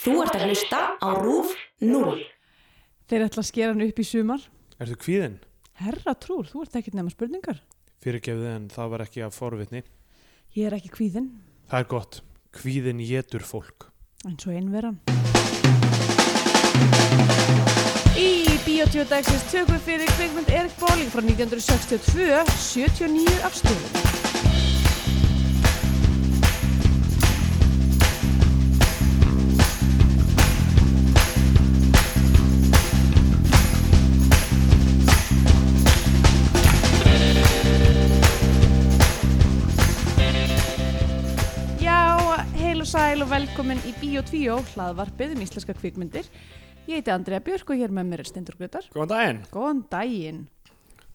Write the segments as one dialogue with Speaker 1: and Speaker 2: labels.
Speaker 1: Þú ert að hlusta á RÚF 0.
Speaker 2: Þeir ætla að skera hann upp í sumar.
Speaker 3: Ertu kvíðinn?
Speaker 2: Herra trúr, þú ert ekkert nema spurningar.
Speaker 3: Fyrirgefðu en það var ekki af forvitni.
Speaker 2: Ég er ekki kvíðinn,
Speaker 3: Það er gott. Kvíðinn getur fólk.
Speaker 2: en svo einveran. Í Bíotjó dagsins tökum við fyrir kveikmynd Erik Bóling frá 1962, 79 af stöðum. Já, heil og sæl og velkomin í Bíotvíó, hlaðvarpið um íslenska kveikmyndir. Ég heiti Andrea Björk og hér með mér er Stendur Grötar.
Speaker 3: Góðan daginn.
Speaker 2: Góðan daginn.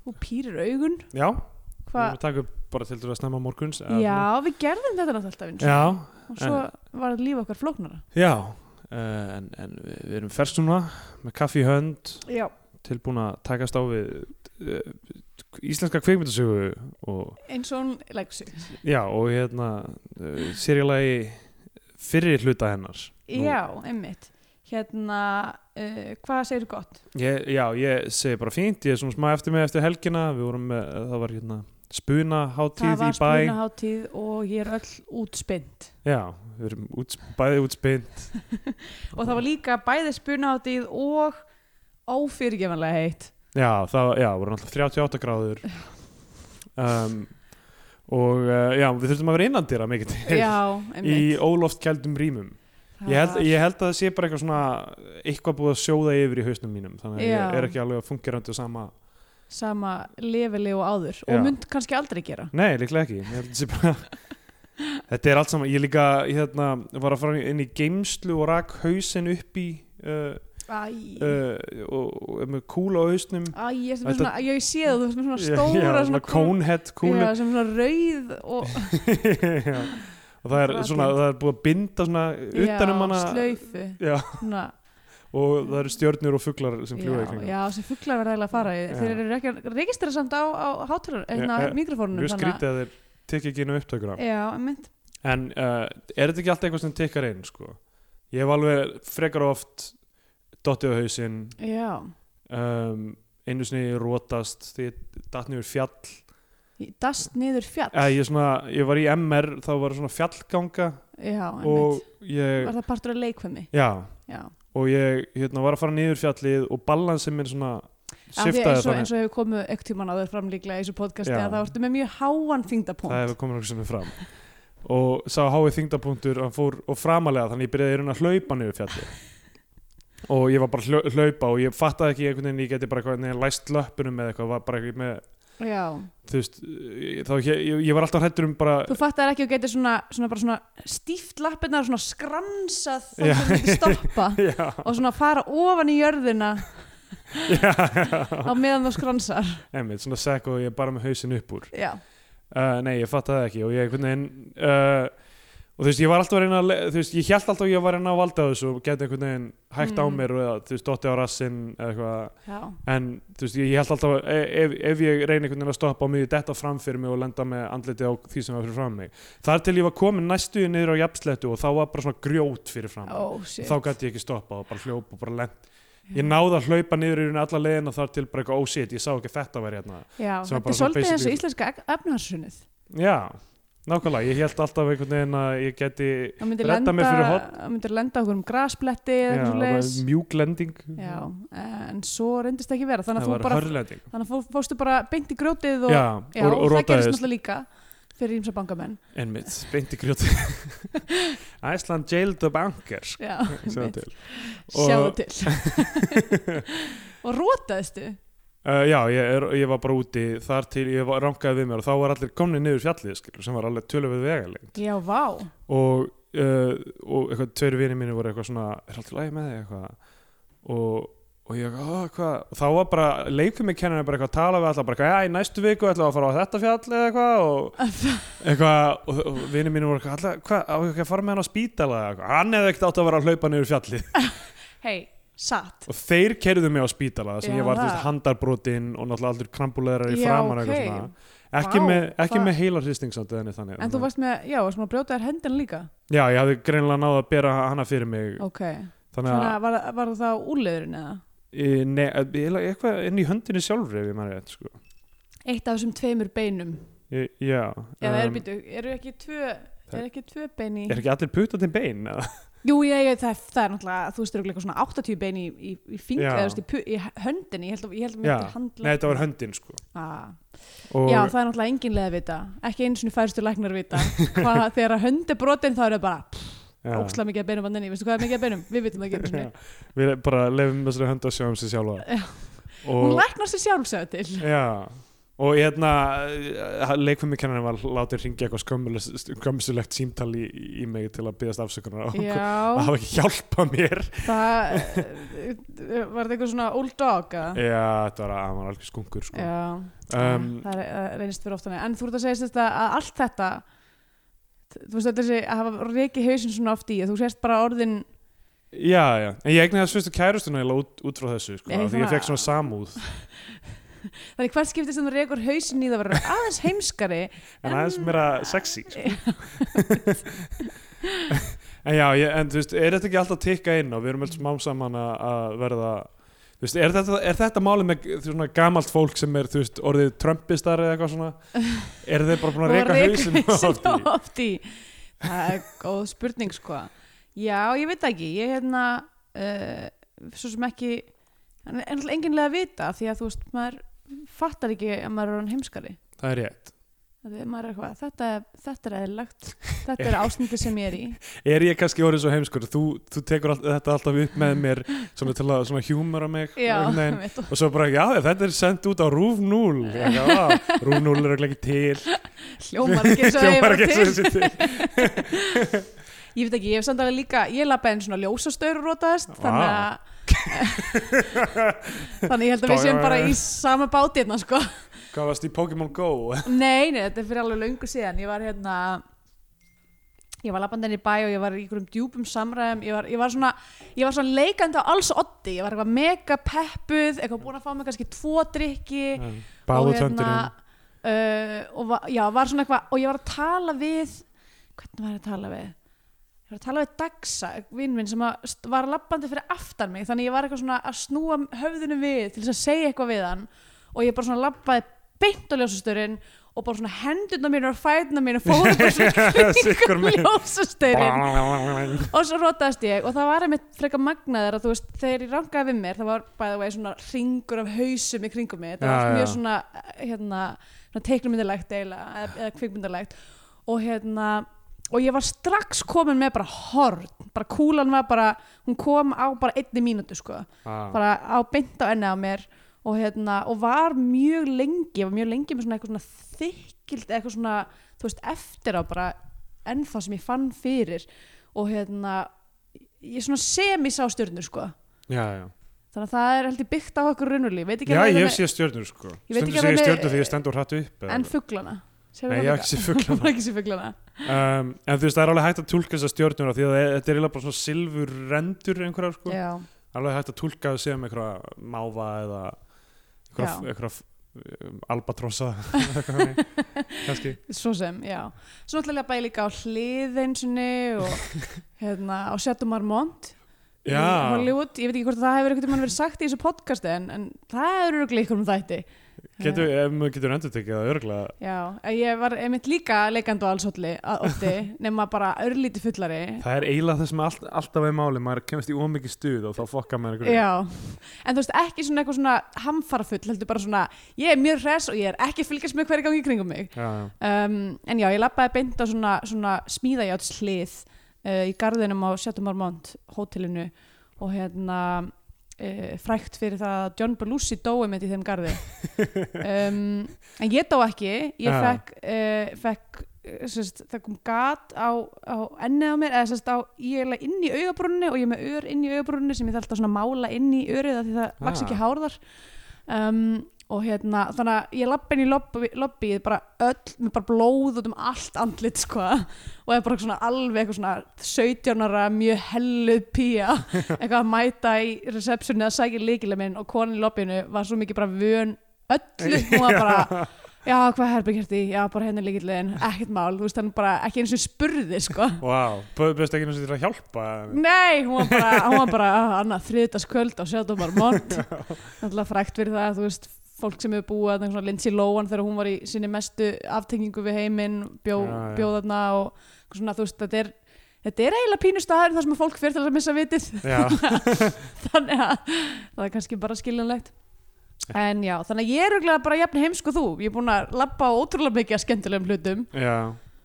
Speaker 2: Þú pýrir augun.
Speaker 3: Já, við
Speaker 2: Hva?
Speaker 3: erum að taka upp bara til þú að snemma morguns. eða
Speaker 2: Já, við gerðum þetta náttúrulega alltaf eins
Speaker 3: svona. Já,
Speaker 2: og svo var líf okkar flóknara.
Speaker 3: já. Uh, en, en við, við erum fersk núna með kaffi í hönd,
Speaker 2: Já.
Speaker 3: tilbúin að takast á við uh, íslenska kveikmyndasögu og,
Speaker 2: Eins og hún leggur sig.
Speaker 3: já, og hérna uh, sérjulegi fyrri hluta hennar. Nú,
Speaker 2: Já, einmitt. Hérna, uh, hvað segir gott?
Speaker 3: Ég, já, ég segi bara fínt, ég er svona smá eftir mig eftir helgina, við vorum með, það var hérna
Speaker 2: það
Speaker 3: spunaháttíð í
Speaker 2: var
Speaker 3: bæ.
Speaker 2: spunahátíð og ég er öll útspynd.
Speaker 3: Já, við erum út, bæði útspinn
Speaker 2: Og það var líka bæði spunahátíð og ófyrirgefanlega heitt.
Speaker 3: Já, það já, voru náttúrulega 38 gráður um, og uh, já, við þurftum að vera innandýra mikið til
Speaker 2: Já,
Speaker 3: í
Speaker 2: einmitt.
Speaker 3: óloftkjaldum rýmum ég held,
Speaker 2: Það-
Speaker 3: ég held að það sé bara eitthvað svona eitthvað búið að sjóða yfir í hausnum mínum þannig að
Speaker 2: Já.
Speaker 3: ég er ekki alveg að fungera sama
Speaker 2: Sama lefili og áður.
Speaker 3: Já.
Speaker 2: Og mynd kannski aldrei gera.
Speaker 3: Nei, líklega ekki Ég held að sé bara... Þetta er allt saman, ég líka ég hérna, var að fara inn í geimslu og rak hausin upp í uh,
Speaker 2: Æ.
Speaker 3: uh, og, og með kúla á hausnum
Speaker 2: Æ, ég, er með
Speaker 3: Þetta-
Speaker 2: svona, ég sé það, þú ert með svona
Speaker 3: Já,
Speaker 2: stóra
Speaker 3: já, svona
Speaker 2: kú-
Speaker 3: cónehead kúlu
Speaker 2: Já, sem svona rauð og
Speaker 3: Já. og það er,
Speaker 2: Akkurat.
Speaker 3: svona, það er búið að binda svona utan um
Speaker 2: já,
Speaker 3: hana
Speaker 2: slaufu
Speaker 3: Já,
Speaker 2: svona,
Speaker 3: og það eru stjörnur og fuglar sem fljúa í
Speaker 2: já,
Speaker 3: kringum
Speaker 2: já, sem fuglar verða eiginlega að fara í
Speaker 3: Já.
Speaker 2: þeir eru ekki að registra samt á, á hátalar,
Speaker 3: Já,
Speaker 2: eða
Speaker 3: eh,
Speaker 2: mikrofónunum
Speaker 3: mjög skrítið að þeir tekja ekki inn á upptökuna
Speaker 2: að já, mynd,
Speaker 3: en uh, er þetta ekki alltaf eitthvað sem tekkar inn sko? ég hef alveg frekar oft dottið á hausinn
Speaker 2: já
Speaker 3: um, einu sinni rótast því ég datt niður fjall
Speaker 2: Í- dast niður fjall
Speaker 3: eh, ég, svona, ég var í MR þá var svona fjallganga
Speaker 2: já, einmitt,
Speaker 3: og ég,
Speaker 2: var það partur af leikfemi
Speaker 3: já,
Speaker 2: já,
Speaker 3: og ég hérna, var að fara niður fjallið og balansin minn svona
Speaker 2: Af því eins
Speaker 3: shiftaði
Speaker 2: og,
Speaker 3: þannig
Speaker 2: eins og hefur komið ekkert tíman áður fram líklega í þessu podcasti
Speaker 3: Já.
Speaker 2: að það vartu með mjög háan þingdapunkt
Speaker 3: það hefur komið nokkuð sem er fram og sá háið þingdapunktur hann fór, og framalega þannig ég byrjaði í raun að hlaupa niður fjallið og ég var bara að hlau- hlaupa og ég fattaði ekki einhvern veginn ég geti bara eitthvað, neða, læst löppunum eða eitthvað var bara ekki með
Speaker 2: já,
Speaker 3: þú veist, ég- þá, ég, ég, ég var alltaf hrættur um bara
Speaker 2: þú fattar ekki og getur svona, svona, bara svona stíft lappirnar og svona skransað þá
Speaker 3: Já.
Speaker 2: sem ekki stoppa
Speaker 3: já,
Speaker 2: og svona fara ofan í jörðina
Speaker 3: já,
Speaker 2: á meðan þú skransar
Speaker 3: einmitt, svona sekk og ég bara með hausin upp úr
Speaker 2: já,
Speaker 3: uh, nei, ég fattaði ekki og ég einhvern veginn uh, og þú veist, ég var alltaf að reyna að le- þú veist, ég held alltaf að ég var að reyna að valda þessu og geti einhvern veginn hægt á
Speaker 2: Mm.
Speaker 3: mér og eða, þú veist, dotti á rassinn eða eitthvað
Speaker 2: já.
Speaker 3: en þú veist, ég held alltaf að e- ef, ef ég reyni einhvern veginn að stoppa á mig detta fram fyrir mig og lenda með andliti á því sem var fyrir fram mig þar til ég var komin næstu niður á jafnsletu og þá var bara svona grjót fyrir fram mig.
Speaker 2: oh shit
Speaker 3: þá gæti ég ekki stoppa og bara hljóp og bara lent ég náði að hlaupa niður í raun alla leiðina þar til bara eitthvað, oh shit, ég sá ekki að þetta væri hérna
Speaker 2: já,
Speaker 3: sem var
Speaker 2: þetta
Speaker 3: bara
Speaker 2: er
Speaker 3: svona
Speaker 2: svolítið eins og
Speaker 3: basically-
Speaker 2: íslenska efnaharsunnið
Speaker 3: já, nákvæmlega, ég held alltaf einhvern veginn að ég geti
Speaker 2: það myndir
Speaker 3: Redda
Speaker 2: lenda,
Speaker 3: mér fyrir horn.
Speaker 2: það myndir lenda okkur um graspletti eða
Speaker 3: já,
Speaker 2: eitthvað
Speaker 3: bara
Speaker 2: svoleiðis.
Speaker 3: mjúk lending
Speaker 2: já, en svo reyndist ekki vera þannig að
Speaker 3: það
Speaker 2: þú
Speaker 3: var
Speaker 2: bara
Speaker 3: hörlending
Speaker 2: þannig að fó- fórstu bara beint í grjótið og,
Speaker 3: já,
Speaker 2: Já,
Speaker 3: og, og
Speaker 2: það gerist
Speaker 3: rótaðist
Speaker 2: náttúrulega líka fyrir ímsa bankamenn
Speaker 3: einmitt, beint í grjóti Iceland jailed the bankers
Speaker 2: já,
Speaker 3: sjáðu til Og-
Speaker 2: sjáðu til og rótaðistu
Speaker 3: Uh, já, ég, er, ég var bara úti þar til ég var, rankaði við mér og þá var allir komni niður fjallið skilur, sem var alveg tölöfuð vegaleg
Speaker 2: já, vá
Speaker 3: og, uh, og eitthvað, tveir vinir mínir voru eitthvað svona er alltaf lægi með þig eitthvað og, og ég, "Ó, hvað og þá var bara, leikum mig kennarinn bara eitthvað að tala við alltaf bara eitthvað, já, í næstu viku ætlaðu að fara á þetta fjall eða eitthvað og eitthvað, og, og vinir mínir voru eitthvað alltaf, hvað, á ég ekki að fara með hann á spítala eða eitthvað, hann hefði ekkert átt að vera að hlaupa niður fjallið
Speaker 2: hei, satt
Speaker 3: og þeir kerðu mig á spítala þar sem
Speaker 2: Já,
Speaker 3: ég var þú veist,
Speaker 2: það.
Speaker 3: handarbrotin og náttúrulega allir krambulegar í
Speaker 2: Já,
Speaker 3: framan
Speaker 2: ok.
Speaker 3: okay. ekki,
Speaker 2: Vá,
Speaker 3: með, ekki
Speaker 2: það-
Speaker 3: með heila hristing samt eða neitt þannig
Speaker 2: En þú varst með, já, varst maður að brjóta þér hendina líka
Speaker 3: já, ég hafði greinilega náð að bera hana fyrir mig
Speaker 2: Ok,
Speaker 3: þannig
Speaker 2: svona
Speaker 3: að
Speaker 2: var, var það úrleðurinn eða?
Speaker 3: e, ne, eiginlega eitthvað inn í höndinni sjálfri ef ég maður rétt sko.
Speaker 2: Eitt af þessum tveimur beinum
Speaker 3: Ég- já,
Speaker 2: Eða
Speaker 3: um,
Speaker 2: eru býtu, eru ekki tvö Er ekki tvö bein í
Speaker 3: er ekki allir putandi bein eða?
Speaker 2: Jú, ég, ég, það, það er náttúrulega, þú veist, eru eitthvað svona 80 bein í, í, í fingra,
Speaker 3: Já.
Speaker 2: eða þú veist, í, pu- í höndinni, ég held að, ég held að mér
Speaker 3: Já.
Speaker 2: ekki handla.
Speaker 3: nei, þetta var höndin sko.
Speaker 2: Ah.
Speaker 3: og,
Speaker 2: Já, það er náttúrulega engin leið að vita, ekki einu sinni færistu læknar vita. Hvað, þegar að hönd er brotin þá eru bara pff,
Speaker 3: já.
Speaker 2: óksla mikið að beinum vanninni, veistu hvað er mikið að beinum? Við vitum það ekki einu sinni.
Speaker 3: Já. við bara lefum þessari höndu að sjá um sig sjálfa
Speaker 2: Hún læknar sér sjálfsögð til.
Speaker 3: Já, og hérna leikfumikennarinn var látið ringja eitthvað skömmulegt- skömsulegt símtal í, í mig til að byggast afsökunar og að
Speaker 2: Já,
Speaker 3: hafa ekki hjálpa mér
Speaker 2: það eh, var þetta eitthvað svona old dog, að?
Speaker 3: Já, þetta var að hann var alveg skunkur sko.
Speaker 2: Já,
Speaker 3: um,
Speaker 2: það er, það reynist fyrir oftan. En þú ert að segja þetta að allt þetta, þú veist, þetta sé að hafa reikið hausinn svona oft í, að þú sést bara orðin
Speaker 3: já, já, en ég eignaði þessu fyrstu kærustuna eiginlega út, út frá þessu, sko,
Speaker 2: Ég
Speaker 3: af því ég
Speaker 2: svona-
Speaker 3: fekk svona samúð
Speaker 2: Þannig hvert skipti sem þú rekur hausin í það verður aðeins heimskari
Speaker 3: en aðeins
Speaker 2: Ah.
Speaker 3: meira sexy sko. en já, ég, en þú veist er þetta ekki alltaf að tikka inn og við erum öll smám saman að- að verða þú veist, er þetta, er þetta málið með þú veist, svona gamalt fólk sem er, þú veist, orðið trömpistar eða eitthvað svona er þeir bara búin að
Speaker 2: og
Speaker 3: reka
Speaker 2: rekur
Speaker 3: hausin
Speaker 2: hausinn á oft í Það er góð spurning sko Já, ég veit það ekki Ég hérna uh, svo sem ekki en en náttúrulega enginlega að vita því að þú veist, maður fattar ekki að maður er orðin heimskari
Speaker 3: það er rétt,
Speaker 2: Það er maður er eitthvað, þetta, þetta er eðlilegt þetta er ástandi sem ég er í
Speaker 3: er ég kannski orðið svo heimskur þú, þú tekur all, þetta alltaf upp með mér svona til að svona humora mig
Speaker 2: Já,
Speaker 3: einhvern veginn.
Speaker 2: veit þú
Speaker 3: og svo bara, já, þetta er sendt út á Rúf 0 Ég eitthvað, "Á, Rúf 0 er örugglega ekki til
Speaker 2: hljómar ekki eins og ég
Speaker 3: Hljómar
Speaker 2: var
Speaker 3: ekki eins og
Speaker 2: til
Speaker 3: þessi til
Speaker 2: Ég veit ekki, ég hef samt alveg líka, ég lappa einn svona ljósastaur og rótaðist,
Speaker 3: Vá.
Speaker 2: þannig að þannig ég held að við séum bara í sama báti hérna, sko.
Speaker 3: Hvað varst í Pokémon GO?
Speaker 2: Nei, nei, þetta er fyrir alveg löngu síðan, ég var hérna, ég var lappandi inn í bæ og ég var í einhverjum djúpum samræðum, ég var, ég var svona, ég var svona leikandi á alls oddi, ég var eitthvað mega peppuð, eitthvað búin að fá mig kannski tvo drikki,
Speaker 3: Báðu
Speaker 2: og hérna-
Speaker 3: töndurinn
Speaker 2: uh, og va, já, var svona eitthvað og ég var að tala við hvernig var ég að tala við ég var að tala við Dagsa, vinn minn sem að st- var lappandi fyrir aftan mig þannig ég var eitthvað svona að snúa höfðinu við til þess að segja eitthvað við hann og ég bara svona lappaði beint á ljósastörin og bara svona hendurna mínu og fætna mínu fóru bara svona
Speaker 3: Sikkur
Speaker 2: kringum
Speaker 3: megin.
Speaker 2: ljósastörin og svo rótaðist ég og það var einmitt frekar magnaðar að þú veist þegar ég rangaði við mér það var bæða vegi svona ringur af hausum í kringum mig, þetta
Speaker 3: Já,
Speaker 2: var allt
Speaker 3: já.
Speaker 2: mjög svona hérna, svona teiknumyndilegt eiginlega, eða, eða kvikmyndilegt og hérna og ég var strax komin með bara horn bara kúlan var bara, hún kom á bara einni mínútu sko,
Speaker 3: ah.
Speaker 2: bara á beint á enni á mér og hérna og var mjög lengi, ég var mjög lengi með svona eitthvað svona þykkild eitthvað svona, þú veist, eftir á bara ennþá sem ég fann fyrir og hérna ég svona semi sá stjörnur sko
Speaker 3: Já, já
Speaker 2: þannig að það er heldur byggt á okkur raunvöli ég veit ekki
Speaker 3: Já,
Speaker 2: alveg
Speaker 3: ég
Speaker 2: með-
Speaker 3: sé stjörnur sko
Speaker 2: Ég veit ekki alveg
Speaker 3: Stundur sé ég
Speaker 2: með-
Speaker 3: stjörnur því ég stendur hratt upp eða
Speaker 2: en
Speaker 3: eitthvað.
Speaker 2: fuglana Sérðu það
Speaker 3: Nei, ég hef
Speaker 2: líka?
Speaker 3: ekki séð fuglana.
Speaker 2: Bara ekki sé fuglana
Speaker 3: um, En þú veist, það er alveg hægt að tólka þessar stjörnur af Því að það- þetta er eiginlega bara svona silfur rendur einhverjar sko
Speaker 2: já,
Speaker 3: Alveg hægt að tólka þau sem einhverja máva eða einhverja,
Speaker 2: Já.
Speaker 3: einhverja um, albatrossa eða eitthvað þannig. Kannski
Speaker 2: svo sem, já svo náttúrulega bæði líka á hliðeinsinni og hérna á Sjötum Marmont í
Speaker 3: Já,
Speaker 2: Hollywood, ég veit ekki hvort það hefur einhvern veginn verið sagt í þessu podcasti en, en það er öruglega ykkur um þætti Eh,
Speaker 3: getur, ef maður getur endur tekið það örglega
Speaker 2: Já, en ég var einmitt líka leikandi á alls holli að ótti, nema bara örlíti fullari
Speaker 3: Það er eiginlega það sem all, alltaf er máli maður kemst í ómikið stuð og þá fokka maður einhverju
Speaker 2: Já, en þú veist ekki svona eitthvað svona hamfarafull, heldur bara svona ég er mjög hress og ég er ekki að fylgjast með hverju gangi í kringum mig
Speaker 3: Já, já.
Speaker 2: um, en já, ég lappaði beint á svona, svona smíðajáts hlið uh, í garðinum á Sjötum Marmont hótelinu og hérna uh, frækt fyrir það að John Belushi dói mitt í þeim garði um, en ég dó ekki ég
Speaker 3: Já.
Speaker 2: fekk, uh, fekk eh, sem sagt, það kom gat á, á ennið á mér eða sérst á ég er eiginlega inn í augabrúnni og ég er með ör inn í augabrúnni sem ég þarf alltaf svona að mála inn í örið af því það
Speaker 3: Ah.
Speaker 2: vaks ekki hárðar um, og hérna þannig að ég lappa inn í lobby, lobbyið bara öll, með bara blóð út um allt andlit sko og er bara svona alveg eitthvað svona 17 ára mjög helluð pía eitthvað að mæta í receptionu að sækja líkileg minn og konan í lobbyinu var svo mikið bara vön öllu hún var bara já, hvað herbyggert í, já, bara hérna líkillin ekkert mál, þú veist, hann bara ekki eins og spurði, sko
Speaker 3: Vá, wow. best ekki náttúrulega til að hjálpa
Speaker 2: Nei, hún var bara, hún var bara "Ah, annað þriðdagskvöld á sjátumar mont Náttúrulega frækt fyrir það, þú veist fólk sem hefur búið, þannig svona Lindsay Lohan þegar hún var í sinni mestu aftengingu við heiminn bjó,
Speaker 3: Já, já.
Speaker 2: bjóð þarna og eitthvað svona, þú veist, þetta er þetta er eiginlega pínu staður þar sem að fólk fyrir til að missa vitið
Speaker 3: Já,
Speaker 2: þannig að það er kannski bara skiljanlegt en já, þannig að ég er auðvitað bara jafn heimsk og þú, ég er búin að labba á ótrúlega mikið að skemmtilegum hlutum
Speaker 3: já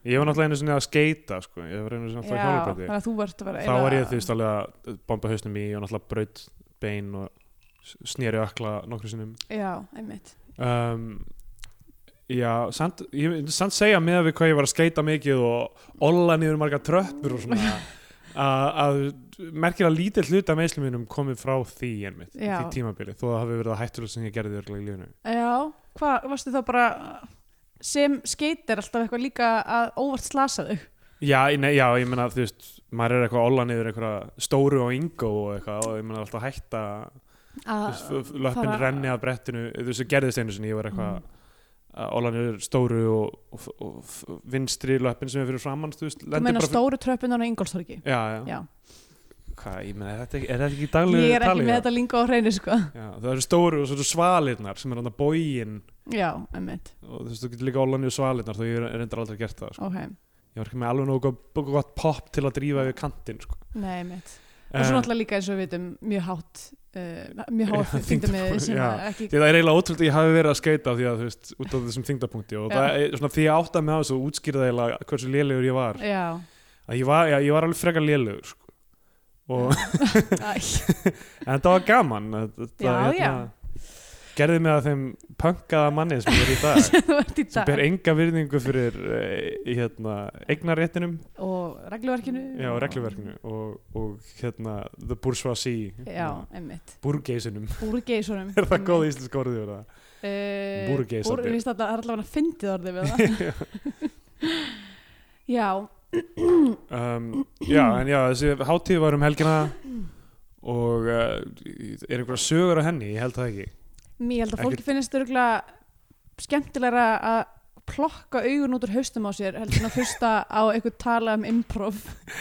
Speaker 3: Ég var náttúrulega einu sinni að skeita sko. Ég var einu sinni
Speaker 2: Já,
Speaker 3: að fara hjálpa
Speaker 2: þannig að þú vart að vera
Speaker 3: Þá var ég
Speaker 2: eiginlega-
Speaker 3: því stálega að bomba hausnum í og náttúrulega braut bein og snýri ökla nokkru sinnum
Speaker 2: Já, einmitt
Speaker 3: um, Já, samt, ég myndi samt segja með við hvað ég var að skeita mikið og olla niður marga tröppur og svona að, að merkilega lítill hluti af meðslum mínum komið frá því einmitt,
Speaker 2: Já.
Speaker 3: því tímabili, þó að það hafi verið að hættulega sem ég gerði örglega í lífinu.
Speaker 2: Já, hvað, varstu þá bara sem skeitir alltaf eitthvað líka að óvart slasa þau
Speaker 3: Já, ég- nei, já, ég meina, þú veist, maður er eitthvað að olla niður einhverja stóru og yngó og eitthvað og ég meina alltaf hætta,
Speaker 2: Ah,
Speaker 3: þú veist, f- f- löppin
Speaker 2: fara-
Speaker 3: renni að brettinu, þú veist, það gerðist einu sinni, ég var eitthvað
Speaker 2: Mm.
Speaker 3: að olla niður stóru og, og, og, og vinstri löppin sem er fyrir framann, þú veist,
Speaker 2: Þú
Speaker 3: lendir
Speaker 2: meina
Speaker 3: bara fyrir-
Speaker 2: stóru tröppin á Ingolstorgi
Speaker 3: Já, já.
Speaker 2: Já,
Speaker 3: Hvað, ég meina, er þetta ekki, er þetta ekki daglegu
Speaker 2: ég er ekki
Speaker 3: talið?
Speaker 2: með þetta linga á hreinu sko
Speaker 3: Já, það eru stóru og svo eru svalirnar sem er hann að bógin
Speaker 2: Já, emmitt,
Speaker 3: og þú veist, þú getur líka ólan niður svalirnar þó ég er reyndar aldrei gert það, sko.
Speaker 2: ok,
Speaker 3: Ég var ekki með alveg nógu gott- gott pop til að drífa við kantinn, sko.
Speaker 2: nei emmitt Og svo
Speaker 3: Eh,
Speaker 2: náttúrulega líka eins og við vitum mjög hátt uh, mjög hátt
Speaker 3: Já,
Speaker 2: þyngdamiði sem
Speaker 3: já.
Speaker 2: að ekki
Speaker 3: Því það er eiginlega ótrúld að ég hafi verið að skeita því að þú veist, út á þessum þyngdapunkti og
Speaker 2: Já.
Speaker 3: það er svona því ég átta mig á þessu og útskýrði eiginlega hversu lélegur ég var
Speaker 2: Já,
Speaker 3: að ég var, já, ég var alveg frekar lélegur sko. og,
Speaker 2: Æ,
Speaker 3: en þetta var gaman þetta,
Speaker 2: Já, já.
Speaker 3: hérna, gerði mig að þeim punkaða manni sem ég er í dag
Speaker 2: þú ert í
Speaker 3: sem
Speaker 2: dag
Speaker 3: ber enga virðingu fyrir eh, hérna, eignaréttinum
Speaker 2: Og regluverkinu
Speaker 3: já, og regluverkinu og, og hérna, the bourgeoisie
Speaker 2: Já, emmitt,
Speaker 3: burgeisunum
Speaker 2: búrgeisunum
Speaker 3: er það góð íslensk orðið fyrir það
Speaker 2: Eh,
Speaker 3: Búrgeisandi.
Speaker 2: búr- Mér finnst alltaf að það er allavega fyndið orðið við það Já,
Speaker 3: um, já, en já, þessi hátíð var um helgina og uh, er einhverja sögur á henni, ég held það ekki
Speaker 2: mér held að fólki
Speaker 3: Ekkert-
Speaker 2: finnist örgulega skemmtilegra að plokka augun út úr haustum á sér heldur en að hlusta á eitthvað tala um improv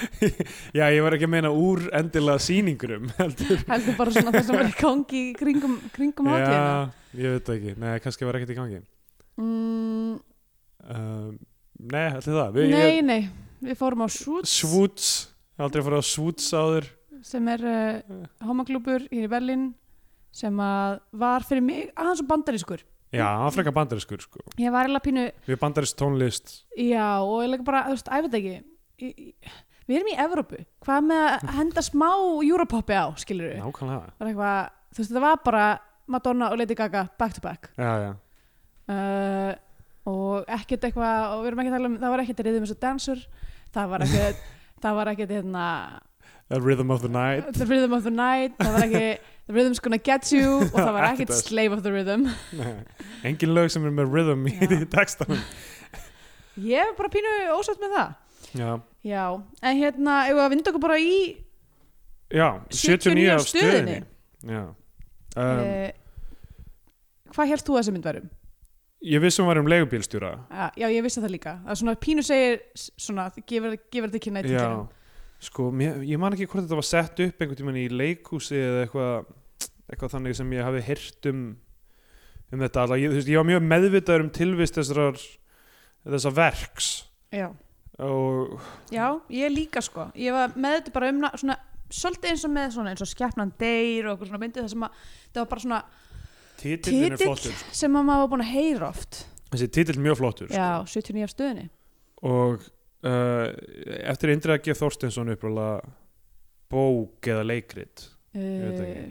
Speaker 3: já, ég var ekki að meina úr endilega sýningurum heldur
Speaker 2: heldur bara svona það sem er í gangi í kringum, kringum hátíðina
Speaker 3: já, ég veit það ekki, nei, kannski var ekkert í gangi
Speaker 2: mm,
Speaker 3: um, nei, allir það Við-
Speaker 2: Nei,
Speaker 3: ég-
Speaker 2: nei, við fórum á Schutz
Speaker 3: Svúts, ég hef aldrei farið á Svúts áður
Speaker 2: sem er uh, homaglúpur hér í Berlin sem að var fyrir mig aðeins og bandarískur
Speaker 3: já, hann var frekar bandariskur sko
Speaker 2: ég var eiginlega pínu
Speaker 3: Við bandarist tónlist
Speaker 2: Já, og ég lega bara, þú veist, æfði ekki Í- í- Við erum í Evrópu Hvað með að henda smá Europoppi á, skilur við
Speaker 3: Nákvæmlega
Speaker 2: var eitthvað, Þú veist, þetta var bara Madonna og Lady Gaga back to back
Speaker 3: Já, já,
Speaker 2: uh, Og ekkert eitthvað Og við erum ekki að tala um, það var ekkert rhythm as a dancer Það var ekkert Það var ekkert hérna
Speaker 3: A Rhythm of the Night
Speaker 2: The Rhythm of the Night Það var ekki The Rhythm's Gonna Get You Og það var
Speaker 3: Ekkert
Speaker 2: ekkert
Speaker 3: þess.
Speaker 2: Slave of the Rhythm
Speaker 3: Nei, Engin lög sem er með rhythm í
Speaker 2: Já.
Speaker 3: textanum
Speaker 2: Ég er bara pínu ósátt með það
Speaker 3: Já,
Speaker 2: Já, en hérna, ef við að vinda okkur bara í
Speaker 3: já
Speaker 2: 79
Speaker 3: af
Speaker 2: af stöðinni.
Speaker 3: Já um,
Speaker 2: eh, Hvað helst þú að þessi mynd værum?
Speaker 3: Ég vissi hún var um leigubílstjóra
Speaker 2: Ja, já, ég vissi það líka. Það er svona pínu segir, s- svona, gefur, gefur þetta kynna í
Speaker 3: Já
Speaker 2: títilum.
Speaker 3: Sko, mér, ég man ekki hvort þetta var sett upp einhvern tímann í leikhúsi eða eitthvað eitthvað þannig sem ég hafi heyrt um um þetta alveg, ég, þú veist, ég var mjög meðvitaður um tilvist þessar þessar verks
Speaker 2: Já.
Speaker 3: og
Speaker 2: já, ég líka sko. Ég var með þetta bara um, na- svona, svolítið eins og með svona, eins og skepnan deyr og okkur svona myndið það sem að, það var bara svona
Speaker 3: titillin er
Speaker 2: titill
Speaker 3: flottur
Speaker 2: sem að maður var búin að heyra oft.
Speaker 3: þessi titill er mjög flottur sko.
Speaker 2: Já, 79 af stöðinni.
Speaker 3: og uh, eftir Indra G. Þorstinsson upprálega bók eða leikrit veit
Speaker 2: Uh,
Speaker 3: það ekki.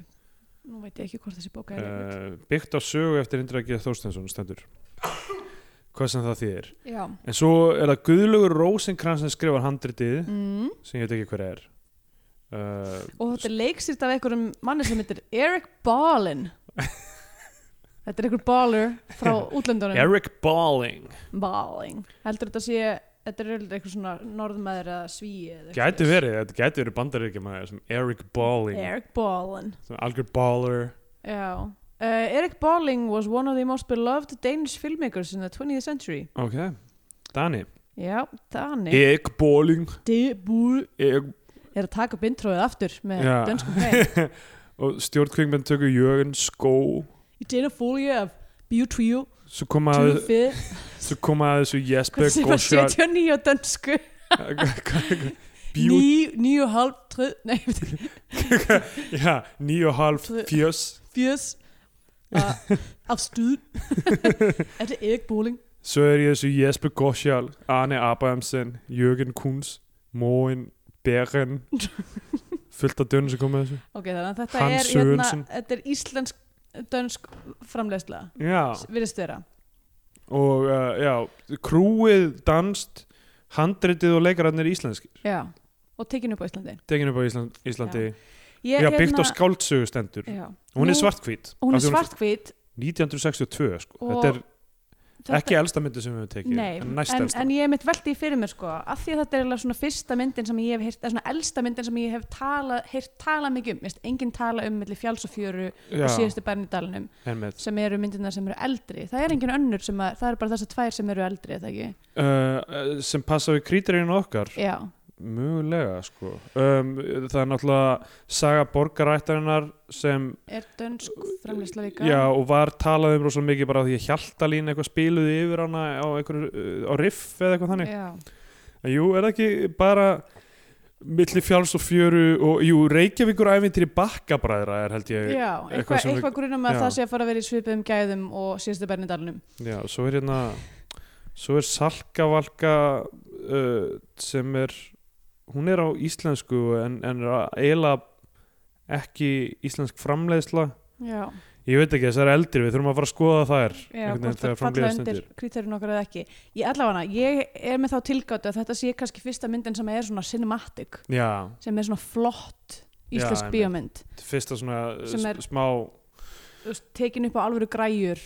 Speaker 2: nú veit ég ekki hvort þessi bóka er uh,
Speaker 3: uh, byggt á sögu eftir Indra G. Þorstinsson stendur hvað sem það þýðir
Speaker 2: Já.
Speaker 3: en svo er það Guðlugur Rósinkrans sem skrifar handritið
Speaker 2: Mm.
Speaker 3: sem ég veit ekki hver er uh,
Speaker 2: Og þetta er leikstýrt af einhverjum manni sem heitir Eric Ballin. þetta er einhver baller frá útlöndunum.
Speaker 3: Eric Balling
Speaker 2: Baling Heldur þetta sé, þetta er auðvitað eitthvað svona norðmaður eða svíi eða eitthvað
Speaker 3: gæti
Speaker 2: svoleiðis.
Speaker 3: verið, þetta gæti verið bandaríkjamaður sem Eric Balling
Speaker 2: Eric Balin
Speaker 3: sem algjör baller
Speaker 2: Já, Uh, Eric Bolling was one of the most beloved Danish filmmakers in the 20th century.
Speaker 3: ok, Dani
Speaker 2: Já, Dani.
Speaker 3: Egg bowling
Speaker 2: Ég
Speaker 3: Egg
Speaker 2: er að taka upp introið aftur með
Speaker 3: Já.
Speaker 2: dönskum hrein.
Speaker 3: og stjórnkvingmenn tökur Jörgen Skó
Speaker 2: Ég dina fólja af Bjútvíu,
Speaker 3: svo koma að,
Speaker 2: Tjúfið,
Speaker 3: svo koma að þessu Jesper
Speaker 2: hvernig sem var
Speaker 3: Goschard
Speaker 2: 79 á dönsku.
Speaker 3: Bjú,
Speaker 2: Ný, níu og hálf, tröð, nei, ég veit ekki,
Speaker 3: já, níu og halv fjörs
Speaker 2: fjörs, uh, af stuð. Þetta er Erik Bolling.
Speaker 3: svo er ég þessu Jesper Goschall Arne Abrahamsen, Jörgen Kunz Móin, Beren fullt af dönum sem koma að þessu
Speaker 2: Ok, þannig að þetta
Speaker 3: Hans
Speaker 2: er, hérna,
Speaker 3: Sörensen.
Speaker 2: þetta er íslensk, dönsk framleiðsla,
Speaker 3: já,
Speaker 2: virðist vera.
Speaker 3: og uh, já, krúið danst handritið og leikararnir íslenskir
Speaker 2: Já, og tekin upp á Íslandi.
Speaker 3: tekin upp á Ísland, Íslandi já,
Speaker 2: Ég, hérna-
Speaker 3: byggt á skáldsögustendur
Speaker 2: Já.
Speaker 3: hún er
Speaker 2: Nú-
Speaker 3: svartkvít
Speaker 2: Hún er
Speaker 3: Af því
Speaker 2: svartkvít
Speaker 3: 1962 sko.
Speaker 2: Og
Speaker 3: þetta er
Speaker 2: þetta-
Speaker 3: ekki elsta myndi sem við höfum tekið
Speaker 2: Nei,
Speaker 3: en næst
Speaker 2: en,
Speaker 3: elsta
Speaker 2: en ég hef mitt veltið fyrir mér sko af því að þetta er eiginlega svona fyrsta myndin sem ég hef heyrt, eða svona elsta myndin sem ég hef tala, heyrt tala mikið um, Mér finnst enginn tala um milli fjáls og fjöru og
Speaker 3: já,
Speaker 2: síðustu bærni dalinum
Speaker 3: einmitt.
Speaker 2: sem eru myndirna sem eru eldri það er enginn önnur sem að, það eru bara þessar tvær sem eru eldri eða ekki,
Speaker 3: uh, sem passa við krítirinu okkar
Speaker 2: já,
Speaker 3: mögulega sko um, það er náttúrulega saga borgarættarinnar sem
Speaker 2: er dönsk framleysla líka
Speaker 3: já, og var talað um rosalega mikið bara af því að hjaltalín eitthvað spiluði yfir hana á, einhverju, uh, á riff eða eitthvað þannig
Speaker 2: já,
Speaker 3: En Jú, er það ekki bara milli fjáls og fjöru og jú, Reykjavíkur æfintýri bakkabræðra er held
Speaker 2: já
Speaker 3: ég Eh, eitthvað
Speaker 2: eitthvað,
Speaker 3: sem við-
Speaker 2: eitthvað grunum að
Speaker 3: já.
Speaker 2: það sé að fara að vera í svipum gæðum og síðustu bærni dalinum
Speaker 3: Já, svo er hérna svo er Salkavalka uh, sem er hún er á íslensku en, en er að eila ekki íslensk framleiðsla
Speaker 2: já,
Speaker 3: ég veit ekki, þessar eldri, við þurfum að fara að skoða þær
Speaker 2: Já,
Speaker 3: einhvern veginn
Speaker 2: hvort það
Speaker 3: þegar
Speaker 2: falla
Speaker 3: framleiða
Speaker 2: undir
Speaker 3: stendur
Speaker 2: kríturinn okkar eða ekki ég allavega, ég er með þá tilgáttu að þetta sé kannski fyrsta myndin sem er svona cinematic
Speaker 3: Já,
Speaker 2: sem er svona flott
Speaker 3: Já,
Speaker 2: íslensk
Speaker 3: einmitt.
Speaker 2: bíómynd
Speaker 3: fyrsta svona uh,
Speaker 2: Sem er-
Speaker 3: s- smá
Speaker 2: Þú veist, tekin upp á alvöru græjur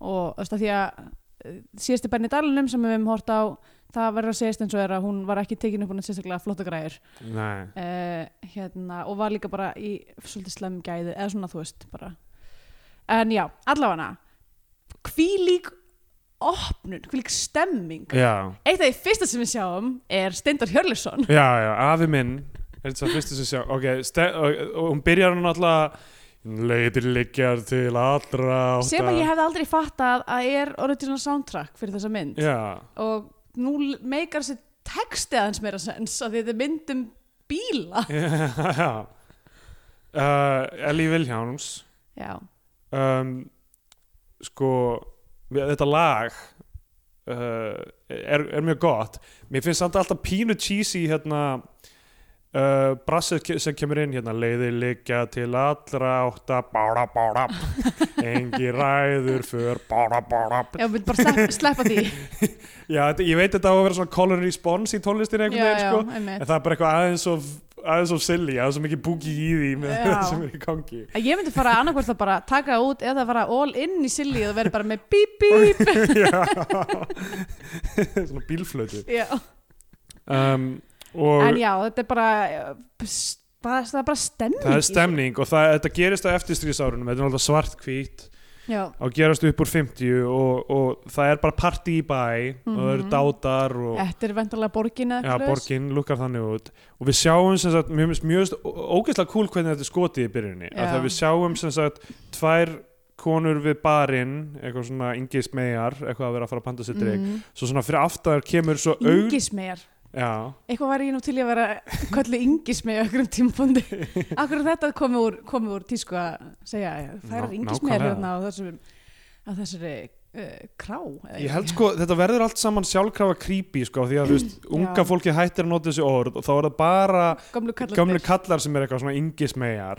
Speaker 2: og þú veist að því að eh, síðasti bærni dalinum sem við höfum hort á það verður að segjast eins og er að hún var ekki tekin upp á neitt sérstaklega flotta græjur
Speaker 3: Nei,
Speaker 2: uh, hérna, og var líka bara í svolítið slem gæði eða svona þú veist bara en já, allavega hvílík opnun, hvílík stemming
Speaker 3: já,
Speaker 2: Eitt af því fyrsta sem við sjáum er Steindor Hjörleifsson
Speaker 3: já, já, afi minn er þetta fyrstu sem sjá ok, ste- og, og hún byrjar hún alltaf leiðir liggjar til allra
Speaker 2: sem að ég hefði aldrei fattað að er orðið til svona soundtrack fyrir þessa mynd
Speaker 3: Já,
Speaker 2: og nú l- meikar þessi texti aðeins meira sens að þetta er mynd um bíla
Speaker 3: já uh, Ellie Vilhjáns
Speaker 2: Já,
Speaker 3: um, sko við- þetta lag uh, er, er mjög gott mér finnst samt alltaf pínu cheesy hérna Uh, brassið ke- sem kemur inn hérna leiðir liggja til allra átta bára bára engi ræður för bára bára
Speaker 2: já, við bara slepp, sleppa því
Speaker 3: já, þetta- ég veit þetta á að vera svona call and response í
Speaker 2: Já,
Speaker 3: tónlistinni einhvern veginn
Speaker 2: já,
Speaker 3: sko
Speaker 2: einmitt
Speaker 3: En það er bara eitthvað aðeins of, aðeins of silly, aðeins of mikið búki í því með
Speaker 2: Já.
Speaker 3: það sem er í gangi.
Speaker 2: Að Ég myndi fara annarkvort að bara taka það út eða fara all in í silli og vera bara með bíp bíp
Speaker 3: Já, svona bílflötu.
Speaker 2: Já,
Speaker 3: Um, og
Speaker 2: en já, þetta er bara eh, s- bara- það er bara stemning
Speaker 3: það er
Speaker 2: í
Speaker 3: stemning og það, þetta gerist á eftirstríðsárunum, þetta er náttúrulega svart hvít
Speaker 2: þessu. Já,
Speaker 3: og gerast upp úr 50 og, og það er bara party í bæ og það eru
Speaker 2: Mhm.
Speaker 3: dátar og
Speaker 2: þetta er vendarlega borgin eða
Speaker 3: Já,
Speaker 2: eitthvað svoleiðis.
Speaker 3: borgin lukkar þannig út og við sjáum sem sagt, mjög, mjög ógeðslega cool hvernig þetta er skotið í byrjunni
Speaker 2: Já.
Speaker 3: að það við sjáum sem sagt tvær konur við barinn eitthvað svona Ingi Smeyjar, eitthvað að vera að fara að panta sér dreg
Speaker 2: Mhm.
Speaker 3: svo svona fyrir aftar kemur svo aug
Speaker 2: Ingismegar
Speaker 3: já,
Speaker 2: Eitthvað væri ég nú til í að vera köllu yngismið á einhverjum tímpóndi. Akkur þetta komi úr, komi úr tísku að segja færar
Speaker 3: Ná-
Speaker 2: yngismiðar
Speaker 3: nákvæmlega.
Speaker 2: hérna á þessari, á þessari uh, krá. eða
Speaker 3: ég held sko þetta verður allt saman sjálfkrafa creepy sko, því að þú veist, unga
Speaker 2: Mm. Já.
Speaker 3: fólki hættir að nota þessi orð og þá er það bara
Speaker 2: Gömlu kallar.
Speaker 3: gamlu kallar sem er eitthvað svona Ingi Smeyjar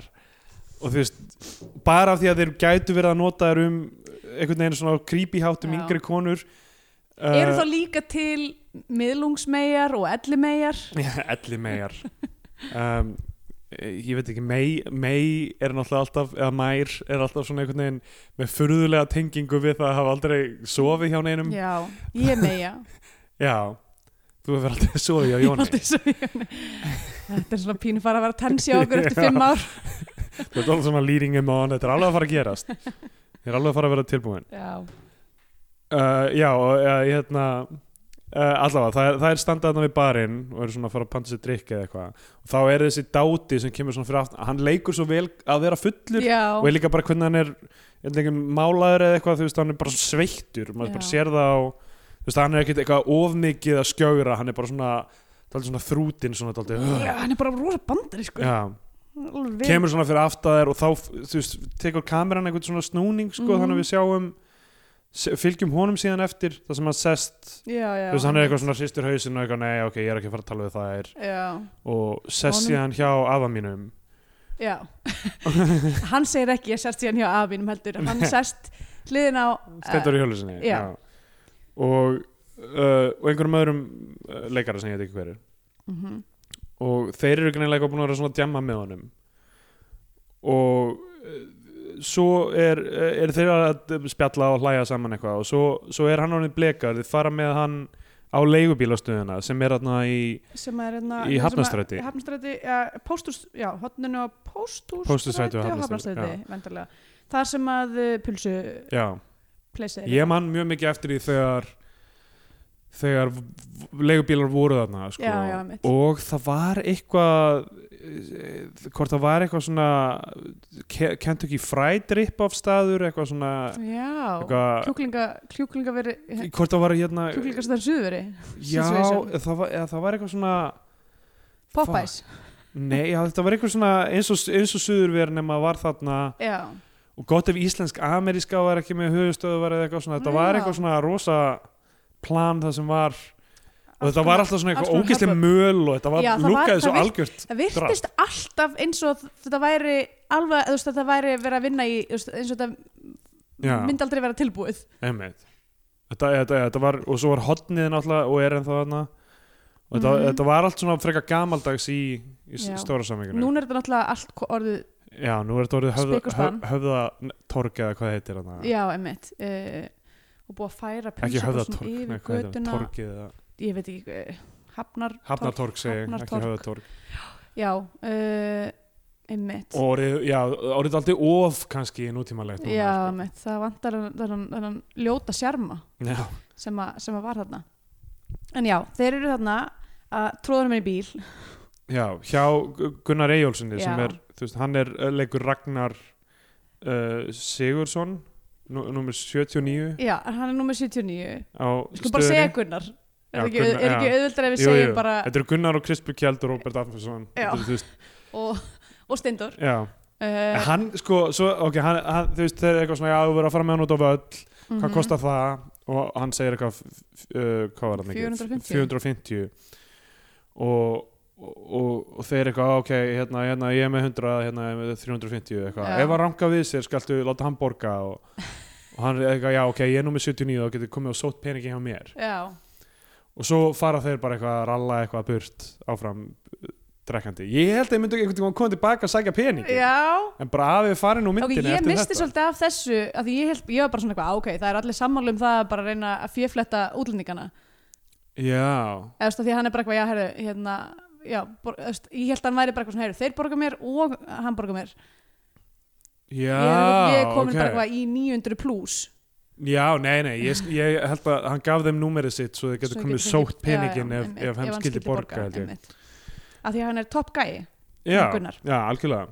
Speaker 3: og þú veist, bara af því að þeir gætu verið að nota þær um einhvern veginn svona creepy hátum
Speaker 2: Já.
Speaker 3: yngri konur
Speaker 2: Eru
Speaker 3: Uh,
Speaker 2: þá líka til miðlungsmegar og ellimegar?
Speaker 3: Elli megar um, Ég veit ekki, mei, mei er náttúrulega alltaf, eða mær er alltaf svona einhvern veginn með furðulega tengingu við það að hafa aldrei sofið hjá neinum
Speaker 2: Já, ég meja.
Speaker 3: Já, þú hefur aldrei sofið hjá Jóni
Speaker 2: Þetta er svona pínu fara að vera tensi á okkur eftir
Speaker 3: Já.
Speaker 2: fimm ár.
Speaker 3: Þú ert alveg svona leading him on, þetta er alveg að fara að gerast ég er alveg að fara að vera tilbúin
Speaker 2: já,
Speaker 3: uh, já, og, uh, ég hérna uh, allavega, það er, það er standað þarna við barinn og eru svona að fara að panta sér drikk eða eitthvað og þá er þessi dáti sem kemur svona fyrir aftan hann leikur svo vel að vera fullur og
Speaker 2: já,
Speaker 3: er líka bara hvernig hann er einhvern málaður eða eitthvað, þú veist, hann er bara svo sveittur maður
Speaker 2: Já.
Speaker 3: bara sér það á þú veist, hann er ekkert eitthvað ofmikið að skjögra hann er bara svona, það svona þrútin svona, dálítið,
Speaker 2: já, hann er bara rosa bandar sko.
Speaker 3: já,
Speaker 2: Alveg-
Speaker 3: kemur svona fyrir aftaðar og þá, þú veist, tekur kameran einhvern svona snúning, sko,
Speaker 2: Mhm.
Speaker 3: þannig að við sjáum se- fylgjum honum síðan eftir það sem hann sest,
Speaker 2: já, já,
Speaker 3: þú veist, hann er eitthvað svona hristur hausinn og eitthvað, nei, ok, ég er ekki að fara að tala við þær
Speaker 2: já,
Speaker 3: og sest
Speaker 2: Honum-
Speaker 3: síðan hjá afa mínum
Speaker 2: já hann segir ekki ég sest síðan hjá afinum heldur hann sest hliðin á
Speaker 3: stendur í hjólu sinni
Speaker 2: Eh, já.
Speaker 3: og, uh, og einhverjum öðrum uh, leikara sem ég veit ekki hverju
Speaker 2: Mhm.
Speaker 3: og þeir eru greinilega búin að vera svona að djamma með honum og uh, svo er, er þeir að spjalla og hlæja saman eitthvað og svo, svo er hann orðin blekar þeir fara með hann á leigubílastöðuna sem er þarna í
Speaker 2: sem er hérna
Speaker 3: Í
Speaker 2: sem að-
Speaker 3: Hafnarstræti.
Speaker 2: í Hafnarstræti, já, póstús, já, hotninu á póstússtræti
Speaker 3: Pósthússtræti og
Speaker 2: og
Speaker 3: Hafnarstræti,
Speaker 2: Hafnarstræti, vendarlega þar sem að uh, pulsu
Speaker 3: já,
Speaker 2: pleysið
Speaker 3: ég man mjög mikið eftir því þegar þegar v- v- leigubílar voru þarna sko.
Speaker 2: Já, já, einmitt.
Speaker 3: og það var eitthvað eh, hvort það var eitthvað svona Ke- Kentucky Fried rip-off staður eitthvað svona
Speaker 2: já,
Speaker 3: eitthvað,
Speaker 2: kjúklinga kjúklinga veri,
Speaker 3: hvort það var hérna
Speaker 2: kjúklinga sem það er suðveri
Speaker 3: já,
Speaker 2: situation.
Speaker 3: það var, eða það var eitthvað svona
Speaker 2: Popeyes,
Speaker 3: nei, já, þetta var eitthvað svona eins og, eins og suðurver nema var þarna
Speaker 2: já,
Speaker 3: og gott ef íslensk-ameríska var ekki með höfustöðuvar eða eitthvað svona, þetta var
Speaker 2: Já.
Speaker 3: eitthvað svona rosa plan það sem var og
Speaker 2: Alls
Speaker 3: þetta var
Speaker 2: konar-
Speaker 3: alltaf svona
Speaker 2: alls
Speaker 3: eitthvað
Speaker 2: konar
Speaker 3: ógæslega
Speaker 2: hubba.
Speaker 3: möl og þetta var
Speaker 2: Já, það var-
Speaker 3: lúkaði
Speaker 2: það
Speaker 3: svo
Speaker 2: virk-
Speaker 3: algjört
Speaker 2: það virtist alltaf eins og þetta væri alveg, þú veist, þetta væri verið að vinna í, þú veist, eins og þetta
Speaker 3: Já.
Speaker 2: myndi aldrei vera tilbúið
Speaker 3: einmitt þetta, þetta, þetta var, og svo var hotnið náttúrulega og er ennþá þarna og þetta,
Speaker 2: Mhm.
Speaker 3: þetta var allt svona frekar gamaldags í, í s-
Speaker 2: Já.
Speaker 3: stóra samveginu
Speaker 2: núna er þetta náttúrulega allt ko- orðið
Speaker 3: já, nú er þetta orðið höfða,
Speaker 2: Spik og span.
Speaker 3: höf, höfða torg eða hvað heitir þarna
Speaker 2: já, emmitt uh, og búið að færa
Speaker 3: ekki höfða
Speaker 2: pulsukössum
Speaker 3: torg,
Speaker 2: yfir
Speaker 3: nei, hvað heitir
Speaker 2: götuna.
Speaker 3: það torgið eða
Speaker 2: ég veit ekki eh, hafnar,
Speaker 3: hafnatorg segi, ég, ekki
Speaker 2: Hafnartorg.
Speaker 3: höfða torg
Speaker 2: já uh, einmitt
Speaker 3: og orðið, já, orðið aldrei of kannski nútímalegt núna,
Speaker 2: já,
Speaker 3: sko.
Speaker 2: einmitt, það vantar þennan- þennan þennan ljóta sjarma
Speaker 3: Já,
Speaker 2: sem, a, sem að var þarna en já, þeir eru þarna að tróðanum í bíl
Speaker 3: já hjá Gu- Gunnar Eyjólfssoni sem
Speaker 2: Já.
Speaker 3: er, þú veist, hann er uh, leikur Ragnar uh, Sigursson nú, númer 79
Speaker 2: já, en hann er nummer 79
Speaker 3: á
Speaker 2: sko bara segja Gunnar
Speaker 3: Já,
Speaker 2: er ekki,
Speaker 3: Gunnar,
Speaker 2: er ekki
Speaker 3: já.
Speaker 2: auðvöldar ef við
Speaker 3: Jú, jú.
Speaker 2: segjum bara
Speaker 3: Þetta eru Gunnar og Krispur Kjeld og Robert Afnarsson
Speaker 2: Já.
Speaker 3: Þetta eru, þú veist,
Speaker 2: og, og Steindor
Speaker 3: já. En
Speaker 2: uh,
Speaker 3: Hann, sko, svo, ok, hann, hann, þú veist, þeir eru eitthvað svona, já, þú verður að fara með hann út á völl
Speaker 2: Mhm.
Speaker 3: hvað kostar það og hann segir eitthvað f- f- uh, hvað var það mikið
Speaker 2: 450.
Speaker 3: 450 og, og, og þeir eitthvað ok, hérna, hérna, ég er með 100 hérna, ég er með 350 eitthvað,
Speaker 2: Já.
Speaker 3: ef hann ranka við sér skaltu láta hann borga og, og hann er eitthvað, já ok, ég er nú með 79 og getur komið og sótt peningi hjá mér
Speaker 2: já,
Speaker 3: og svo fara þeir bara eitthvað að ralla eitthvað burt áfram uh, drekkandi, ég held að ég myndi einhvern tímann koma tilbaka að sækja peningi
Speaker 2: já
Speaker 3: en bara að við farin úr
Speaker 2: Ok,
Speaker 3: myndinni
Speaker 2: ég
Speaker 3: eftir
Speaker 2: misti
Speaker 3: þetta
Speaker 2: svolítið af þessu af því ég, held, ég var bara svona eitthvað, "Ah, ok, það er allir sammálu um það að bara reyna að fjöfletta útlendingana
Speaker 3: já,
Speaker 2: eða þú veist, af því að hann er bara eitthvað, já, herru, hérna já, bor, þú veist, ég held að hann væri bara eitthvað svona, herru, þeir borga mér og hann borga mér
Speaker 3: já
Speaker 2: ég, er, ég er komin
Speaker 3: ok.
Speaker 2: bara eitthvað í 900 pluss
Speaker 3: Já, nei, nei, ég, ég held að hann gaf þeim númerið sitt svo
Speaker 2: Svo
Speaker 3: þeir getur
Speaker 2: ég
Speaker 3: komið
Speaker 2: get fengið-
Speaker 3: sótt
Speaker 2: já,
Speaker 3: peningin
Speaker 2: já,
Speaker 3: ef,
Speaker 2: einmitt,
Speaker 3: ef hann skildi borga, held ég.
Speaker 2: einmitt. af því að hann er top guy
Speaker 3: Já,
Speaker 2: Gunnar.
Speaker 3: já, algjörlega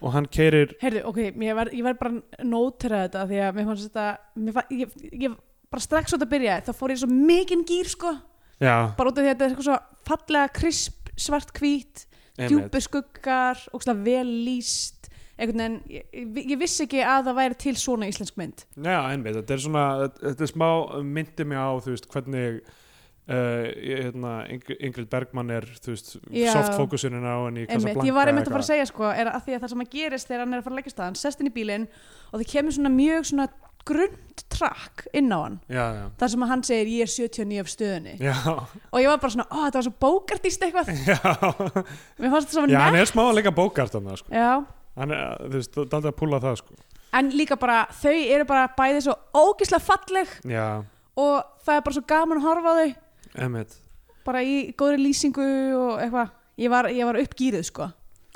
Speaker 3: og hann keirir
Speaker 2: herru, ok, ég var, ég var bara nóterað þetta af því að mér fannst þetta mér fann, ég, ég, bara strax út að byrja þá fór ég í svo mikinn gýr, sko
Speaker 3: Já,
Speaker 2: bara út af því að þetta er eitthvað svo fallega krisp, svart hvít
Speaker 3: einmitt,
Speaker 2: djúpi skuggar, ógstlega vel líst einhvern veginn, ég, ég vissi ekki að það væri til svona íslensk mynd
Speaker 3: já, einmitt þetta er svona, þetta er smá myndi mig á þú veist, hvernig uh, ég- hérna, Ing- Ingrid Bergman er þú veist,
Speaker 2: Já.
Speaker 3: soft fókusunin á henni í
Speaker 2: einmitt,
Speaker 3: Casablanca
Speaker 2: ég var einmitt að fara að
Speaker 3: eitthvað.
Speaker 2: segja sko, er að því að það sem að gerist þegar hann er að fara að leggja staðan, sest inn í bílinn og það kemur svona mjög svona grund trakk inn á hann,
Speaker 3: Já, já,
Speaker 2: þar sem að hann segir ég er 79 af stöðunni
Speaker 3: já,
Speaker 2: og ég var bara svona, ó þetta var svo bókartist eitthvað
Speaker 3: já
Speaker 2: mér fannst þetta svo
Speaker 3: Já, hann
Speaker 2: nett
Speaker 3: er smá að leika bókart hann, sko.
Speaker 2: Já,
Speaker 3: hann er, þú veist, daldið að púla það sko.
Speaker 2: en líka bara, þau eru bara bæði svo ógislega falleg
Speaker 3: Já,
Speaker 2: og það er bara svo gaman að horfa á þau
Speaker 3: einmitt
Speaker 2: bara í góðri lýsingu og eitthvað ég var, ég var uppgýrið sko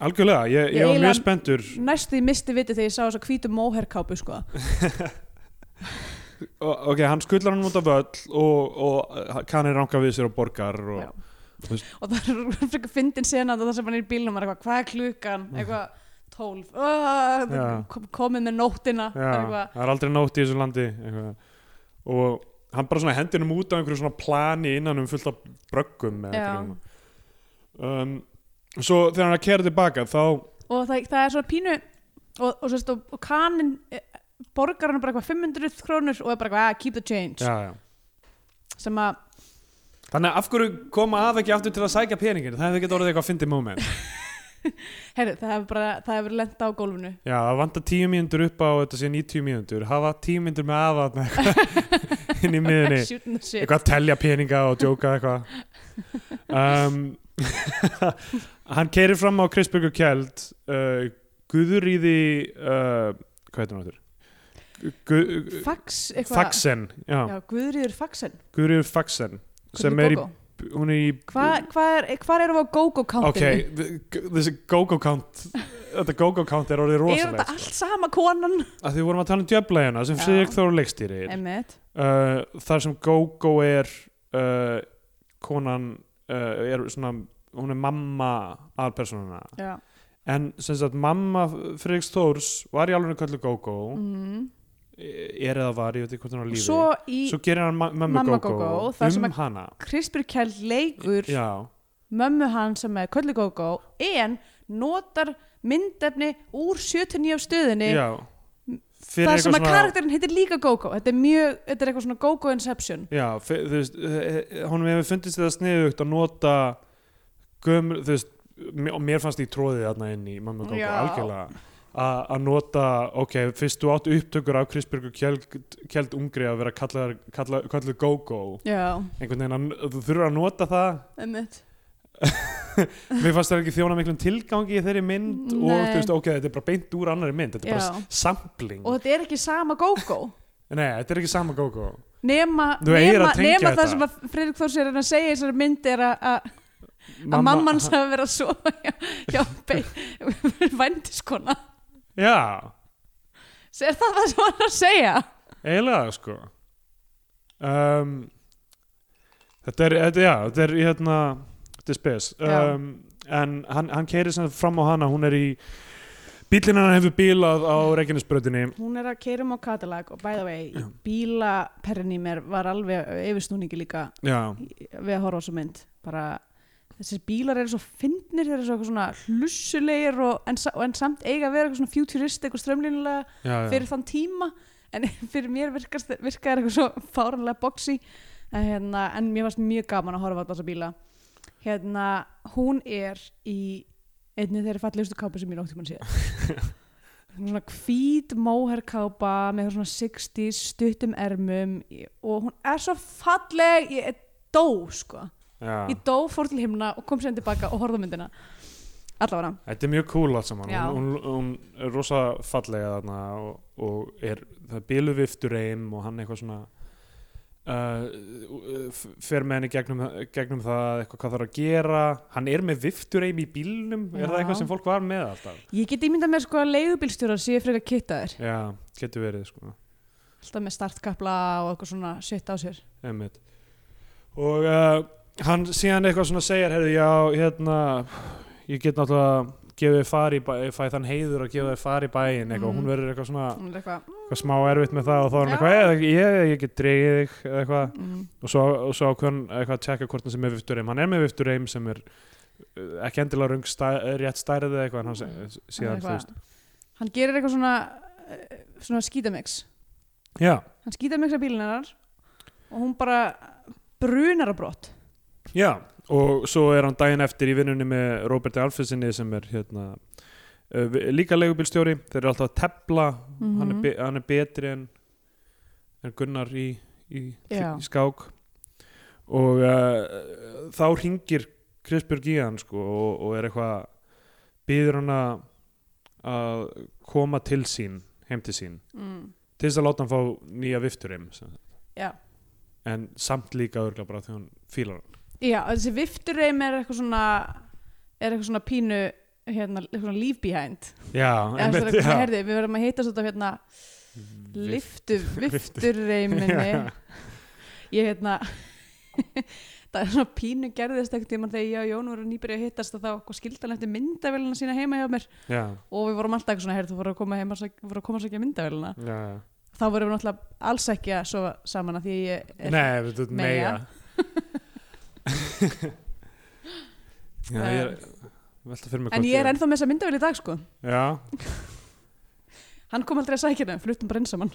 Speaker 3: algjörlega, ég,
Speaker 2: Ég
Speaker 3: ég var
Speaker 2: eiginlega-
Speaker 3: mjög spenntur
Speaker 2: næstu því misti vitið þegar ég sá þess að hvítu móherkápu sko.
Speaker 3: O- ok, hann skullar hann út af völl og, uh, og kanni ranga við sér og borgar og,
Speaker 2: Já.
Speaker 3: þú veist-
Speaker 2: og það er frekar fyndin senan og það sem hann er í bílnum er eitthvað, hvað er klukkan eitthvað, tólf uh,
Speaker 3: Mm. Já.
Speaker 2: kom, komið með nóttina
Speaker 3: já,
Speaker 2: eitthvað,
Speaker 3: það er aldrei nótt í þessu landi eitthvað. og hann bara svona hendir um út af einhverju svona plani innan um fullt af bröggum eða
Speaker 2: Já.
Speaker 3: einhverju. um, svo þegar hann er að kæra tilbaka þá
Speaker 2: og það, það er svona pínu og, og, sérst, og, og kanin eh, borgar hann bara eitthvað 500 krónur og er bara eitthvað, ah, keep the change
Speaker 3: já, já.
Speaker 2: sem að,
Speaker 3: þannig að af hverju koma að ekki aftur til að sækja peningin það hefði ekki orðið eitthvað að fyndi moment
Speaker 2: heyrðu, það hefur bara það hefur lent á gólfinu
Speaker 3: Já, það vantar tíu mínútur upp á þetta sé 90 mínútur, hafa tíu mínútur með aðvatna eitthvað inn í miðunni
Speaker 2: Shooting the shit.
Speaker 3: eitthvað að telja peninga og djóka eitthvað um, Hann keirir fram á Kristbjörg og Kjeld uh, Guðuríði uh, hvað heitir hann áttur? Gu, gu,
Speaker 2: fax, eitthvað
Speaker 3: Faxen, já,
Speaker 2: já, Guðríður Faxen
Speaker 3: Guðuríður Faxen sem er í, hún er í
Speaker 2: hvað hva er, hva erum við á
Speaker 3: ok,
Speaker 2: GoGo-kantinu
Speaker 3: th- þessi go-go count þetta go-go count er orðið
Speaker 2: er þetta
Speaker 3: rosalegt
Speaker 2: allt sama konan
Speaker 3: að því við vorum að tala um djöflæðina sem
Speaker 2: Já.
Speaker 3: Friðrik Þór hérna. leikstýri
Speaker 2: Emmett,
Speaker 3: uh, þar sem Gogo er uh, konan uh, er svona, hún er mamma aðalpersonana
Speaker 2: já
Speaker 3: en sem sagt mamma Friðriks Þórs var í alveg kallu Gogo E,
Speaker 2: mm.
Speaker 3: er eða var, ég veit ekki hvort hún er á lífi
Speaker 2: svo í
Speaker 3: svo gerir hann ma mamma
Speaker 2: Mamma
Speaker 3: Gogo
Speaker 2: Gógó, þar sem
Speaker 3: um
Speaker 2: að-
Speaker 3: hana
Speaker 2: Krispur Kjell leikur
Speaker 3: já,
Speaker 2: mömmu hans sem er Kölli Gógó en notar myndefni úr 79 stöðinni
Speaker 3: já Fyrir
Speaker 2: þar sem
Speaker 3: eitthvað
Speaker 2: að karakterinn heitir líka Gógó þetta er mjög, þetta er eitthvað svona Gógó Inception
Speaker 3: já, fyr- þú veist, hún hefur fundist þetta sniðugt að nota gömur, þú veist m- og mér fannst því tróðið þarna inn í mamma Gogo
Speaker 2: Já.
Speaker 3: algjörlega a- að nota, ok, fyrst þú átt upptökur af Krisbjörgu Kjeld, Kjeld Ungri að vera kallar, kallar, kallar Gogo
Speaker 2: já,
Speaker 3: einhvern veginn, að, þú þurfur að nota það
Speaker 2: einmitt
Speaker 3: mér fannst það ekki þjóna miklum tilgangi í þeirri mynd og
Speaker 2: Nei.
Speaker 3: þú veist, ok, þetta er bara beint úr annari mynd þetta er bara
Speaker 2: Já.
Speaker 3: s- sampling
Speaker 2: og þetta er ekki sama Gógó
Speaker 3: nei, þetta er ekki sama Gogo
Speaker 2: nema,
Speaker 3: Þú eigir
Speaker 2: nema,
Speaker 3: að tengja
Speaker 2: nema það
Speaker 3: þetta.
Speaker 2: sem að Fredrik Þórs er að segja í þessari mynd er að- að að mamma
Speaker 3: Mamma-
Speaker 2: hans hafi verið að sofa hjá, hjá vændiskona
Speaker 3: já,
Speaker 2: er það það sem hann er að segja?
Speaker 3: eiginlega sko um, þetta er, þetta, já, þetta er hérna, þetta er spes
Speaker 2: Já.
Speaker 3: um, en hann, hann keiri sem sagt fram á hana hún er í bílinn hann hefur bílað á Reykjanesbrötinni
Speaker 2: Hún er að keira um á Katalag og by the way, í bílaperrin í mér var alveg yfirstúningi líka
Speaker 3: já,
Speaker 2: við að horfa á þessu mynd bara þessir bílar eru svo fyndnir þeir eru svo eitthvað svona hlussulegir og, en, sa- og en samt eiga að vera eitthvað svona futuristik og strömlínulega
Speaker 3: já, já.
Speaker 2: fyrir þann tíma en fyrir mér virkast, virkaði eitthvað svo fáranlega boxi en, hérna, en mér varst mjög gaman að horfa á þessa bíla hérna, hún er í einni þeirra fallegustu kápa sem ég nótt tímann sé svona hvít móherkápa með eitthvað svona 60s stuttum ermum í- og hún er svo falleg ég er dó sko
Speaker 3: já.
Speaker 2: ég dó, fór til himna og kom sér tilbaka og horfði á myndina allavega
Speaker 3: þetta er mjög cool allt saman
Speaker 2: Já.
Speaker 3: hún, hún, hún er rosa fallega þarna og, og er, það er bíluviftur eim og hann eitthvað svona uh, f- fer með henni gegnum, gegnum það eitthvað hvað þarf að gera hann er með viftur eim í bílnum er það
Speaker 2: Já.
Speaker 3: eitthvað sem fólk var með alltaf
Speaker 2: ég get ímyndað mér sko að leigubílstjórar séu frekar kittaðir
Speaker 3: Já, getur verið sko
Speaker 2: alltaf með startkapla og eitthvað svona shit á sér
Speaker 3: einmitt. og uh, hann síðan eitthvað svona segir heyrðu, já, hérna ég get náttúrulega gefið þér far í bæ, fæ þann heiður að gefa þér far í bæinn eitthvað,
Speaker 2: Mhm.
Speaker 3: hún verður eitthvað svona
Speaker 2: hún er eitthvað mm,
Speaker 3: eitthvað smá erfitt með það og þá er hann
Speaker 2: Já.
Speaker 3: eitthvað "Eh, ég, ég get dreigið þig eða eitthvað
Speaker 2: mm,
Speaker 3: og svo, og svo ákveðan eitthvað að tjekka hvort hann sem er vifturheim hann er með vifturheim sem er uh, ekki endilega rung stæ, rétt stærðið eða eitthvað en hann se- síðan þú
Speaker 2: eitthvað.
Speaker 3: veist
Speaker 2: hann gerir eitthvað svona eh, svona skítamix
Speaker 3: já,
Speaker 2: hann skítamixa bílinn hennar og hún bara brunar á brott
Speaker 3: Já, og svo er hann daginn eftir í vinnunni með Róberti Alfinsinni sem er hérna uh, vi- líka leigubílstjóri, þeir eru alltaf að tepla hann,
Speaker 2: Mhm.
Speaker 3: er be- hann er betri en, en Gunnar í, í,
Speaker 2: Já.
Speaker 3: í skák og uh, þá ringir Krisbjörg í hann sko og, og er eitthvað býður hann að- að koma til sín, heim til sín
Speaker 2: mm.
Speaker 3: til þess að láta hann fá nýja vifturinn
Speaker 2: já.
Speaker 3: en samt líka örgla bara þegar hann fílar hann
Speaker 2: já, þessi vifturreim er eitthvað svona er eitthvað svona pínu hérna, svona leave behind
Speaker 3: já,
Speaker 2: eða
Speaker 3: einmitt,
Speaker 2: svona,
Speaker 3: já.
Speaker 2: herði, við verðum að hittast út af hérna liftu, vifturreiminni
Speaker 3: Já.
Speaker 2: ég hérna það er svona pínu gerðist ekkert tímann þegar ég og Jón voru nýbyrja að hittast og þá hvað skildi hann eftir myndavélina sína heima hjá mér
Speaker 3: já,
Speaker 2: og við vorum alltaf eitthvað svona, heyrðu, þú voru að koma heima sæk- voru að koma að sækja myndavélina
Speaker 3: já, já
Speaker 2: þá vorum við náttúrulega alls ekki að sofa saman að því ég er
Speaker 3: Nei, við dutt meja
Speaker 2: Meyja.
Speaker 3: Já, ég er velta fyrir mig
Speaker 2: en ég er ennþá með þessa myndavél í dag sko
Speaker 3: Já,
Speaker 2: hann kom aldrei að sækja það, fluttum bara inn saman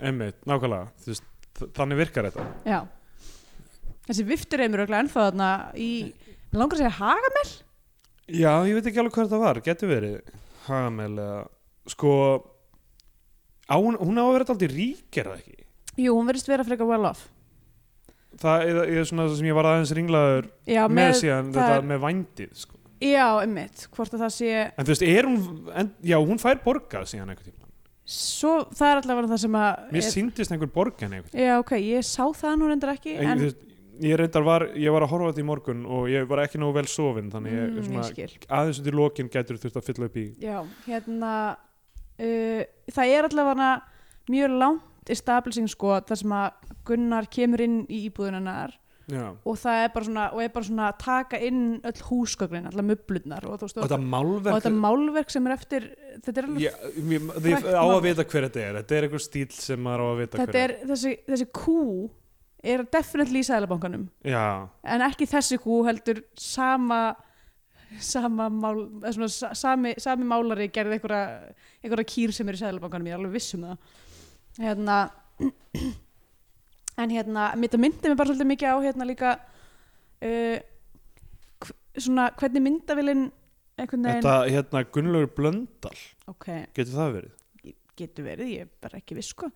Speaker 3: einmitt, nákvæmlega Þú veist, þ- Þannig virkar þetta
Speaker 2: já þessi vifturreimur er örugglega ennþá þarna í mig langar að segja haga
Speaker 3: Já, ég veit ekki alveg hvað þetta var, getur verið Hagamel eða Sko á, hún, hún á að vera alltaf rík er það ekki
Speaker 2: jú, hún verðist vera frekar well off
Speaker 3: Það er, er svona það sem ég var aðeins ringlaður
Speaker 2: já,
Speaker 3: með, síðan
Speaker 2: það
Speaker 3: þetta
Speaker 2: er-
Speaker 3: með vændið sko.
Speaker 2: já, einmitt, hvort að það sé
Speaker 3: En þú veist, er hún en, Já, hún fær borgað síðan einhvern tímann
Speaker 2: svo, það er allavega það sem að
Speaker 3: Mér síndist einhver borgan einhvern tímann
Speaker 2: já, ok, ég sá það nú reyndar ekki
Speaker 3: en,
Speaker 2: en,
Speaker 3: þú veist, ég reyndar var, ég var að horfa á þetta í morgun og ég var ekki nógu vel sofin þannig ég,
Speaker 2: Mm, ég
Speaker 3: svona,
Speaker 2: skil.
Speaker 3: aðeins undir lokin gætur þurft að fylla upp í
Speaker 2: Já, hérna uh, það er allavega mjög langt establishing sko þar sem að Gunnar kemur inn í íbúðunarnar
Speaker 3: já.
Speaker 2: og það er bara svona, og er bara svona að taka inn öll húsgögnin, allar möblurnar og, þú veist,
Speaker 3: og
Speaker 2: og,
Speaker 3: þetta
Speaker 2: og
Speaker 3: málverk
Speaker 2: þetta málverk sem er eftir þetta er, alveg,
Speaker 3: ég, ég, ég,
Speaker 2: frægt
Speaker 3: á að
Speaker 2: málverk.
Speaker 3: vita hver þetta er þetta er einhver stíl sem maður á að vita
Speaker 2: þetta
Speaker 3: hver
Speaker 2: er þessi, þessi kú er definitely í sælabankanum
Speaker 3: já,
Speaker 2: en ekki þessi kú heldur sama sama, mál, eða svona, sa- sami, sami málari gerði einhverja, einhverja kýr sem er í sæðlabankanum, ég er alveg viss um það hérna en hérna, þetta myndi mig bara svolítið mikið á hérna líka uh, hv- svona hvernig myndavillin einhvern veginn,
Speaker 3: þetta hérna Gunnlaugur Blöndal
Speaker 2: ok,
Speaker 3: getur það verið
Speaker 2: getur verið ég er bara ekki viss sko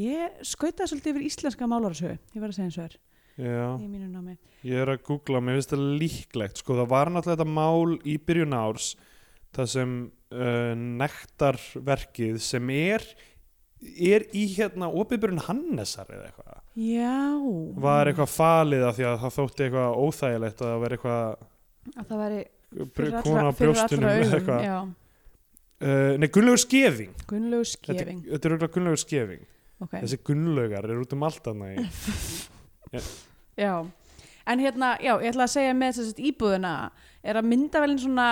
Speaker 2: ég skautaði svolítið yfir íslenska málarasögu ég var að segja eins og er,
Speaker 3: já,
Speaker 2: í mínu námi
Speaker 3: ég er að googla, mér finnst þetta líklegt sko, það var náttúrulega þetta mál í byrjun árs það sem uh, nektarverkið sem er er í hérna opibyrjun Hannesar eða eitthvað
Speaker 2: já,
Speaker 3: var eitthvað falið af því að það þótti eitthvað óþægilegt að það veri eitthvað
Speaker 2: að það væri fyrir
Speaker 3: br-
Speaker 2: allra-
Speaker 3: kona á
Speaker 2: fyrir allra
Speaker 3: brjóstunum eða
Speaker 2: augum,
Speaker 3: eitthvað
Speaker 2: já.
Speaker 3: uh, Nei, Gunnlaugur Skefing
Speaker 2: Gunnlaugur
Speaker 3: Þetta,
Speaker 2: skefing
Speaker 3: þetta er auðvitað Gunnlaugur Skefing
Speaker 2: ok,
Speaker 3: Þessi Gunnlaugar eru út um allt annað í
Speaker 2: já en hérna, já, ég ætla að segja með þess að íbúðuna er að myndavelin svona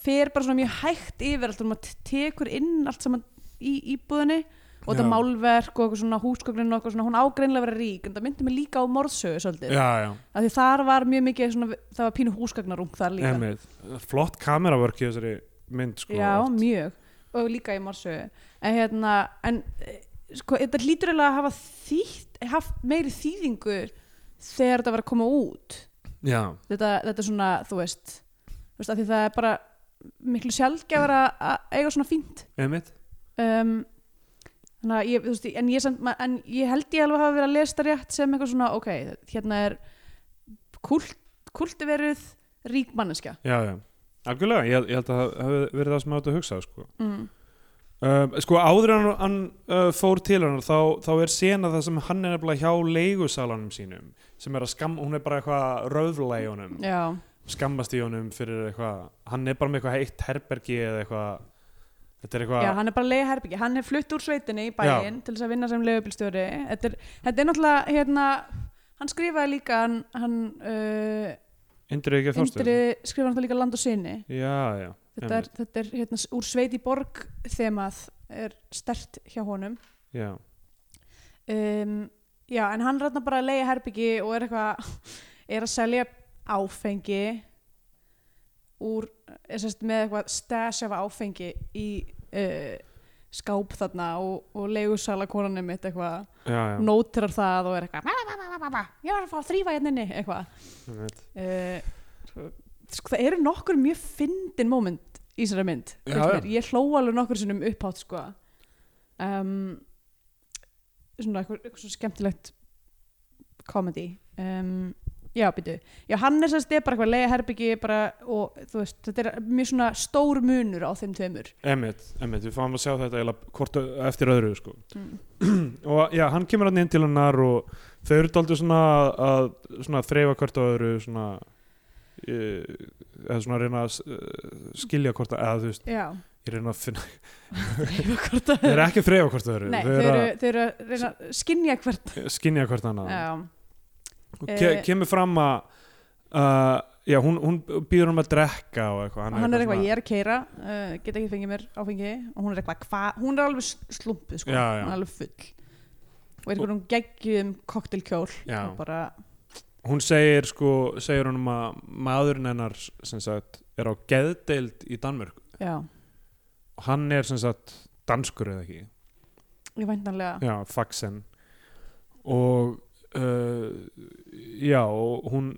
Speaker 2: fer bara svona mjög hægt yfir allt og maður tekur inn allt saman í íbúðinni og
Speaker 3: Já.
Speaker 2: þetta málverk og eitthvað svona húsgögnin og eitthvað svona, hún ágreinlega verið rík en það myndi mig líka á morðsögu svolítið
Speaker 3: Já, já,
Speaker 2: af því þar var mjög mikið svona, það var pínu húsgagnarung þar líka
Speaker 3: emið Flott kameravörk í þessari mynd sko
Speaker 2: Já, mjög og líka í morsögu en hérna, en eh, sko, þetta lítur eiginlega að hafa þýtt haft meiri þýðingu þegar þetta var að koma út
Speaker 3: Já,
Speaker 2: þetta, þetta er svona, þú veist þú veist, af því það er bara miklu sjálfgjafar að að eiga svona fínt
Speaker 3: emið
Speaker 2: um, þannig að ég, þú veist, en ég, samt, ma- en ég held ég alveg hafa verið að lesa þetta rétt sem eitthvað svona, ok, hérna er kult, kultiveruð rík manneskja
Speaker 3: Já, já, algjörlega, ég, ég held að það hafi verið það sem átt að hugsa sko
Speaker 2: mm.
Speaker 3: Um, sko áður en hann uh, fór til hennar þá, þá er sena það sem hann er nefnilega hjá leigusalanum sínum sem er að skam, hún er bara eitthvað röðla í honum,
Speaker 2: Já,
Speaker 3: skammast í honum fyrir eitthvað, hann er bara með eitthvað heitt herbergi eða eitthvað þetta er eitthvað,
Speaker 2: Já, hann er bara leiða herbyggi, hann er flutt úr sveitinni í bæinn til þess að vinna sem leiðubilstjóri þetta, er- þetta er náttúrulega hérna, hann skrifaði líka hann, hann uh,
Speaker 3: indrið ekki að þórstu
Speaker 2: indri, skrifaði náttúrulega líka land og sinni
Speaker 3: já, já,
Speaker 2: þetta er, þetta er hérna, s- úr sveit í borg þemað er stert hjá honum
Speaker 3: já
Speaker 2: um, Já, en hann rætna bara að leiða herbyggi og er eitthvað er að selja áfengi úr er sest, með eitthvað stash af áfengi í uh, skáp þarna og, og leigusala konanum mitt eitthvað,
Speaker 3: já, já,
Speaker 2: nótirar það og er eitthvað "Ba, ba, ba, ba, ba, ba, ég var að fá að þrýfa hérna inni eitthvað
Speaker 3: einmitt.
Speaker 2: uh, sko, það eru nokkur mjög fyndin moment í þessari mynd
Speaker 3: Já,
Speaker 2: finnst mér.
Speaker 3: já.
Speaker 2: ég hló alveg nokkur sinnum upphátt sko. um, svona eitthvað, eitthvað svo skemmtilegt komedi um, já, býtu já, hann er sérst, er bara eitthvað leiða herbyggi bara, og þú veist, þetta er mjög svona stór munur á þeim tveimur
Speaker 3: Emmett, Emmett, við fáum að sjá þetta eiginlega hvort ö- eftir öðru sko.
Speaker 2: Mm.
Speaker 3: og já, hann kemur hann inn til hennar og þau eru daldið svona að, svona að þreifa hvert á öðru svona ég, eða svona að reyna að eh, skilja hvort að, eða þú veist,
Speaker 2: já
Speaker 3: ég reyna að finna
Speaker 2: Hvort að-
Speaker 3: þeir eru ekki að freyfa hvort þau eru
Speaker 2: Nei,
Speaker 3: þau
Speaker 2: þau
Speaker 3: eru
Speaker 2: eru, þau eru að reyna að skinja hvert
Speaker 3: að skinja hvort annað
Speaker 2: já,
Speaker 3: og ke
Speaker 2: Eh.
Speaker 3: kemur fram að uh, já, hún, hún býður hann að drekka og eitthvað
Speaker 2: hann er eitthvað, ég er að keira uh, get ekki fengið mér áfengi og hún er eitthvað, hva, hún er alveg slumpuð sko,
Speaker 3: Já, já.
Speaker 2: hún er alveg full og er eitthvað um geggjum koktelkjól
Speaker 3: Já.
Speaker 2: og bara,
Speaker 3: hún segir sko, segir hann um að maðurinn hennar sem sagt er á geðdeild í Danmörk
Speaker 2: já,
Speaker 3: og hann er sem sagt danskur eða ekki
Speaker 2: ég væntanlega
Speaker 3: já, faxen og uh, já, og hún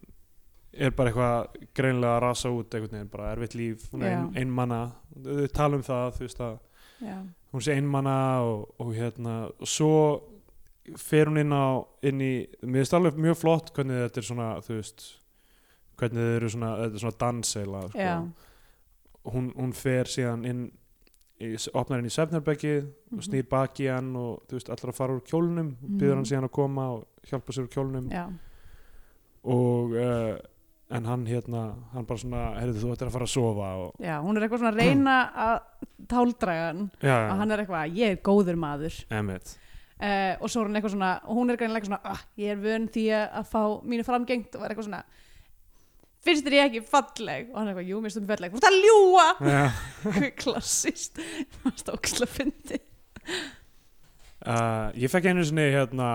Speaker 3: er bara eitthvað greinlega að rasa út einhvern veginn, bara erfitt líf hún er
Speaker 2: Já.
Speaker 3: ein, einmana, þau tala um það þú veist að
Speaker 2: já,
Speaker 3: hún sé einmana og, og hérna, og svo fer hún inn á inn í, mér finnst alveg mjög flott hvernig þetta er svona, þú veist hvernig þau eru svona, þetta er svona danseila sko.
Speaker 2: já,
Speaker 3: hún, hún fer síðan inn í, opnar inn í svefnherbeggi og snýr baki í hann og þú veist, allra að fara úr kjólnum mm
Speaker 2: Mhm.
Speaker 3: býður hann síðan að koma og hjálpa sér úr kjólnum
Speaker 2: já,
Speaker 3: og uh, en hann hérna, hann bara svona heyrðu þú ættir að fara að sofa og
Speaker 2: já, hún er eitthvað svona að reyna að táldraga hann
Speaker 3: já,
Speaker 2: og hann er eitthvað, ég er góður maður
Speaker 3: emitt
Speaker 2: uh, og svo er hún eitthvað svona og hún er greinlega eitthvað svona, ah, ég er vön því að að fá mínu framgengt og er eitthvað svona finnst þér ég ekki falleg og hann er eitthvað, jú, mér stum falleg, þú ert að ljúa
Speaker 3: já,
Speaker 2: klassist, fannst óksla fyndi
Speaker 3: Uh, ég fekk einu sinni hérna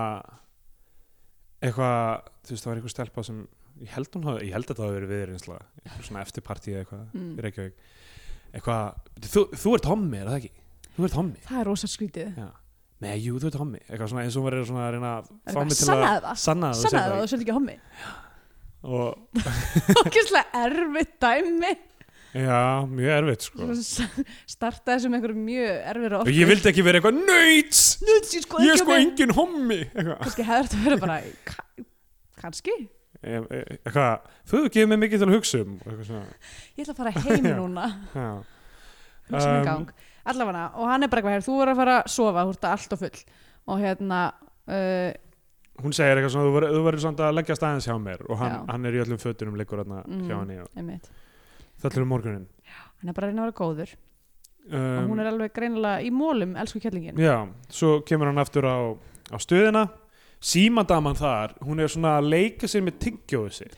Speaker 3: eitthvað, þú veist það var einhver stelpa sem ég held, hún hafði, ég held að þetta hafi verið viðreinsla einhver svona eftirpartíð eitthvað
Speaker 2: Mm.
Speaker 3: í Reykjavík eitthvað, þú, þú ert hommi, er það ekki? Þú ert hommi?
Speaker 2: það er rosa skrítið
Speaker 3: Já. Nei, jú, þú ert hommi eitthvað svona eins og hún var svona að reyna að fá
Speaker 2: eitthvað,
Speaker 3: mig til
Speaker 2: sannaðu
Speaker 3: að
Speaker 2: það.
Speaker 3: sanna að þú
Speaker 2: sannaði það,
Speaker 3: segir
Speaker 2: þú svolítið ekki á mig
Speaker 3: það og
Speaker 2: ókesslega erfitt dæmi
Speaker 3: já, mjög erfitt sko
Speaker 2: startaði sem einhverju mjög erfir
Speaker 3: og ég vildi ekki vera eitthvað nöyts,
Speaker 2: Nuts, ég sko ekki
Speaker 3: ég
Speaker 2: á
Speaker 3: er sko
Speaker 2: mig.
Speaker 3: engin hommi eitthvað,
Speaker 2: kannski hefur þetta verið bara "Ka- kannski,
Speaker 3: E- e- eitthvað þú hefur gefið mig mikið til að hugsa um og eitthvað svona,
Speaker 2: ég ætla að fara heim
Speaker 3: Já.
Speaker 2: núna
Speaker 3: já
Speaker 2: hugsa um
Speaker 3: Um,
Speaker 2: gang allavega, og hann er bara eitthvað hér, þú verður að fara að sofa þú ert alltaf full og hérna, uh,
Speaker 3: hún segir eitthvað svona, þú verður- þú verður samt að leggja staðins hjá mér og hann,
Speaker 2: Já.
Speaker 3: hann er í öllum fötunum liggur hann
Speaker 2: Mm.
Speaker 3: hjá henni og
Speaker 2: einmitt
Speaker 3: þetta er um morgunin
Speaker 2: hann er bara að reyna að vera góður og hún
Speaker 3: um,
Speaker 2: er alveg greinilega í mólum, elsku kjallingin
Speaker 3: já, svo kemur hann aftur á, á stöðina símadaman þar, hún er svona að leika sér með tyggjóðu sitt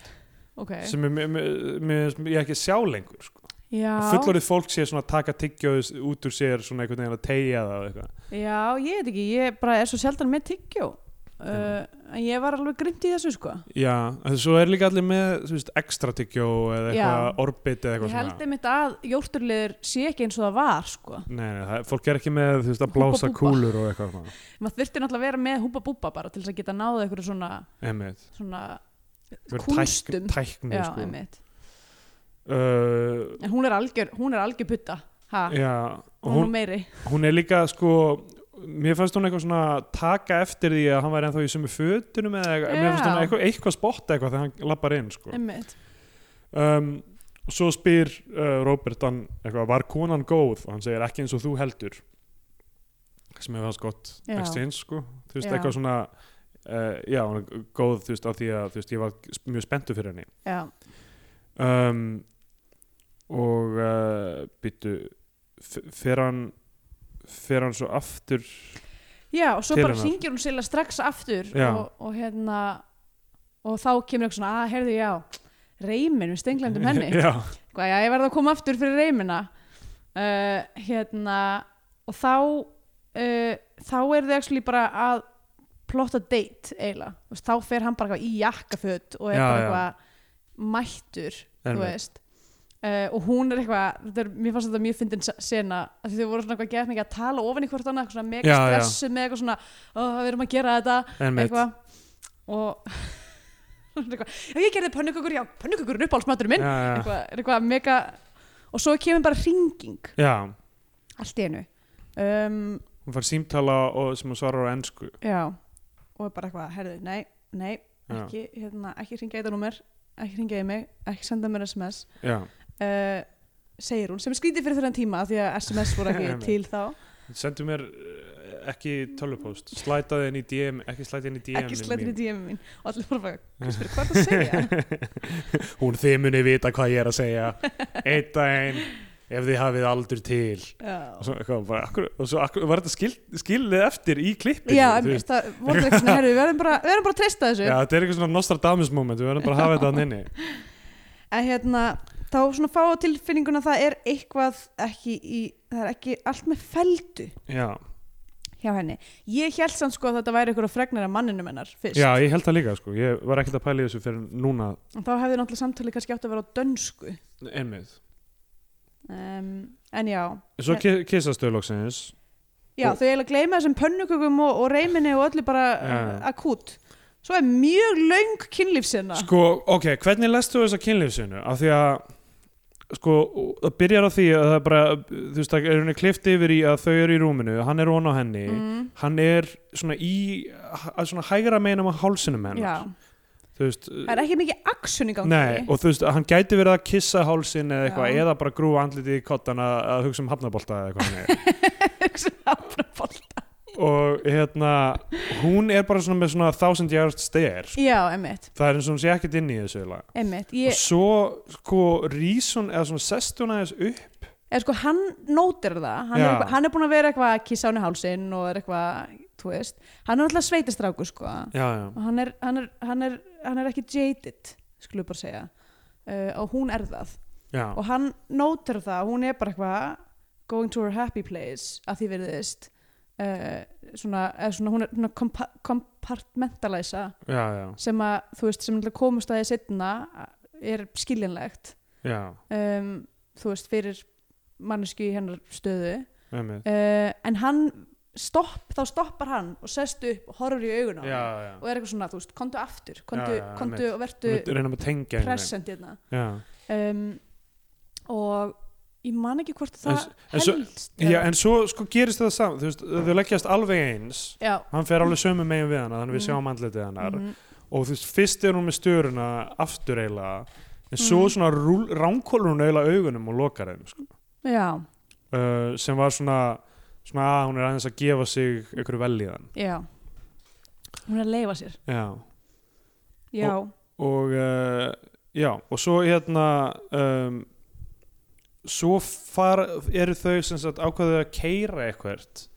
Speaker 2: ok,
Speaker 3: sem er, mér- mér- mér- sem ég ekki sjá lengur sko.
Speaker 2: já,
Speaker 3: Að fullorðið fólk sé svona að taka tyggjóðu út úr sér svona einhvern veginn að tegja það og eitthvað.
Speaker 2: já, ég veit ekki ég bara er svo sjaldan með tyggjó uh, en ég var alveg grimt í þessu sko
Speaker 3: já, en svo er líka allir með þú veist, ekstra tyggjó eða
Speaker 2: Já.
Speaker 3: eitthvað orbit eða
Speaker 2: ég
Speaker 3: eitthvað
Speaker 2: held einmitt að jórturliður sé ekki eins og það var sko
Speaker 3: Nei, nei, það, fólk er ekki með þú veist, að blása
Speaker 2: Húpa-búpa.
Speaker 3: kúlur og eitthvað svona.
Speaker 2: maður þurfti náttúrulega að vera með húpa búpa bara til þess að geta náða einhverju svona,
Speaker 3: Einmitt.
Speaker 2: svona
Speaker 3: Verið
Speaker 2: Kúnstum.
Speaker 3: tækn, tækni,
Speaker 2: já,
Speaker 3: sko.
Speaker 2: einmitt,
Speaker 3: uh,
Speaker 2: en hún er algjör hún er algjör putta, ha,
Speaker 3: já,
Speaker 2: hún,
Speaker 3: og Eh, hún,
Speaker 2: Ah. hún meiri
Speaker 3: hún er líka sko mér fannst hún eitthvað svona taka eftir því að hann væri ennþá í sömu fötunum eða eitthvað, mér fannst
Speaker 2: Já.
Speaker 3: hún eitthvað, eitthvað spotta eitthvað þegar hann lappar inn sko.
Speaker 2: einmitt
Speaker 3: um, og svo spyr uh, Robert hann eitthvað, var konan góð og hann segir ekki eins og þú heldur sem hefur hans gott
Speaker 2: Já.
Speaker 3: exchange sko, þú veist
Speaker 2: Já.
Speaker 3: eitthvað svona uh, já, hún er góð þú veist af því að þú veist, ég var mjög spenntu fyrir henni
Speaker 2: já,
Speaker 3: um, og uh, byttu fer hann fer hann svo aftur
Speaker 2: Já, og svo
Speaker 3: Til
Speaker 2: bara
Speaker 3: hennar.
Speaker 2: hringir hún sérlega strax aftur
Speaker 3: Já.
Speaker 2: og, og hérna og þá kemur eitthvað svona, að, heyrðu, já reymin við stenglendum henni
Speaker 3: já,
Speaker 2: Hvað, Sko, já, ég verði að koma aftur fyrir reymina uh, hérna og þá uh, þá er þið actually bara að plotta date eiginlega Þú veist, þá fer hann bara eitthvað í jakkaföt og er
Speaker 3: Já,
Speaker 2: bara
Speaker 3: já.
Speaker 2: eitthvað mættur
Speaker 3: Einmitt.
Speaker 2: þú veist Uh, og hún er eitthvað, þetta er, mér fannst þetta mjög fyndin se- sena, af því þau voru svona eitthvað gett mikið að tala ofan í hvort annað, eitthvað svona mega
Speaker 3: Já, já.
Speaker 2: stressu með eitthvað svona, "Ó, við erum að gera þetta
Speaker 3: einmitt já,
Speaker 2: eitthvað og eitthvað, "Já, ég gerði pönnukökur, já, pönnukökur er uppáhaldsmaturinn minn
Speaker 3: já,
Speaker 2: eitthvað, er eitthvað mega og svo kemur bara ringing
Speaker 3: já,
Speaker 2: allt í einu um,
Speaker 3: hún fær símtala og, sem hún svarar á ennsku
Speaker 2: já, og er bara eitthvað herðu, nei, nei,
Speaker 3: Já.
Speaker 2: ekki hérna, ekki ringja í þetta númer, ekki ringja í mig ekki senda mér sms
Speaker 3: já,
Speaker 2: uh, segir hún, sem er skrítið fyrir þennan tíma af því að sms voru ekki
Speaker 3: Einmitt.
Speaker 2: til þá
Speaker 3: sendu mér eh, ekki tölvupóst slætaði henni í DM ekki slætaði henni í DM
Speaker 2: ekki slættin í DM mín og allir bara bara, Kristbjörg, hvað er það að segja?
Speaker 3: hún þið muni vita hvað ég er að segja einn daginn ef þið hafið aldur til og
Speaker 2: Já,
Speaker 3: svo, eitthvað, bara, akkur, og svo akkur, var þetta skil, skilið eftir í klippinu
Speaker 2: já
Speaker 3: þú
Speaker 2: en
Speaker 3: veist.
Speaker 2: það voru ekki svona, herru, við verðum bara, við verðum bara að treysta þessu
Speaker 3: Já, þetta er eitthvað svona Nostradamus moment, við verðum bara að hafa þetta hann inni
Speaker 2: en hérna, þá svona fá á tilfinninguna að það er eitthvað ekki í, það er ekki allt með feldu
Speaker 3: Já,
Speaker 2: hjá henni ég held samt sko að þetta væri eitthvað fregnar af manninum hennar fyrst,
Speaker 3: já ég held það líka sko, ég var ekkert að pæla í þessu fyrir núna
Speaker 2: en þá hefði náttúrulega samtali kannski átt að vera á dönsku
Speaker 3: einmið.
Speaker 2: um, en já,
Speaker 3: Svo ki- kyssast þau loksins
Speaker 2: já
Speaker 3: Og-
Speaker 2: þau eiginlega gleyma þessum pönnukökum og, og reyminni og öllu bara
Speaker 3: Já.
Speaker 2: uh, akút svo er mjög löng kynlífsina
Speaker 3: Sko, ok, hvernig lest þú þessa kynlífsinu? Af því að sko, það byrjar á því að það er bara þú veist, það er henni klift yfir í að þau eru í rúminu, hann er von á henni
Speaker 2: Mm.
Speaker 3: hann er svona í að svona hægra meinum á hálsinum
Speaker 2: já,
Speaker 3: hennar þú veist,
Speaker 2: það er ekki mikið action í gangi
Speaker 3: Nei, og þú veist, hann gæti verið að kissa hálsin eða eitthvað,
Speaker 2: Já.
Speaker 3: eða bara grúa andlitið í kottan að, að hugsa um hafnabolta eða eitthvað hann er.
Speaker 2: Hugsa hafnabolt.
Speaker 3: og hérna, hún er bara svona með svona thousand yard stare sko.
Speaker 2: já, emmitt,
Speaker 3: það er eins og hún sé ekkert inn í þessu eiginlega.
Speaker 2: emmitt
Speaker 3: og
Speaker 2: ég,
Speaker 3: svo, sko, rís hún eða svona sest hún aðeins upp
Speaker 2: eða sko hann nótir það hann er,
Speaker 3: Já.
Speaker 2: eitthvað, hann er búin að vera eitthvað að kissa hann í hálsinn og er eitthvað, þú veist hann er alltaf sveitistráku sko
Speaker 3: já, já,
Speaker 2: og hann er, hann er, hann er, hann er ekki jaded skulum við bara segja uh, og hún er það
Speaker 3: já,
Speaker 2: og hann nótir það, hún er bara eitthvað going to her happy place að því virðist uh, svona, eða svona hún er svona kompa kompartmentalæsa
Speaker 3: já, já,
Speaker 2: sem að þú veist sem náttúrulega komust að því setna er skiljanlegt
Speaker 3: já,
Speaker 2: um, þú veist fyrir mannesku í hennar stöðu
Speaker 3: einmitt.
Speaker 2: uh, en hann stopp, þá stoppar hann og sest upp og horfur í augun á
Speaker 3: já,
Speaker 2: hann
Speaker 3: já.
Speaker 2: og er eitthvað svona, þú veist, komdu aftur komdu,
Speaker 3: Já, já,
Speaker 2: komdu
Speaker 3: einmitt.
Speaker 2: og vertu
Speaker 3: Hún er að reyna með tengja einhvern veginn.
Speaker 2: present hérna
Speaker 3: já.
Speaker 2: um, og ég man ekki hvort það
Speaker 3: En- en svo-
Speaker 2: helst
Speaker 3: já, en svo, sko, gerist það saman þú veist, þau leggjast alveg eins
Speaker 2: já,
Speaker 3: hann fer alveg sömu megin við hana þannig við
Speaker 2: Mhm.
Speaker 3: sjáum andlitið hannar
Speaker 2: mhm,
Speaker 3: og þú veist, fyrst er hún með störuna aftur eiginlega en svo
Speaker 2: Mhm.
Speaker 3: svona rúl- ránkólur hún eiginlega augunum og lokar þeim sko.
Speaker 2: já,
Speaker 3: uh, sem var svona, svona að hún er aðeins að gefa sig einhverju veljiðan
Speaker 2: já hún er að leifa sér
Speaker 3: já.
Speaker 2: já,
Speaker 3: og uh, já, og svo hérna um, svo far, eru þau sem sagt ákveðu að keira eitthvert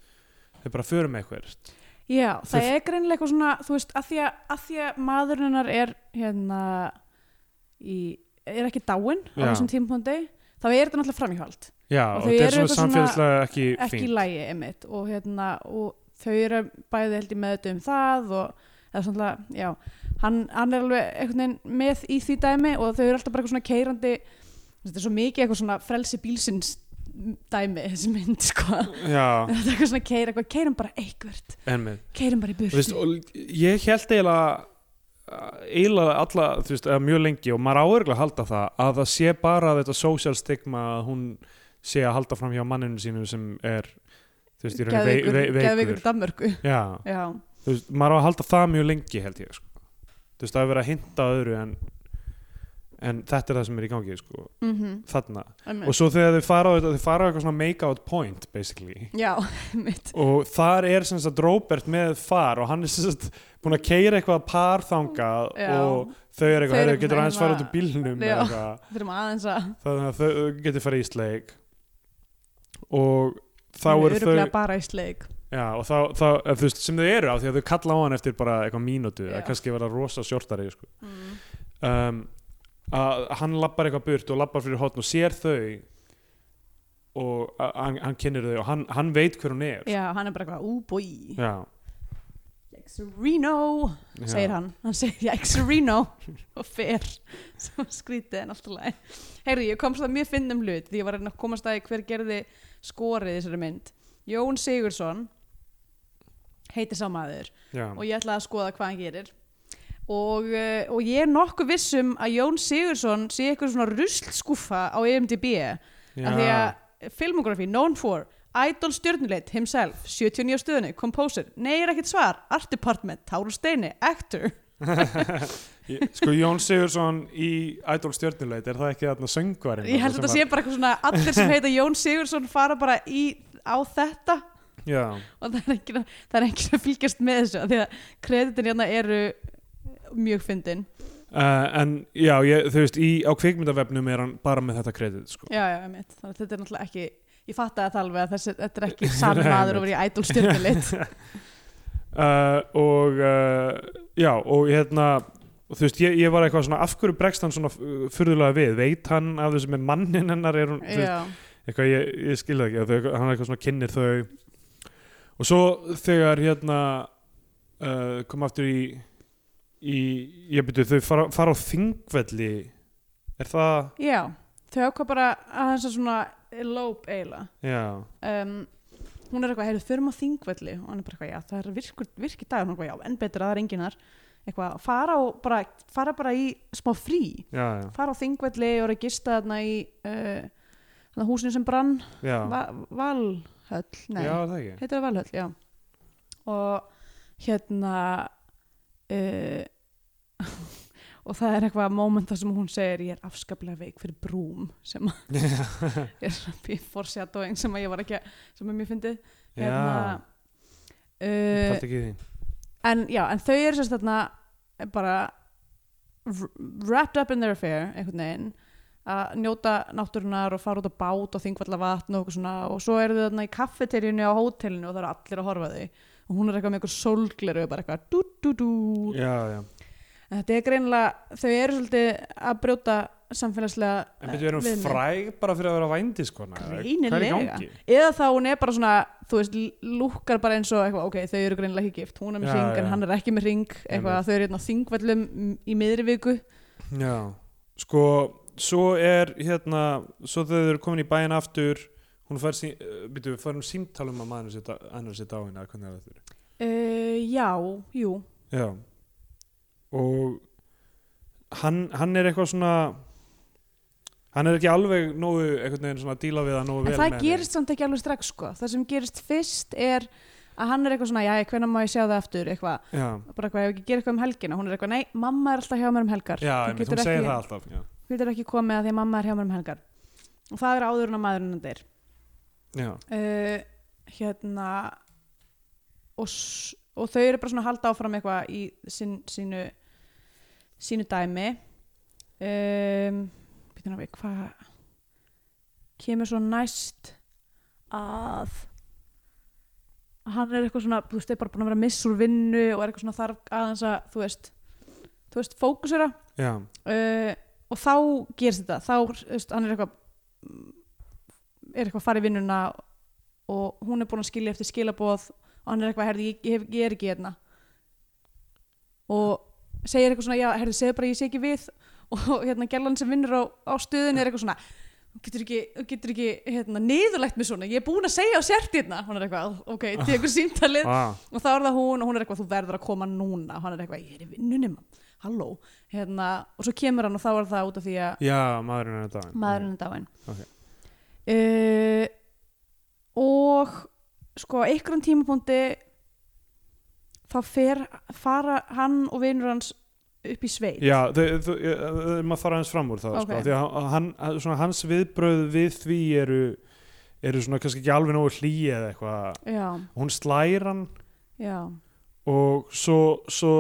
Speaker 3: þau bara förum eitthvert
Speaker 2: já, það
Speaker 3: Þau-
Speaker 2: er greinilega eitthvað svona þú veist, að því að, að, því að maðurinnar er hérna í, er ekki dáin á
Speaker 3: Já.
Speaker 2: þessum tímpóndi þá er þetta náttúrulega framhjóld
Speaker 3: já,
Speaker 2: Og
Speaker 3: og,
Speaker 2: þau eru
Speaker 3: þetta er svona
Speaker 2: eitthvað svona
Speaker 3: samfélagslega ekki,
Speaker 2: ekki í
Speaker 3: fínt
Speaker 2: lægi einmitt og, hérna, og þau eru bæði held ég með þetta um það og eða svona, já, hann, hann er alveg einhvern veginn með í því dæmi og þau eru alltaf bara eitthvað svona keirandi þetta er svo mikið eitthvað svona frelsi bílsins dæmi, þessi mynd sko þetta
Speaker 3: já,
Speaker 2: er eitthvað svona keira, eitthvað, keirum bara eitthvert
Speaker 3: ennmið
Speaker 2: keirum bara í
Speaker 3: Þú veist,
Speaker 2: burtu
Speaker 3: og ég held eiginlega eiginlega alla, þú veist, eða mjög lengi og maður áörgulega að halda það að það sé bara þetta social stigma að hún sé að halda fram hjá manninu sínum sem er, þú veist, í raun vei,
Speaker 2: geðveikur
Speaker 3: vei, veikur
Speaker 2: geðveikur í Danmörku
Speaker 3: Já,
Speaker 2: já,
Speaker 3: þú veist, maður á að halda það mjög lengi held ég, sko þú veist, það er verið að hinta að öðru en en þetta er það sem er í gangi, sko
Speaker 2: mm
Speaker 3: þarna,
Speaker 2: -hmm,
Speaker 3: og svo þegar þau fara á þetta þau fara á eitthvað svona make-out point, basically
Speaker 2: já, mitt
Speaker 3: og þar er sem sagt Robert með far og hann er sem sagt búin að keira eitthvað par þangað
Speaker 2: Já.
Speaker 3: og þau eru
Speaker 2: Þau
Speaker 3: eitthvað,
Speaker 2: eru
Speaker 3: "Heyrðu, getur
Speaker 2: eitthvað
Speaker 3: aðeins
Speaker 2: heima-
Speaker 3: farið út úr bílnum eða
Speaker 2: Já.
Speaker 3: eitthvað,
Speaker 2: þurfum aðeins að
Speaker 3: þannig að þau getur farið í sleik og þá
Speaker 2: Hún er
Speaker 3: eru
Speaker 2: örugglega
Speaker 3: þau
Speaker 2: bara í sleik
Speaker 3: já, og þá, þá, eða, þú veist, sem þau eru á því að þau kalla á hann eftir bara eitthvað mínútu
Speaker 2: Já.
Speaker 3: að kannski vera rosa sjórtari sko.
Speaker 2: mm.
Speaker 3: um, að hann lappar eitthvað burt og lappar fyrir hotn og sér þau og að- hann, hann kynir þau og hann, hann veit hver hún er sko.
Speaker 2: já, hann er bara eitthvað úbúi
Speaker 3: Já,
Speaker 2: Reno
Speaker 3: já.
Speaker 2: segir hann, hann segir ég Sereno og fer sem skrítið en alltaf læg Herri, ég komst að mjög finnum hlut því ég var að reyna að komast að því hver gerði skorið í þessari mynd Jón Sigursson heitir sá maður
Speaker 3: já.
Speaker 2: og ég ætlaði að skoða hvað hann gerir og, eh, og ég er nokkuð vissum að Jón Sigursson sé eitthvað svona ruslskúfa á E IMDb
Speaker 3: Já.
Speaker 2: af því að filmografi known for Idol stjörnuleit, himself, 79 á stöðunni, composer, nei er ekkert svar, art department, Tárur Steini, actor.
Speaker 3: Ég- Sko Jón Sigursson í Idol stjörnuleit, er það ekki þarna söngvarinn?
Speaker 2: Ég held að þetta sé bara eitthvað svona, allir sem heita Jón Sigursson fara bara í, á þetta
Speaker 3: já,
Speaker 2: og það er enginn að, það er enginn að fylgjast með þessu af því að kreditin hérna eru mjög fyndin
Speaker 3: uh, en já, ég, þú veist í, á kvikmyndavefnum er hann bara með þetta kredit sko.
Speaker 2: já, já, einmitt. þannig að þetta er náttúrulega ekki ég fattaði það alveg að þessi, þetta er ekki sami maður og verið í idol styrkulit
Speaker 3: uh, og uh, já, og hérna og þú veist, ég, ég var eitthvað svona af hverju bregst hann svona uh, furðulega við, veit hann af þessu með mannin hennar er hún, þú veist,
Speaker 2: já,
Speaker 3: eitthvað ég, ég skilði ekki að þau, hann er eitthvað svona kynir þau og svo þegar hérna uh, kom aftur í í, ég byrju, þau fara, fara á þingvelli er það,
Speaker 2: já, þau ákvað bara að þess að svona lóp eiginlega
Speaker 3: já
Speaker 2: um, hún er eitthvað, heyrðu, förum á þingvelli og hann er bara eitthvað, já, það er virkur, virki dagur hún er eitthvað, já, enn betur að það er enginn þar eitthvað, fara, og bara, fara bara í smá frí,
Speaker 3: já, já,
Speaker 2: fara á þingvelli og er að gista þarna í uh, þarna húsinu sem brann
Speaker 3: já,
Speaker 2: Va Valhöll, nei,
Speaker 3: já, er það ekki
Speaker 2: heitir það Valhöll, já og hérna uh, og það er eitthvað moment þar sem hún segir ég er afskaplega veik fyrir brúm sem að er svona foreshadowing sem að ég var ekki að, sem að mér fyndið
Speaker 3: já,
Speaker 2: Hérna, uh,
Speaker 3: pælt ekki í því
Speaker 2: en já, en þau eru sérst þarna bara wr- wrapped up in their affair einhvern veginn að njóta náttúrunar og fara út á bát og þingvalla vatn og eitthvað svona og svo eru þau þarna í kaffeteríunni á hótelinu og það eru allir að horfa á þau og hún er eitthvað með eitthvað sólgleru bara eitthvað dú dú dú
Speaker 3: já, já,
Speaker 2: en þetta er greinilega, þau eru svolítið að brjóta samfélagslega
Speaker 3: en byrju, erum
Speaker 2: eh,
Speaker 3: við
Speaker 2: viðmið.
Speaker 3: fræg bara fyrir að vera vændi sko
Speaker 2: Greinilega. eða þá hún er bara svona þú veist, lúkkar bara eins og eitthvað ok, þau eru greinilega ekki gift, hún er með
Speaker 3: Já,
Speaker 2: hring en
Speaker 3: já.
Speaker 2: hann er ekki með hring, eitthvað,
Speaker 3: Einmitt.
Speaker 2: þau eru hérna á þingvellum m- í miðri viku
Speaker 3: Já, sko svo er hérna svo þau eru komin í bæinn aftur hún fær, sí, eh, byrju, fær hún símtal um að maður sér annar sér dáin eða hvernig er það þetta
Speaker 2: uh, já, jú
Speaker 3: Já og hann, hann er eitthvað svona hann er ekki alveg nógu einhvern veginn svona að díla við það nógu
Speaker 2: en
Speaker 3: vel
Speaker 2: það
Speaker 3: með
Speaker 2: gerist samt ekki alveg strax sko, það sem gerist fyrst er að hann er eitthvað svona, já, hvenær má ég sjá það aftur eitthvað,
Speaker 3: henni. Já,
Speaker 2: bara eitthvað, ef ekki gera eitthvað um helgina hún er eitthvað, nei, mamma er alltaf hjá mér um helgar
Speaker 3: já
Speaker 2: Þú
Speaker 3: einmitt,
Speaker 2: getur
Speaker 3: hún segir
Speaker 2: ekki-
Speaker 3: það alltaf Já,
Speaker 2: getur ekki komið að því að mamma er hjá mér um helgar og það er áður en að maðurinn hann deyr
Speaker 3: já,
Speaker 2: uh, hérna og, s- og þau eru bara svona að halda áfram eitthvað í sin, sínu sínu dæmi um, býtum við hvað kemur svo næst að hann er eitthvað svona, þú veist, er bara búin að vera miss úr vinnu og er eitthvað svona þarf aðeins að þú veist, þú veist, fókusera
Speaker 3: já,
Speaker 2: uh, og þá gerist þetta þá, þú veist, hann er eitthvað mm, er eitthvað að fara í vinnuna og hún er búin að skilja eftir skilaboð og hann er eitthvað, herði, ég, ég, hef- ég er ekki hérna og segir eitthvað svona, já, herði, segðu bara að ég sé ekki við og hérna, gellan sem vinnur á, á stuðinu er eitthvað svona "Þú getur ekki, þú getur ekki hérna, niðurlegt mig svona, ég er búin að segja á sért hérna hún er eitthvað, ok, tekur símtalið
Speaker 3: ah,
Speaker 2: og þá er það hún og hún er eitthvað þú verður að koma núna og hann er eitthvað ég er í vinnunum, halló hérna, og svo kemur hann og þá er það út af því að
Speaker 3: já maðurinn er dáin
Speaker 2: maðurinn er dáinn
Speaker 3: Ok.
Speaker 2: uh, og sko á einhverjum tímapunkti þá fer fara hann og vinnur hans upp í sveit
Speaker 3: Já, þau, þau, þau, maður fara hans fram úr það
Speaker 2: Ok.
Speaker 3: sko, því að hann, hann- svona, hans viðbröð við því eru, eru svona kannski ekki alveg nógu hlý eða eitthvað
Speaker 2: já,
Speaker 3: hún slær hann
Speaker 2: já,
Speaker 3: og svo, svo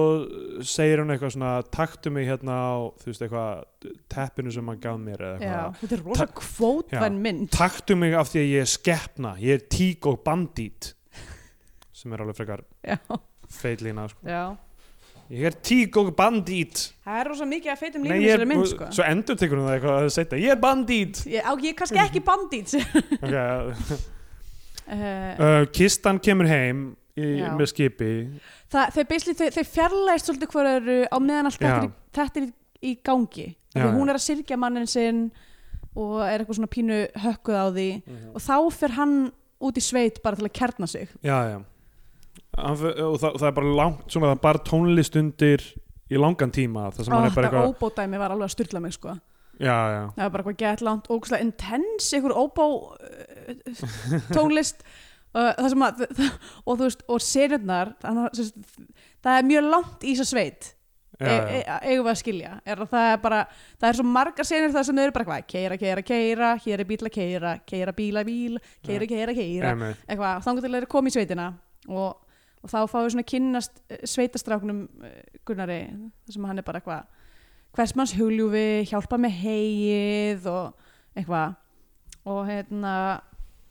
Speaker 3: segir hann eitthvað svona taktu mig hérna á þú veist eitthvað teppinu sem hann gaf mér eða
Speaker 2: já.
Speaker 3: eitthvað
Speaker 2: þetta er rosa kvótvæn mynd
Speaker 3: taktu mig af því að ég er skeppna ég er tík og bandít sem er alveg frekar
Speaker 2: já,
Speaker 3: feitlína sko.
Speaker 2: já.
Speaker 3: ég er tík og bandít
Speaker 2: það er rosa mikið að feitum
Speaker 3: Nei,
Speaker 2: línum í
Speaker 3: ég er,
Speaker 2: þessari mynd sko
Speaker 3: svo endur tekur hún það eitthvað að setja ég er bandít
Speaker 2: ég, á, ég er kannski ekki bandít
Speaker 3: okay,
Speaker 2: uh,
Speaker 3: uh, kistan kemur heim í,
Speaker 2: Já.
Speaker 3: með skipi
Speaker 2: Þa, þau, basically- þau, þau fjarlægist svolítið hver eru á meðan allt þetta er, í- þetta er í, í gangi já,
Speaker 3: Já,
Speaker 2: hún
Speaker 3: já.
Speaker 2: er að syrgja mannin sinn og er eitthvað svona pínu hökkuð á því
Speaker 3: Mhm.
Speaker 2: og þá fer hann út í sveit bara til að kjarna sig
Speaker 3: já, já. Hann fer- og það, það er bara langt svona, það er bara tónlist undir í langan tíma það sem
Speaker 2: og
Speaker 3: hann er bara
Speaker 2: Ah, þetta
Speaker 3: eitthvað
Speaker 2: óbódæmi var alveg að styrla mig sko.
Speaker 3: já, já,
Speaker 2: það var bara eitthvað gett langt ógustlega intense, einhver óbó uh, tónlist uh, það sem að, og þú veist og senurnar, hann, sem sagt, það er mjög langt í þessa sveit
Speaker 3: já, já.
Speaker 2: e- e- eigum við að skilja er að það er bara, það er svo margar senir það sem þau eru bara hvað, keira, keira, keira hér er bíl að keira, keira bíla bíl keira, keira, keira,
Speaker 3: Einmitt.
Speaker 2: eitthvað þangur til að þeir koma í sveitina og, og þá fáum við svona að kynnast eh, sveitastráknum eh, Gunnari, þar sem hann er bara eitthvað hvers manns huljúfi, hjálpa með heyið og eitthvað og hérna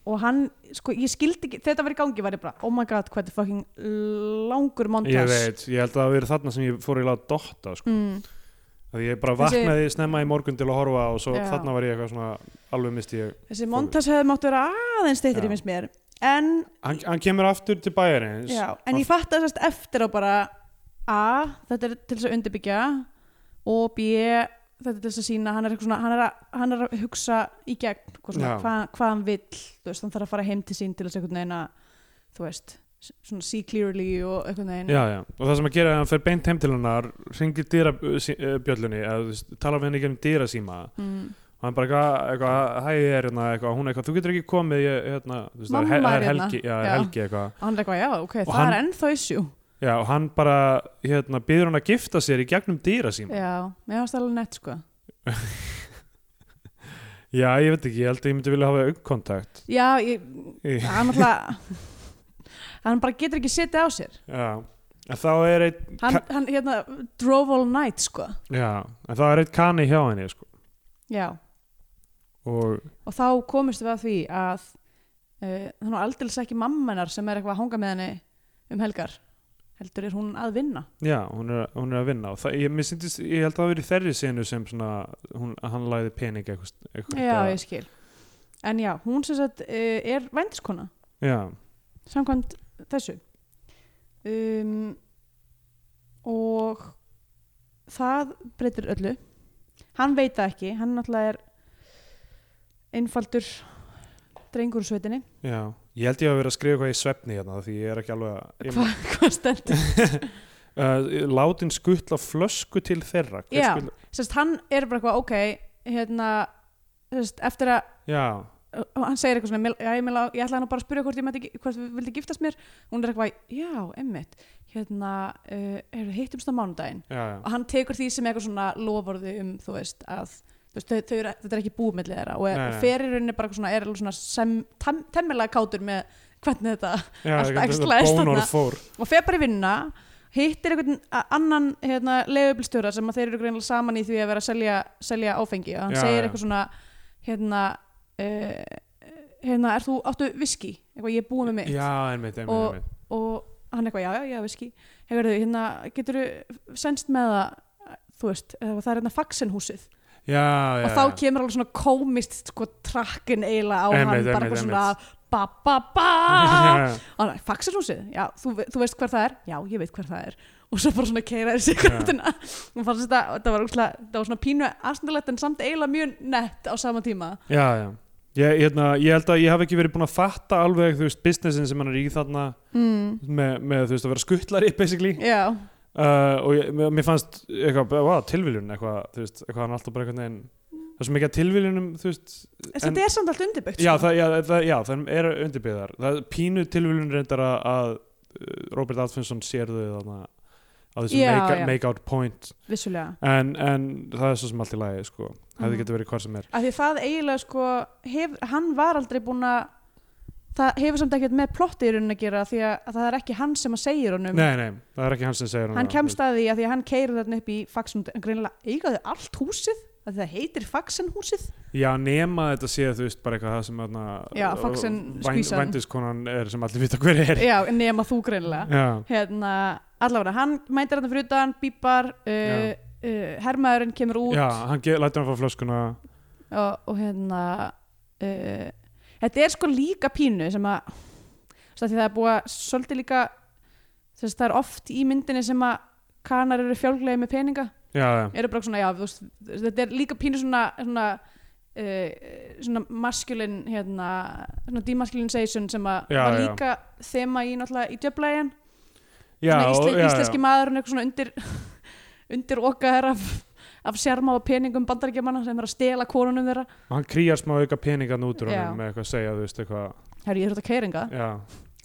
Speaker 2: og hann, sko, ég skildi ekki þegar þetta var í gangi var ég bara, oh my god, hvað þetta er fucking langur montas
Speaker 3: ég veit, ég held að það hafi verið þarna sem ég fór í látt dotta sko.
Speaker 2: mm.
Speaker 3: að ég bara
Speaker 2: Þessi-
Speaker 3: vaknaði snemma í morgun til að horfa og svo
Speaker 2: Já.
Speaker 3: þarna var ég eitthvað svona alveg misti ég
Speaker 2: Þessi montas hefði mátt vera aðeins
Speaker 3: Já.
Speaker 2: steytri finnst mér en,
Speaker 3: hann, hann kemur aftur til bæjarins
Speaker 2: já, en ég fatt að sérst eftir á bara A, þetta er til þess að undirbyggja og B, þetta er til þess að sína hann er, eitthvað svona, hann er, að, hann er að hugsa í gegn hvað, svona,
Speaker 3: Já.
Speaker 2: hvað, hvað hann vill þú veist, hann þarf að fara heim til sín til þess einhvern veginn að þú veist, s- svona see clearly og einhvern veginn
Speaker 3: Já, já, og það sem að gera er að hann fer beint heim til hennar ringir dýrabjöllunni eh, eða þú veist, talar við henni ekki um dýrasíma
Speaker 2: mm.
Speaker 3: og hann bara eitthvað, eitthvað hæ ég er hérna, eitthvað, hún eitthvað, þú getur ekki komið ég, hérna, þú veist, það
Speaker 2: Mamma
Speaker 3: he- það
Speaker 2: er hérna.
Speaker 3: helgi, já, já.
Speaker 2: Já.
Speaker 3: helgi eitthvað
Speaker 2: og hann er eitthvað, já, ok,
Speaker 3: Og
Speaker 2: það
Speaker 3: hann-
Speaker 2: er ennþá issue
Speaker 3: já, og hann bara, hérna, býður hann að gifta sér í gegnum dýrasíma já.
Speaker 2: já, mér varst alveg nett sko
Speaker 3: ég veit ekki, ég held að ég myndi vilja hafa augkontakt
Speaker 2: já, ég,
Speaker 3: Í-
Speaker 2: hann alltaf hann bara getur ekki setið á sér
Speaker 3: já, en þá er einn
Speaker 2: hann, hann hérna drove all night sko
Speaker 3: já, en þá er einn kani hjá henni sko.
Speaker 2: já,
Speaker 3: og,
Speaker 2: og þá komist við að því að uh, hann á aldrei ekki mammenar sem er eitthvað að hanga með henni um helgar heldur er hún að vinna
Speaker 3: já, hún er, hún er að vinna og það, ég, mér syndist, ég held að það hafi verið í þerri senu sem svona, hún, hann læði pening eitthvað, eitthvað
Speaker 2: já, ég skil en já, hún sem sagt uh, er vændiskona
Speaker 3: já,
Speaker 2: samkvæmt þessu um, og það breytir öllu hann veit það ekki, hann náttúrulega er einfaldur drengur úr sveitinni
Speaker 3: já Ég held ég að vera að skrifa eitthvað í svefni hérna því ég er ekki alveg að... ég-
Speaker 2: Hva, hvað stendur?
Speaker 3: uh, látin skuttla flösku til þeirra Hver
Speaker 2: Já.
Speaker 3: skuttla-
Speaker 2: Sest, hann er bara eitthvað, ok hérna, sest, eftir að
Speaker 3: já,
Speaker 2: og hann segir eitthvað svona, "Mér- já, ég, meina, ég ætlaði nú bara að spyrja hvort ég mætti, hvort við vildi giftast mér hún er eitthvað, já, emmitt hérna, uh, heyrðu, hittumst á mánudaginn
Speaker 3: já, já.
Speaker 2: og hann tekur því sem eitthvað svona loforði um þú veist að þú veist, þau, þau eru, þetta er ekki búið milli þeirra og
Speaker 3: Nei, nei.
Speaker 2: fer í rauninni bara eitthvað svona, er alveg svona sem, tam, temmilega kátur með hvernig þetta
Speaker 3: já
Speaker 2: Allt
Speaker 3: þetta-
Speaker 2: æxlaðist
Speaker 3: þetta bónor
Speaker 2: þarna.
Speaker 3: fór
Speaker 2: og fer bara í vinna hittir einhvern a- annan hérna, leiðubilstjóra sem að þeir eru greinlega saman í því að vera að selja, selja áfengi og hann
Speaker 3: Já,
Speaker 2: segir
Speaker 3: já.
Speaker 2: eitthvað svona hérna uh, hérna, er þú, áttu viski? Eitthvað, ég er búið með mitt
Speaker 3: já, einmitt, einmitt,
Speaker 2: Og-
Speaker 3: einmitt.
Speaker 2: og hann eitthvað, já, já, já, viski hefur þau, hérna, getur þú senst með það, þú veist, eða það er hérna Faxenhúsið
Speaker 3: já, já,
Speaker 2: og þá kemur alveg svona komist sko trakkin eiginlega á hann
Speaker 3: Einmitt,
Speaker 2: bara
Speaker 3: einmitt,
Speaker 2: eitthvað svona ba ba ba og hann, Faxenhúsið, já, þú, ve- þú veist hver það er já, ég veit hver það er og svo bara svona keira þessi kvöldina og fannst þetta, þetta var, útla, þetta var svona pínu aðstæðlegt en samt eiginlega mjög nett á sama tíma
Speaker 3: já, já. Ég, hérna, ég held að ég hafi ekki verið búin að fatta alveg þú veist, businessin sem hann er í þarna
Speaker 2: mm.
Speaker 3: með, með þú veist, að vera skuttlari basically
Speaker 2: já,
Speaker 3: uh, og ég, mér mér fannst eitthvað, wow, tilviljun eitthvað, þú veist, eitthvað hann alltaf bara einhvern veginn það er svo mikið að tilviljunum, þú veist En-
Speaker 2: þetta er samt allt undirbyggt
Speaker 3: Já,
Speaker 2: sko.
Speaker 3: það, já, það, já, það eru undirbyggðar Það er pínu tilvílun reyndar að, að uh, Robert Atfinson sér þau þarna á þessum
Speaker 2: Já,
Speaker 3: make,
Speaker 2: já.
Speaker 3: make out point
Speaker 2: vissulega
Speaker 3: en, en það er svo sem allt í lagi sko. hefði
Speaker 2: Mhm.
Speaker 3: getur verið hvað sem er
Speaker 2: af því það eiginlega sko hef, hann var aldrei búinn að það hefur samt ekkert með plotti í rauninni að gera því að, að það er ekki hann sem að segir honum
Speaker 3: Nei, nei, það er ekki hann sem segir
Speaker 2: Um. hann kemst að því að því að hann keirir þarna upp í faxen greinilega eiga þau allt húsið af því það heitir faxenhúsið
Speaker 3: Já, nema þetta sé þú veist bara eitthvað það sem þarna,
Speaker 2: Já,
Speaker 3: uh,
Speaker 2: Faxen
Speaker 3: væn-
Speaker 2: skvísan.
Speaker 3: Vændiskonan er sem allir vita hver er
Speaker 2: já, nema þú greinilega
Speaker 3: Já,
Speaker 2: hérna, allavega hann mætir hann fyrir utan, bípar uh,
Speaker 3: Já.
Speaker 2: uh, hermaðurinn kemur út
Speaker 3: já hann ge- lætur hann fá flöskuna
Speaker 2: og, og hérna uh, þetta er sko líka pínu sem að þess að því það er búið að svolítið líka þess að það er oft í myndinni sem að kanar eru fjálglegi með peninga
Speaker 3: Já, já,
Speaker 2: eru bara svona, já, þú veist þetta er líka pínu svona svona, uh, svona maskulin hérna, svona demaskulinization sem að
Speaker 3: Já,
Speaker 2: var
Speaker 3: já.
Speaker 2: líka þema í náttúrulega í djöflægin
Speaker 3: já,
Speaker 2: ísle,
Speaker 3: já,
Speaker 2: íslenski maðurinn eitthvað svona undir undir okkaðar af, af sjarma og peningum bandaríkjamanna sem er að stela konunum þeirra
Speaker 3: Og hann krýjar smá auka peningan út úr
Speaker 2: Já.
Speaker 3: honum með eitthvað að segja, þú veist eitthvað
Speaker 2: Herru, ég þurft að keyra hingað.
Speaker 3: Já,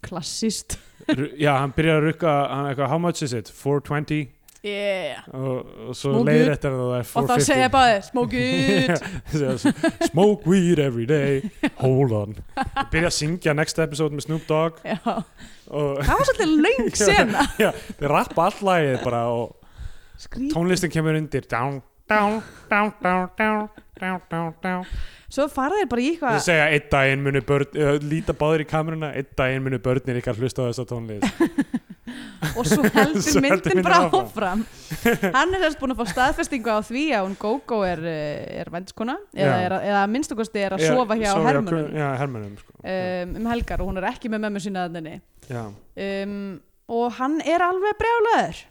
Speaker 2: Klassist.
Speaker 3: Ru- Já, hann byrjar að rukka hann eitthvað, how much is it? 420?
Speaker 2: yeah.
Speaker 3: og, og svo
Speaker 2: Smoke
Speaker 3: leiðir
Speaker 2: weed.
Speaker 3: eftir það er
Speaker 2: og þá segja
Speaker 3: 450
Speaker 2: báðir smoke it
Speaker 3: Segja svo, smoke weed every day hold on byrja að syngja next episode með Snoop Dogg
Speaker 2: Já. það
Speaker 3: og
Speaker 2: var svolítið löng sena
Speaker 3: já, þeir rappa all lagið bara og
Speaker 2: Skrít.
Speaker 3: tónlistin kemur undir down, down, down, down, down down, down, down
Speaker 2: svo fara þeir bara í
Speaker 3: Þeir
Speaker 2: eitthvað
Speaker 3: segja einn daginn munu börn uh, líta báður í kameruna, einn daginn munu börnir ykkar hlusta á þessa tónlist
Speaker 2: og svo heldur
Speaker 3: Svo heldur
Speaker 2: myndin
Speaker 3: myndin
Speaker 2: bara
Speaker 3: áfram.
Speaker 2: áfram hann er sérst búin að fá staðfestingu á því að hún Gogo er, eh, er vændiskona eða,
Speaker 3: Já.
Speaker 2: er, að- eða að minnstakosti er að
Speaker 3: Já,
Speaker 2: sofa hjá
Speaker 3: sofa
Speaker 2: hermunum
Speaker 3: Já, hermönum sko.
Speaker 2: um, um helgar og hún er ekki með mömmu sína þenni
Speaker 3: Já,
Speaker 2: um, og hann er alveg brjálaður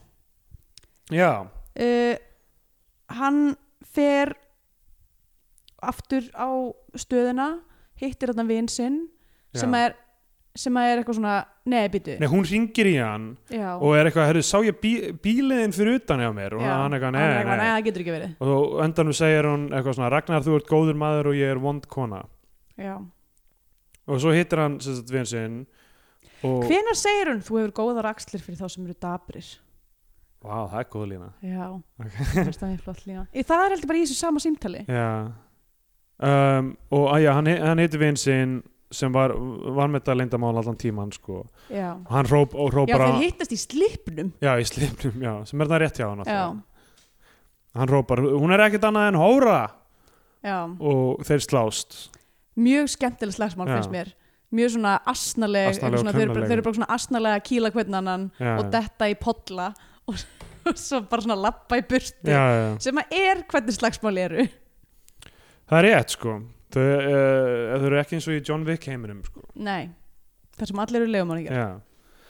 Speaker 3: já,
Speaker 2: uh, hann fer aftur á stöðina hittir þarna vin sinn
Speaker 3: já.
Speaker 2: sem að er, sem að er eitthvað svona nei, býtu
Speaker 3: Nei, hún ringir í hann
Speaker 2: já,
Speaker 3: og er eitthvað, herru, sá ég bí, bíliðin fyrir utan hjá mér og
Speaker 2: já,
Speaker 3: hann eitthvað,
Speaker 2: hann er
Speaker 3: nei, nei,
Speaker 2: nei, það getur ekki verið
Speaker 3: og og á endanum segir hún eitthvað svona, Ragnar, þú ert góður maður og ég er vond kona
Speaker 2: já.
Speaker 3: og svo hittir hann sem sagt vin sinn og,
Speaker 2: hvenær segir hún, þú hefur góðar axlir fyrir þá sem eru dabrir
Speaker 3: vá, það er góð lína
Speaker 2: já, okay. það er flott lína Í- það er heldur bara í þessu sama símtali
Speaker 3: já um, og að já, hann, hi- hann hittir vin sinn sem var, var með þetta leyndamál allan tíman sko,
Speaker 2: já,
Speaker 3: og hann hróp, og
Speaker 2: já
Speaker 3: hrópar á-
Speaker 2: þeir hittast í slipnum
Speaker 3: já, í slipnum, já, sem er það rétt hjá hann
Speaker 2: já,
Speaker 3: hann hrópar, hún er ekkert annað en hóra
Speaker 2: já
Speaker 3: og þeir slást
Speaker 2: mjög skemmtileg slagsmál
Speaker 3: Já.
Speaker 2: finnst mér mjög svona asnaleg,
Speaker 3: Asnaleg
Speaker 2: eitthvað svona, þeir, eru
Speaker 3: og
Speaker 2: bara-
Speaker 3: klunnaleg.
Speaker 2: þeir eru bara svona asnalega að kýla hvern annan
Speaker 3: Já.
Speaker 2: og detta í podla og, og svo bara svona lappa í burtu
Speaker 3: já, já, já
Speaker 2: sem að er hvernig slagsmál eru
Speaker 3: Það er rétt sko Þau, uh, þau eru ekki eins og í John Wick heiminum sko.
Speaker 2: nei, þar sem allir eru legumáningar
Speaker 3: Já,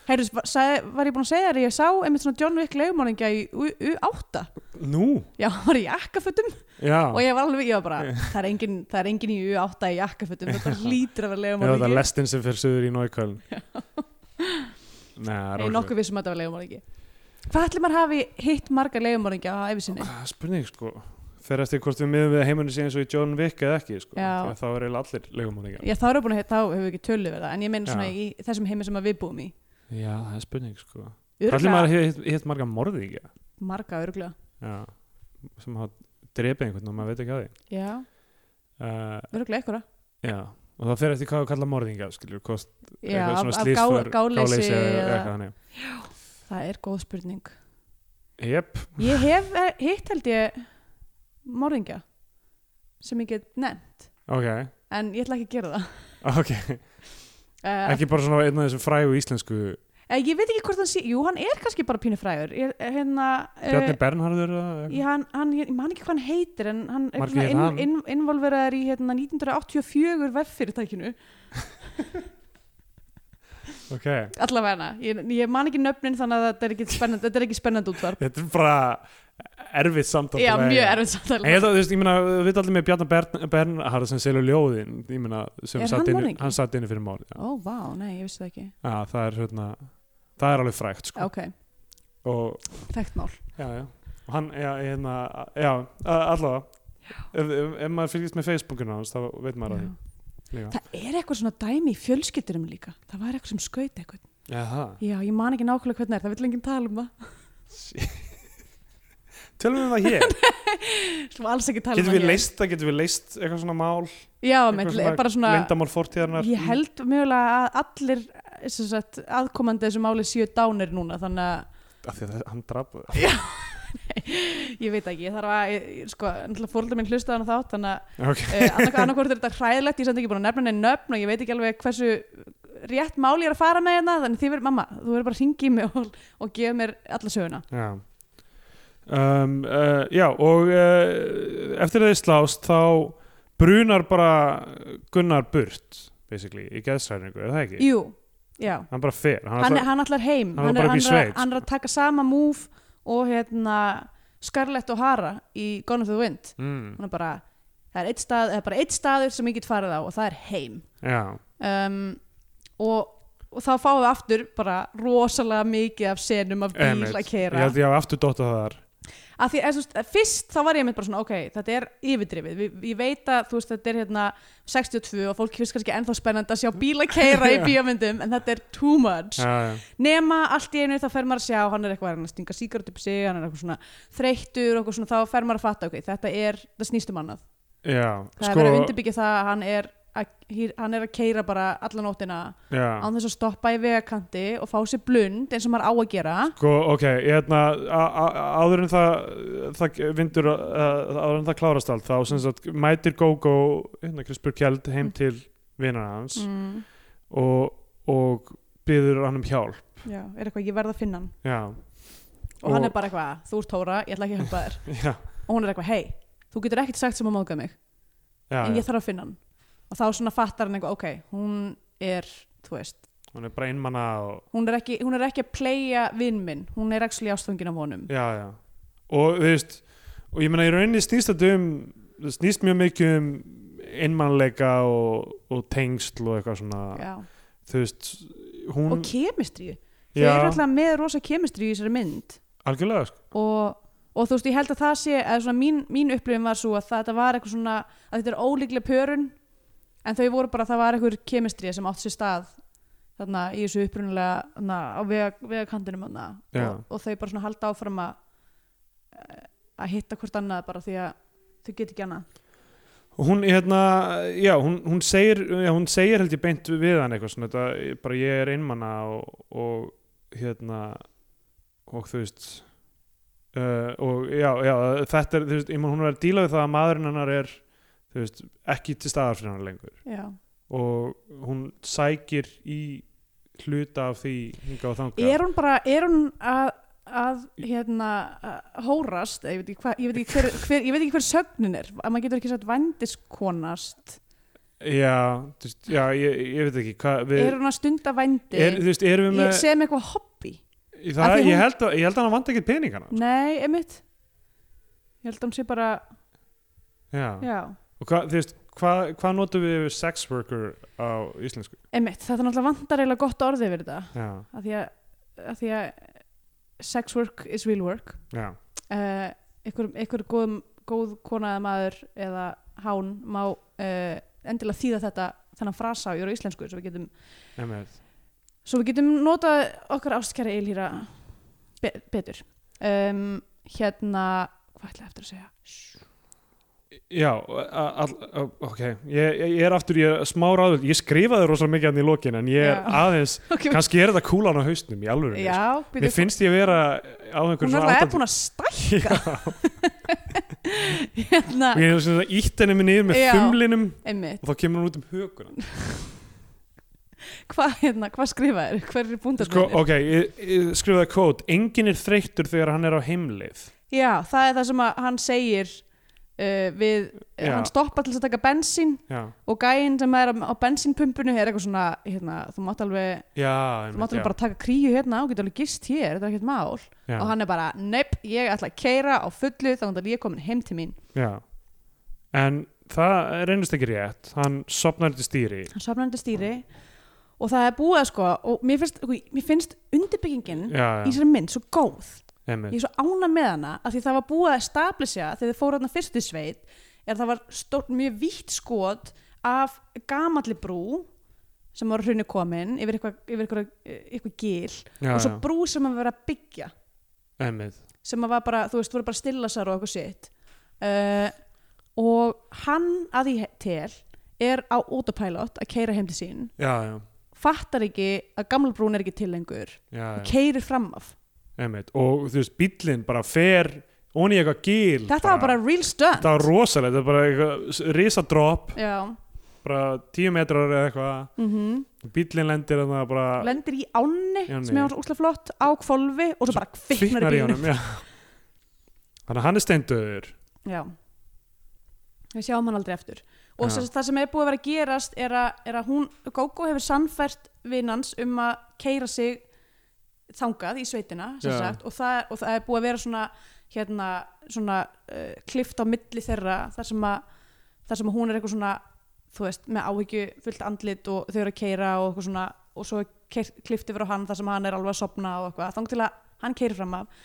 Speaker 2: Heyrðu, var, sagði- var ég búin að segja þér að ég sá einmitt svona John Wick legumáninga í U- U8
Speaker 3: Nú?
Speaker 2: já, hann var í jakkafötum
Speaker 3: Já,
Speaker 2: og ég var alveg, ég var bara það er engin, það er engin í U8 í jakkafötum þetta hlýtur að vera
Speaker 3: Já, það er
Speaker 2: legumáningi
Speaker 3: lestin sem fyrir söður í Nóiköln Nei, það
Speaker 2: ég
Speaker 3: er
Speaker 2: er nokkuð vissum að þetta var legumáningi hvað ætlir maður hafi hitt marga legumáningi á æfisinni?
Speaker 3: Ah, Spurning sko Fer eftir hvort við miðum við heiminum sé eins og í John Wick eða ekki sko.
Speaker 2: Já.
Speaker 3: Þegar Þá er eiginlega allir legumáningar
Speaker 2: Já, þá erum við búin að þá hefur við ekki tölu verið það, en ég meina svona
Speaker 3: Já.
Speaker 2: í þessum heimi sem að við búum í.
Speaker 3: Já, það er spurning sko Það er
Speaker 2: Öruglega,
Speaker 3: maður hitt hit marga morðingja
Speaker 2: marga öruglega.
Speaker 3: Já Sem hafa drepið einhvern og maður veit ekki að
Speaker 2: Já,
Speaker 3: því uh,
Speaker 2: öruglega einhverja.
Speaker 3: Já Og það fer eftir hvað við kalla morðingja skilur, kost,
Speaker 2: Já, af, af gá, gáleysi eða, það er góð spurning.
Speaker 3: Jep,
Speaker 2: Ég hef eh, hitt held ég morðingja sem ég get nefnt,
Speaker 3: ok
Speaker 2: en ég ætla ekki að gera það.
Speaker 3: Ok,
Speaker 2: Uh,
Speaker 3: ekki bara svona einn af þessum frægu íslensku
Speaker 2: Eh, ég veit ekki hvort hann sé, jú, hann er kannski bara pínu frægur. Ég, hérna, eh,
Speaker 3: Bjarni Bernharður eða eitthvað?
Speaker 2: Já, hann, hann, ég man ekki hvað hann heitir en hann er
Speaker 3: Margir
Speaker 2: svona
Speaker 3: heitir
Speaker 2: inn,
Speaker 3: hann.
Speaker 2: inn, involveraður í hérna, 1984 veffyrirtækinu
Speaker 3: Ok,
Speaker 2: allavega hana, ég, ég man ekki nöfnin þannig að þetta er ekki spennandi, þetta er ekki spennandi útvarp
Speaker 3: þetta er bara erfitt samtal
Speaker 2: já,
Speaker 3: að
Speaker 2: mjög
Speaker 3: eiga.
Speaker 2: erfitt
Speaker 3: En ég
Speaker 2: samtala
Speaker 3: held að, þú veist, ég meina, við veit allir með Bjarni Bern, Bernharður sem selur ljóðin Ég meina, sem
Speaker 2: Er
Speaker 3: satt
Speaker 2: hann
Speaker 3: inn
Speaker 2: morðingi?
Speaker 3: Hann satt inn fyrir mál já.
Speaker 2: ó, vá, nei, ég vissi það ekki
Speaker 3: Já, það er hérna Það er alveg frægt, sko
Speaker 2: ok,
Speaker 3: Og,
Speaker 2: þekkt mál
Speaker 3: já, já Og hann, já, hérna, já, a- allavega Ef, ef, ef maður fylgist með Facebookinu hans, þá veit maður að
Speaker 2: Já.
Speaker 3: því líka.
Speaker 2: það er eitthvað svona dæmi í fjölskyldurum líka það var eitthvað sem skaut eitthvað
Speaker 3: Já, það.
Speaker 2: já, ég man ekki nákvæmlega hvernig er, það vill enginn tala um það
Speaker 3: Tölum við um það hér.
Speaker 2: sem alls ekki tala um
Speaker 3: Getum
Speaker 2: það
Speaker 3: við
Speaker 2: hér.
Speaker 3: leist það, getum við leist eitthvað svona mál
Speaker 2: já,
Speaker 3: Eitthvað
Speaker 2: með, bara svona
Speaker 3: leyndarmál fortíðarinnar
Speaker 2: ég held mögulega að allir sem sagt, aðkomandi þessu máli séu dánir núna þannig að
Speaker 3: af því að það- hann draf
Speaker 2: ég veit ekki, ég þarf að ég- sko, fórhaldar minn hlustaði hann þátt þannig að
Speaker 3: okay.
Speaker 2: uh, annarkvort er þetta hræðilegt ég er samt ekki búin að nefna neina nöfn og ég veit ekki alveg hversu rétt mál ég er að fara með hérna þannig þið verður, mamma, þú verður bara að ringi mig og, og gefa mér alla söguna
Speaker 3: já. Um, uh, já og uh, eftir að þið slást þá brunar bara Gunnar burt basically í geðsræningu, er það ekki?
Speaker 2: Jú, já,
Speaker 3: hann bara fer hann
Speaker 2: hann,
Speaker 3: ætlar-
Speaker 2: hann allar heim
Speaker 3: hann var
Speaker 2: er,
Speaker 3: bara upp í
Speaker 2: hann, er,
Speaker 3: sveit,
Speaker 2: hann er að taka sama múf og hérna Scarlett og Hara í Gone with the Wind
Speaker 3: mm,
Speaker 2: hún er bara, það er eitt, stað, það er bara eitt staður sem ég get farið á og það er heim
Speaker 3: já,
Speaker 2: um, og, og þá fáum við aftur bara rosalega mikið af senum af bíl
Speaker 3: einmitt.
Speaker 2: að
Speaker 3: ég
Speaker 2: keira
Speaker 3: held ég hafa aftur dottað þar
Speaker 2: að því, eða, þú veist, eh, fyrst þá var ég með bara svona ok, þetta er yfirdrifið, Vi, ég veit að þú veist, þetta er hérna 62 og fólki finnst kannski ennþá spennandi að sjá bíla keira í
Speaker 3: Já.
Speaker 2: bíómyndum en þetta er too much
Speaker 3: já, já.
Speaker 2: nema allt í einu þá fer maður að sjá hann er eitthvað hann er að stinga síkart upp í sig, hann er eitthvað svona þreyttur og eitthvað svona, þá fer maður að fatta ok, þetta er, það snýst um annað
Speaker 3: já,
Speaker 2: það er
Speaker 3: sko
Speaker 2: verið að undirbyggja það að hann er að, hýr- hann er að keira bara alla nótina
Speaker 3: já.
Speaker 2: án þess að stoppa í vegakanti og fá sér blund eins og maður á að gera
Speaker 3: Sko, ok, ég hefna, a- a- áður en það, það vindur, uh, áður en það klárast allt, þá sem sagt mætir Gógó, hérna Krispur Kjeld, heim til vinar hans
Speaker 2: mm,
Speaker 3: og, og byður hann um hjálp,
Speaker 2: já, er eitthvað, ég verð að finna hann
Speaker 3: já,
Speaker 2: og, hann er bara eitthvað, þú ert Tóra, ég ætla ekki að hjálpa þér
Speaker 3: já,
Speaker 2: og hún er eitthvað, hei, þú getur ekkert sagt sem að móðga mig
Speaker 3: já,
Speaker 2: en
Speaker 3: já.
Speaker 2: ég þarf að finna hann og þá svona fattar hann eitthvað, ok, hún er þú veist,
Speaker 3: hún er bara einmanna og,
Speaker 2: hún er ekki, hún er ekki að playa vinn minn, hún er ekki ástöngin af honum
Speaker 3: já, já, og þú veist, og ég meina í rauninni snýst þetta um, það snýst mjög mikið um einmannleika og, og tengsl og eitthvað svona,
Speaker 2: já.
Speaker 3: þú veist, hún,
Speaker 2: og kemistríu, þau eru
Speaker 3: já,
Speaker 2: alltaf með rosa kemistríu í þessari mynd
Speaker 3: algjörlega, sko,
Speaker 2: og, og þú veist, ég held að það sé eða svona mín, mín upplifin var svo að það- þetta var eitthvað svona, að þetta er ólíkleg pörun en þau voru bara, það var eitthvað kemistrið sem átt sér stað þarna í þessu upprunalega þarna, á vega- vegakantinum þarna
Speaker 3: Já.
Speaker 2: og, og þau bara svona halda áfram að eh, að hitta hvort annað bara því að þau get ekki annað
Speaker 3: hún hérna, já, hún, hún segir já, hún segir held ég beint við hann eitthvað svona, þetta, bara ég er einmana og, og hérna og þú veist uh, og já, já, þetta er þú veist, ég man hún er að díla við það að maðurinn hennar er þú veist, ekki til staðar fyrir hann lengur
Speaker 2: Já.
Speaker 3: og hún sækir í hluta af því hingað og þangað
Speaker 2: er hún bara, er hún að að hérna að hórast, eða ég veit ekki, hva, ég veit ekki hver, hver, ég veit ekki hver sögnin er, að maður getur ekki sagt vændiskonast,
Speaker 3: já, þú veist, já, ég, ég veit ekki hvað við,
Speaker 2: er hún að stunda vændi
Speaker 3: er, þú veist, erum við
Speaker 2: Ég-
Speaker 3: með
Speaker 2: sem eitthvað hobby
Speaker 3: það,
Speaker 2: af því hún-
Speaker 3: ég, held að, ég held að hann vandi ekki peningana
Speaker 2: nei, einmitt ég held að hún sé bara já,
Speaker 3: Og hvað, þú veist, hvað, hvað notum við yfir sex worker á íslensku?
Speaker 2: einmitt, þetta er náttúrulega vantar eiginlega gott orðið yfir þetta
Speaker 3: Já,
Speaker 2: af því að, af því að sex work is real work
Speaker 3: já,
Speaker 2: uh, ykkur, ykkur góð, góð kona eða maður eða hán má uh, endilega þýða þetta þennan frasa á jöru íslensku svo við getum,
Speaker 3: emið.
Speaker 2: svo við getum notað okkar ástkæra eilhýra be, betur um, hérna, hvað ætlaði eftir að segja
Speaker 3: Já, a- all, a- ok, ég, ég er aftur, ég er smá ráðvöld, ég skrifaði rosalega mikið hann í lokin en ég er
Speaker 2: Já.
Speaker 3: aðeins,
Speaker 2: okay,
Speaker 3: kannski er þetta kúlan á haustnum í alvöru.
Speaker 2: já,
Speaker 3: um sko. Mér
Speaker 2: byrju,
Speaker 3: finnst ég vera á einhverjum
Speaker 2: hún er alltaf búin að stækka
Speaker 3: Já,
Speaker 2: hérna,
Speaker 3: ég er svona ítt henni minni yfir með
Speaker 2: Já.
Speaker 3: þumlinum
Speaker 2: einmitt,
Speaker 3: og þá kemur hún út um höguna.
Speaker 2: hvað hérna, hva skrifa þér, hver er
Speaker 3: Sko,
Speaker 2: búndarbrunir?
Speaker 3: ok, ég, ég skrifaði kót, enginn er þreyttur þegar hann er á heimleið.
Speaker 2: Já, það er það sem að hann segir uh, við,
Speaker 3: Já.
Speaker 2: hann stoppar til þess að taka bensín
Speaker 3: Já,
Speaker 2: og gæinn sem er á bensínpumpinu er eitthvað svona, hérna, þú mátt alveg, þú
Speaker 3: já,
Speaker 2: mátt
Speaker 3: einmitt, já.
Speaker 2: alveg bara taka kríu hérna og geta alveg gist hér, þetta er ekkert mál.
Speaker 3: já.
Speaker 2: Og hann er bara, neip, ég ætla að keira á fullu þá að ég er komin heim til mín.
Speaker 3: Já, en það reynist ekki rétt, hann sopnar til stýri.
Speaker 2: Hann safnar undir stýri og það er búið að sko, og mér finnst, mér finnst undirbyggingin
Speaker 3: Já,
Speaker 2: í
Speaker 3: já,
Speaker 2: þessari mynd svo góð.
Speaker 3: emmitt.
Speaker 2: ég er svo ána með hana að því það var búið að stablisja þegar þið fóru hann fyrst í sveit er það var stórt mjög vítt skot af gamalli brú sem var hrunni komin yfir eitthvað, yfir eitthvað, eh, eitthvað gil
Speaker 3: Já,
Speaker 2: og svo
Speaker 3: já,
Speaker 2: brú sem að vera að byggja
Speaker 3: emmitt.
Speaker 2: sem að var bara, þú veist, voru bara stillasar og eitthvað sitt uh, og hann að því til er á autopilot að keira heim til sín
Speaker 3: Já, já,
Speaker 2: fattar ekki að gamla brún er ekki til lengur
Speaker 3: já,
Speaker 2: og
Speaker 3: já,
Speaker 2: keirir fram af
Speaker 3: emmitt. Og þú veist, bíllinn bara fer onni eitthvað gil.
Speaker 2: þetta var bara real stunt
Speaker 3: Þetta var rosalegt, þetta var bara eitthvað risadrop,
Speaker 2: já,
Speaker 3: bara tíu metrar eða eitthvað.
Speaker 2: mhm
Speaker 3: Bíllinn lendir en það bara
Speaker 2: lendir í ánni
Speaker 3: Í ánni.
Speaker 2: sem er hans úslega flott á kvolfi og svo bara kviknar í
Speaker 3: kviknar í
Speaker 2: bílunum
Speaker 3: honum, já. Þannig að hann er steindöður.
Speaker 2: já við sjáum hann aldrei eftir og
Speaker 3: Já.
Speaker 2: sem, sagt það sem er búið að vera að gerast er að, er að hún, Gógó hefur sannfært vinnans um að keira sig þangað í sveitina sem
Speaker 3: Já.
Speaker 2: sagt, og, það, og það er búið að vera svona hérna, svona uh, klift á milli þeirra þar sem að, þar sem að hún er eitthvað svona þú veist, með áhyggju fullt andlit og þau eru að keira og eitthvað svona og svo er keyrt- klift yfir á hann þar sem hann er alveg að sopna og eitthvað, þang til að hann keiri fram af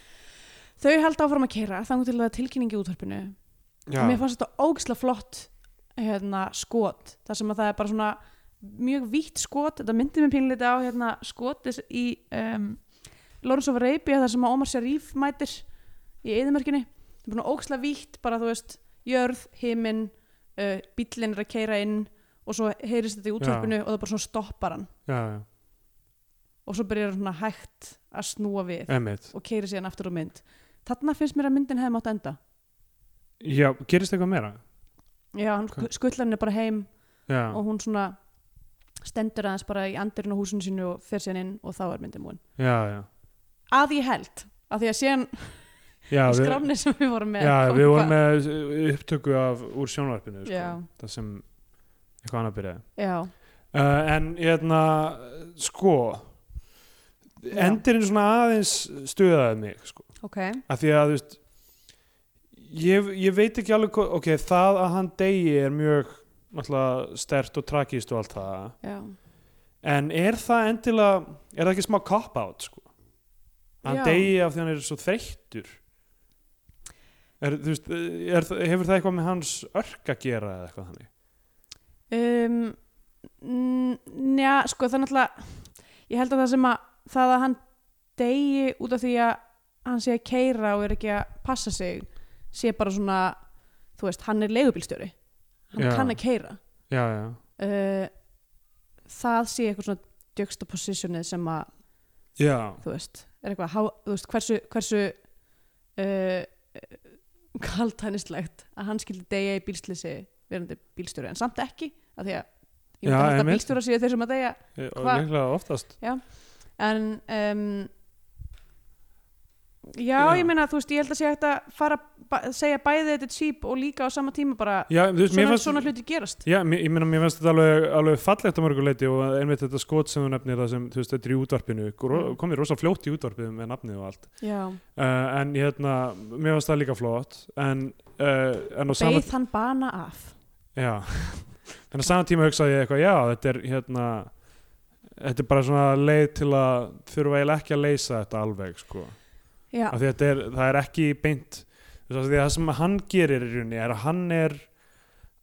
Speaker 2: þau held áfram að keira þannig til það er tilkynning í útvarpinu
Speaker 3: já,
Speaker 2: mér fannst þetta ógislega flott hérna, skot þar sem að það er bara svona mjög vítt skot þetta myndi mér pínleiti á hérna, skotis í um, Lawrence of Arabia þar sem að Omar Sharif mætir í eðimörkinni það er bara ógislega vítt bara þú veist jörð, himinn, uh, bíllinn er að keira inn og svo heyrist þetta í útvarpinu og það bara svona stoppar hann
Speaker 3: já, já,
Speaker 2: og svo byrjar hann svona hægt að snúa við
Speaker 3: emmitt
Speaker 2: og keiri síðan aftur á mynd þarna finnst mér að myndin hefði mátt enda
Speaker 3: já, gerist eitthvað meira
Speaker 2: já, hann
Speaker 3: Hvað?
Speaker 2: okay. skullar henni bara heim
Speaker 3: já,
Speaker 2: og hún svona stendur aðeins bara í andirinn á húsinu sínu og fer síðan inn og þá er myndin múin
Speaker 3: já, já,
Speaker 2: að ég held, að því að síðan ja,
Speaker 3: já við-
Speaker 2: skrafni sem við vorum með
Speaker 3: já,
Speaker 2: kom
Speaker 3: við vorum
Speaker 2: eitthvað-
Speaker 3: með upptöku af úr sjónvarpinu sko,
Speaker 2: Já.
Speaker 3: það sem eitthvað annað byrjaði
Speaker 2: já,
Speaker 3: uh, en hérna sko
Speaker 2: Já.
Speaker 3: endirinn svona aðeins stuðaði mig sko,
Speaker 2: ok,
Speaker 3: af því að þú veist ég, ég veit ekki alveg hvað, ok, það að hann degi er mjög náttúrulega stert og tragist og allt það
Speaker 2: já
Speaker 3: en er það endilega er það ekki smá cop-out sko hann
Speaker 2: Já.
Speaker 3: degi af því hann er svo þreyttur er, þú veist, er, það- hefur það eitthvað með hans örk að gera eða eitthvað þannig
Speaker 2: um, n- njá, sko það er náttúrulega ég held að það sem að það að hann degi út af því að hann sé að keira og er ekki að passa sig sé bara svona þú veist, hann er leigubílstjóri hann
Speaker 3: Já.
Speaker 2: kann að keira
Speaker 3: já, já,
Speaker 2: uh, það sé eitthvað svona juxtapositionið sem að
Speaker 3: já,
Speaker 2: þú veist, er eitthvað há, þú veist, hversu, hversu uh, kaltænislegt að hann skildi degja í bílslisi verandi bílstjóri en samt ekki af því að ég
Speaker 3: Já,
Speaker 2: myndi alltaf
Speaker 3: einmitt.
Speaker 2: bílstjóra séu þeir sem að degja
Speaker 3: og
Speaker 2: Hva-
Speaker 3: líklega oftast
Speaker 2: en um, já,
Speaker 3: Já.
Speaker 2: ég meina þú veist, ég held að sé hægt að fara að segja bæði þetta er cheap og líka á sama tíma bara
Speaker 3: já, þú veist, mér
Speaker 2: svona,
Speaker 3: fannst
Speaker 2: svona hluti gerast
Speaker 3: já, mér, ég meina, mér fannst þetta alveg, alveg fallegt á mörguleiti og einmitt þetta skot sem þú nefnir það sem, þú veist, þetta er í útvarpinu gro-
Speaker 2: Mm.
Speaker 3: kom ég rosa fljótt í útvarpinu með nafnið og allt
Speaker 2: já,
Speaker 3: uh, en hérna, mér fannst það líka flott en, uh, en á sama
Speaker 2: beið hann bana af
Speaker 3: Já, en á saman tíma hugsaði ég eitthvað, já, þetta er hérna þetta er bara svona leið til að þurfa eiginlega ekki að leysa þetta alveg sko,
Speaker 2: já,
Speaker 3: af því að þetta er, það er ekki beint, þú veist, af því að það sem hann gerir í rauninni er að hann er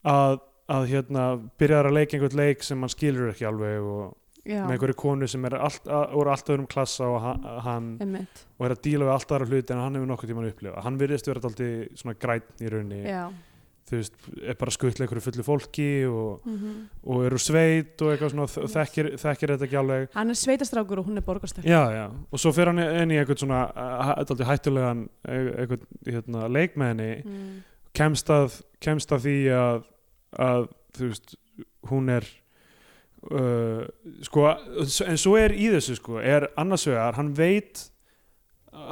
Speaker 3: að, að hérna byrjar að leika einhvern leik sem hann skilur ekki alveg og
Speaker 2: já,
Speaker 3: með einhverju konu sem er allt, að, úr allt öðrum klassa og hann, hann
Speaker 2: einmitt
Speaker 3: og er að díla við allt aðra hluti en hann hefur nokkuð tímann upplifa, hann virðist vera alltaf svona græn í rauninni,
Speaker 2: já,
Speaker 3: þú veist, er bara að skuttla einhverju fullu fólki og
Speaker 2: mhm
Speaker 3: og eru sveit og eitthvað svona og þekkir, þekkir þetta ekki alveg
Speaker 2: Hann er sveitastrákur og hún er borgarstelp
Speaker 3: já, já. og svo fer hann inn í einhvern svona eitthvað hættulegan e, eitthvað, hérna, leikmeðinni
Speaker 2: mm.
Speaker 3: kemst að, kemst að því að, að þú veist hún er uh, sko, en svo er í þessu sko, er annars vegar, hann veit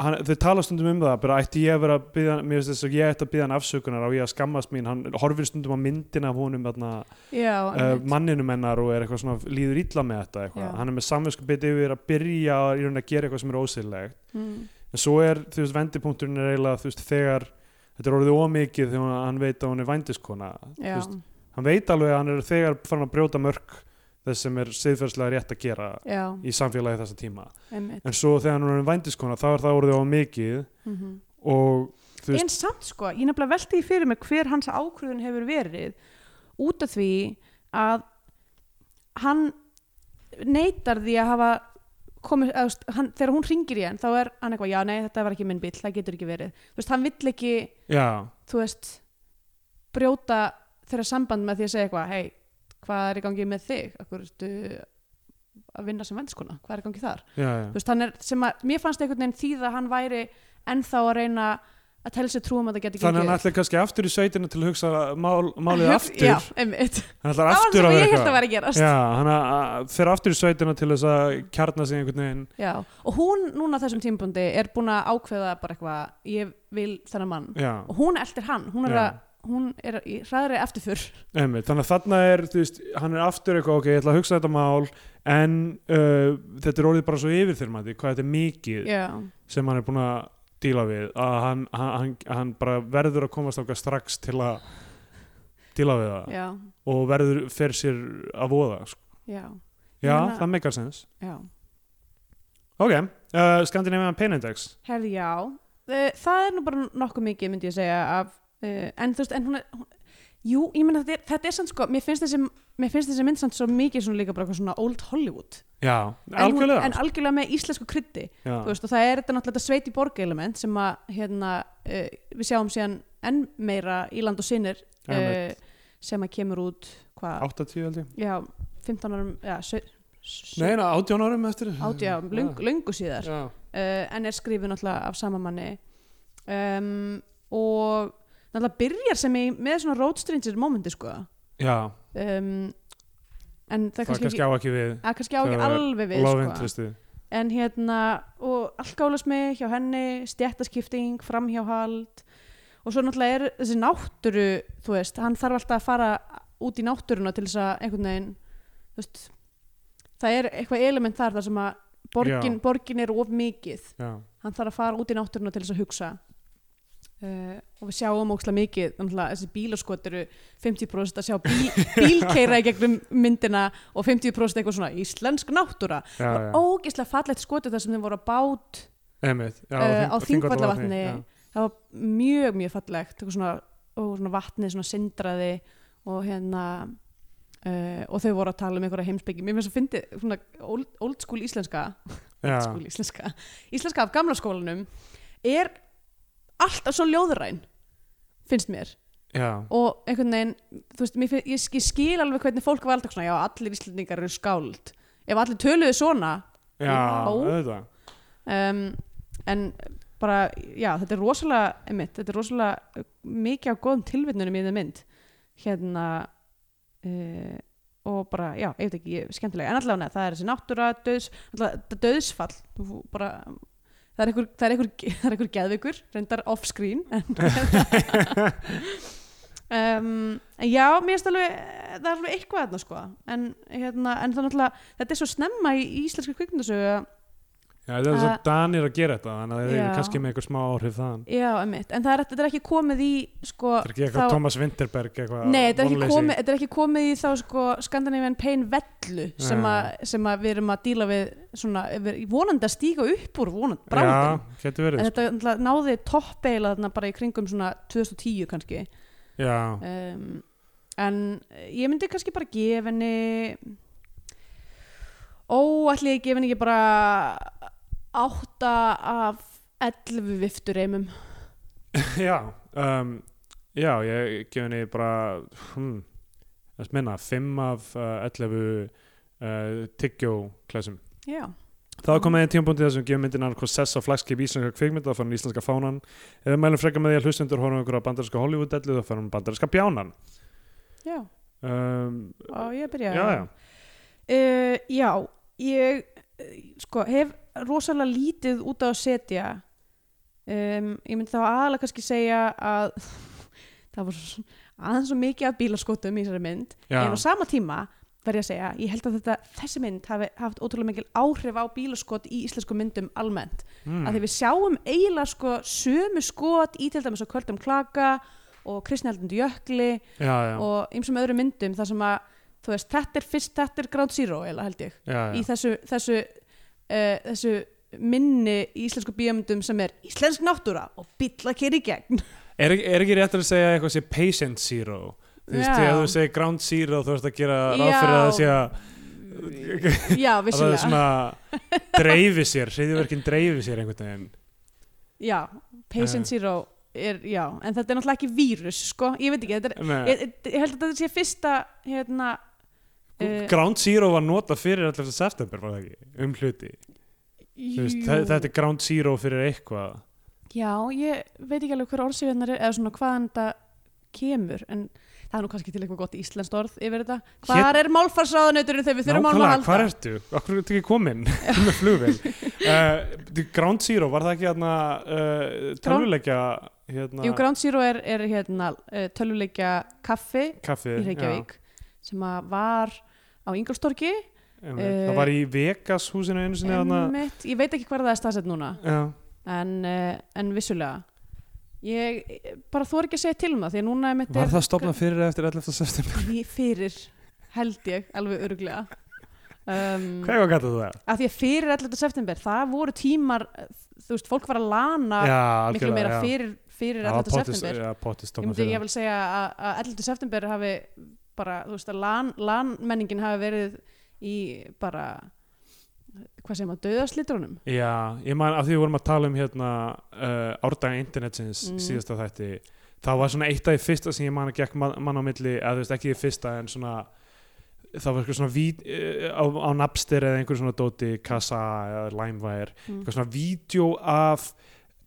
Speaker 3: hann, þau tala stundum um það bara ætti ég að vera að byggja, mér finnst þess að ég ætti að byggja hann afsökunar og ég að skammast mín hann horfir stundum á myndina af honum þarna
Speaker 2: Já,
Speaker 3: uh,
Speaker 2: einmitt.
Speaker 3: manninum hennar og er eitthvað svona líður illa með þetta eitthvað,
Speaker 2: Já.
Speaker 3: hann er með samvinsku biti yfir að byrja í rauninni að gera eitthvað sem er ósýrlegt
Speaker 2: mm.
Speaker 3: en svo er, þú veist, vendipunkturinn er eiginlega þú veist, þegar þetta er orðið ómikið þegar hún- hann veit að hún er vændiskona Þú
Speaker 2: já,
Speaker 3: veist, hann veit alveg að hann er þegar farin að brjóta mörg þess sem er siðferðslega rétt að gera
Speaker 2: já,
Speaker 3: í samfélagi þessa tíma
Speaker 2: einmitt
Speaker 3: en svo þegar hann er vændiskona þá er það orðið ómikið
Speaker 2: mm
Speaker 3: og þú veist,
Speaker 2: En samt sko, ég nefnilega velti því fyrir mig hver hans ákvörðun hefur verið út af því að hann neytar því að hafa komið, að, þú veist, hann, þegar hún ringir í hann þá er hann eitthvað, já nei þetta var ekki minn bíll það getur ekki verið, þú veist, hann vill ekki
Speaker 3: já,
Speaker 2: þú veist, brjóta þeirra samband með því að segja eitthvað hei, hvað er í gangi með þig akkur ertu að vinna sem vendskona hvað er í gangi þar,
Speaker 3: já,
Speaker 2: þú veist, hann er sem að mér fannst einhvern veginn því að hann væri ennþá að reyna að telja sér trúum að það
Speaker 3: já
Speaker 2: geti
Speaker 3: þannig að hann
Speaker 2: gengið
Speaker 3: ætlar kannski aftur í sveitina til að hugsa mál, málið
Speaker 2: Hugsa-
Speaker 3: aftur
Speaker 2: já, einmitt,
Speaker 3: hann
Speaker 2: það var
Speaker 3: ætlar aftur
Speaker 2: það sem
Speaker 3: að vera
Speaker 2: ég held að
Speaker 3: eitthvað
Speaker 2: vera að gerast
Speaker 3: Já, hann að- að- fer aftur í sveitina til þess að kjarna sig einhvern veginn
Speaker 2: Já. og hún núna á þessum tímabundi er búin að ákveða bara eitthvað ég vil þennan mann
Speaker 3: Já,
Speaker 2: og hún eldir hann, hún er,
Speaker 3: Já.
Speaker 2: að, hún er í hraðri eftirfur
Speaker 3: einmitt, þannig að þarna er þú veist, hann er aftur eitthvað, ok, ég ætla að hugsa þetta mál en uh, þetta er orðið bara svo yfirþyrmandi, hvað þetta er mikið
Speaker 2: Já,
Speaker 3: sem hann er búin að díla við að hann, hann, hann- hann bara verður að komast ákveð strax til að díla við það
Speaker 2: já,
Speaker 3: og verður fer sér að voða sko.
Speaker 2: já, Ég
Speaker 3: Já,
Speaker 2: meina-
Speaker 3: það meikar sens
Speaker 2: já.
Speaker 3: Ok, uh, Scandinavian Pain Index
Speaker 2: Herði já, uh, það er nú bara nokkuð mikið myndi ég segja af, uh, en þú veist en hún er, hún, jú, ég meina þetta er, þetta er samt sko mér finnst þessi, mér finnst þessi mynd samt svo mikið svona líka bara eitthvað svona old Hollywood
Speaker 3: já,
Speaker 2: en, hún,
Speaker 3: algjörlega
Speaker 2: en algjörlega með íslensku kryddi
Speaker 3: já,
Speaker 2: þú veist, og það er þetta náttúrulega þetta sveit í borg element sem að hérna, uh, við sjáum síðan enn meira í land og sinir uh,
Speaker 3: Einmitt.
Speaker 2: sem að kemur út hvað,
Speaker 3: 80 held ég
Speaker 2: já, 15 árum já, sau- sau-
Speaker 3: Nei, na, 18 árum eftir
Speaker 2: átján, já, löng, löngu síðar
Speaker 3: Já,
Speaker 2: uh, en er skrifið náttúrulega af sama manni um, og náttúrulega byrjar sem í með svona road stranger momenti sko um,
Speaker 3: já
Speaker 2: en það,
Speaker 3: það kannski,
Speaker 2: kannski,
Speaker 3: á ekki við
Speaker 2: að kannski á ekki
Speaker 3: það er
Speaker 2: alveg við sko.
Speaker 3: Love interesti
Speaker 2: en hérna og allgálasmi hjá henni stjættaskipting, framhjáhald og svo náttúrulega er þessi náttúru þú veist, hann þarf alltaf að fara út í náttúruna til þess að einhvern veginn þú veist, það er eitthvað element þar þar sem að borgin,
Speaker 3: Já.
Speaker 2: borgin er of mikið
Speaker 3: Já,
Speaker 2: hann þarf að fara út í náttúruna til þess að hugsa uh, og við sjáum ókslega mikið náttúrulega þessi bílaskot eru 50% að sjá bíl, bílkeira í gegnum myndina og 50% eitthvað svona íslensk náttúra
Speaker 3: já,
Speaker 2: og
Speaker 3: já
Speaker 2: ógeðslega fallegt skotu þar sem þeim voru á bát
Speaker 3: Einmitt, já,
Speaker 2: Eh, á
Speaker 3: Þing- Þingvallavatni,
Speaker 2: Þingvallavatni.
Speaker 3: já.
Speaker 2: það var mjög mjög fallegt eitthvað svona, og svona vatnið svona sindraði og hérna uh, og þau voru að tala um einhverja heimsbyggi mér finnst að fyndi svona old, old school íslenska
Speaker 3: Já.
Speaker 2: skúli íslenska íslenska af gamla skólanum er alltaf svo ljóðræn finnst mér
Speaker 3: Já,
Speaker 2: og einhvern veginn, þú veist, mér finn, ég, ég skil alveg hvernig fólk var alltaf svona, já, allir íslendingar eru skáld ef allir töluðu svona
Speaker 3: já,
Speaker 2: Já.
Speaker 3: auðvitað
Speaker 2: um, en bara, já, þetta er rosalega einmitt, þetta er rosalega mikið á góðum tilvittnunum í það mynd hérna uh, og bara, já, ég veit ekki, ég- skemmtilega en allavega, það er þessi náttúra, döðs allavega, þetta döðsfall, þú bara það er einhver, það er einhver, það er einhver geðveikur reyndar off-screen en Um, en já, mér finnst alveg það er alveg eitthvað þarna sko en, hérna, en það náttúrulega, þetta er svo snemma í í íslenskri kvikmyndasögu að
Speaker 3: Já, það er þess að
Speaker 2: Að-
Speaker 3: Danir að gera þetta þannig að þeir eru
Speaker 2: Eh. Já.
Speaker 3: kannski með einhver smá áhrif þann
Speaker 2: Já, einmitt, en það er, þetta er ekki komið í sko,
Speaker 3: Það er ekki eitthvað
Speaker 2: þá-
Speaker 3: Thomas Winterberg eitthvað
Speaker 2: Nei, þetta er, ekki
Speaker 3: vonleysi.
Speaker 2: komið, þetta er ekki komið í þá sko, Scandinavian Pain vellu sem,
Speaker 3: Nei.
Speaker 2: að, sem að við erum að díla við svona, við, vonandi að stíga upp úr vonandi, bráðum
Speaker 3: Já, getur verið sko.
Speaker 2: En
Speaker 3: þetta...
Speaker 2: þetta náttúrulega náði toppeila þarna bara í kringum svona 2010 kannski
Speaker 3: Já,
Speaker 2: um, En ég myndi kannski bara gefa henni Ó, ætli ég gefa henni ekki bara 8 af 11 viftureimum
Speaker 3: já um, Já, ég gef henni bara hmm, þess minna, 5 af uh, 11 uh, tyggjó klessum
Speaker 2: Já
Speaker 3: Það kom með einn tímpúndi þessum gefum myndin annað hvað sess á flagskip íslenska kvikmynda þá fær hann íslenska fánan ef við mælum frekar með því að hlustendur horfum ykkur á bandarinska Hollywood-dellu þá fær hann bandarinska bjánan
Speaker 2: Já,
Speaker 3: um,
Speaker 2: og ég byrja
Speaker 3: Já, já,
Speaker 2: Uh, já, ég uh, sko, hef rosalega lítið út á að setja um, ég myndi þá aðalega kannski segja að það var svo- aðeins svo mikið af bílaskotum í þessari mynd
Speaker 3: já.
Speaker 2: en á sama tíma verð ég að segja, ég held að þetta, þessi mynd hafi haft ótrúlega mikil áhrif á bílaskot í íslensku myndum almennt
Speaker 3: Mm.
Speaker 2: að því við sjáum eiginlega sko sömu skot í til dæmis á kvöldum klaka og kristnældundu jökli
Speaker 3: já, já,
Speaker 2: og ymsum öðrum myndum þar sem að þú veist, þetta er fyrst, þetta er Ground Zero eiginlega held ég,
Speaker 3: já, já.
Speaker 2: í þessu þessu, uh, þessu minni í íslensku bíómyndum sem er íslensk náttúra og bíll að kera í gegn
Speaker 3: Er, ekki- er ekki rétt að segja eitthvað sé patient zero þú veist,
Speaker 2: Já.
Speaker 3: þegar þú segir ground zero þú veist að gera ráð
Speaker 2: Já.
Speaker 3: fyrir að það sé að
Speaker 2: já,
Speaker 3: að það
Speaker 2: vissulega
Speaker 3: er svona dreifi sér, hriðjverkin dreifi sér einhvern veginn
Speaker 2: já, Patient
Speaker 3: Eh.
Speaker 2: Zero er, já, en þetta er náttúrulega ekki vírus sko, ég veit ekki, þetta er
Speaker 3: Nei,
Speaker 2: ég, ég held að þetta sé fyrsta hérna eh,
Speaker 3: ground zero var nota fyrir allir september, var það ekki, um hluti Þú veist,
Speaker 2: jú.
Speaker 3: þe- þetta er ground zero fyrir eitthvað
Speaker 2: Já, ég veit ekki alveg hver orðsifjarnar er eða svona hvaðan þetta kemur en það er nú kannski til eitthvað gott íslenskt orð yfir þetta. Hvar er málfarsráðanauturinn þegar við þurfum á honum að halda?
Speaker 3: Nákvæmlega, hvað ertu? Akkur er þetta ekki komin með flugvél uh, Ground Zero, var það ekki hérna uh, tölvuleikja hérna,
Speaker 2: Jú, Ground Zero er, er hérna eh, tölvuleikja kaffi
Speaker 3: kaffi
Speaker 2: í Reykjavík sem að var á Ingolstorki
Speaker 3: Einmitt.
Speaker 2: Eh,
Speaker 3: Það var í Vegas húsinu einu sinni þarna
Speaker 2: Einmitt. ég veit ekki hvar það er staðsett núna
Speaker 3: Já,
Speaker 2: en, eh, en vissulega ég eh, bara þor ekki að segja til um það því að núna einmitt er
Speaker 3: stofnað fyrir eða eftir 11. september?
Speaker 2: fyrir held ég alveg örglega um,
Speaker 3: Hvað er að kalla það?
Speaker 2: að því að fyrir 11. september það voru tímar, eh, þú veist, fólk var að lana
Speaker 3: Já,
Speaker 2: miklu
Speaker 3: algjörlega,
Speaker 2: meira
Speaker 3: já.
Speaker 2: fyrir, fyrir
Speaker 3: Já,
Speaker 2: 11.
Speaker 3: Pottis-
Speaker 2: september
Speaker 3: Já, pottis
Speaker 2: ég
Speaker 3: tóma
Speaker 2: myndi
Speaker 3: fyrir
Speaker 2: ég vil segja að, að 11. september hafi bara, þú veist, að lan, lanmenningin hafi verið í bara hvað sem að döðaslitrunum
Speaker 3: Já, ég man af því við vorum að tala um hérna uh, árdaga internetsins
Speaker 2: Mm.
Speaker 3: síðasta þætti það var svona eitt af því fyrsta sem ég man að gekk man, mann á milli, eða þú veist ekki því fyrsta en svona það var eitthvað svona ví, uh, á, á Napster eða einhver svona dóti, Kassa eða Limewire,
Speaker 2: Mm.
Speaker 3: eitthvað svona vídeo af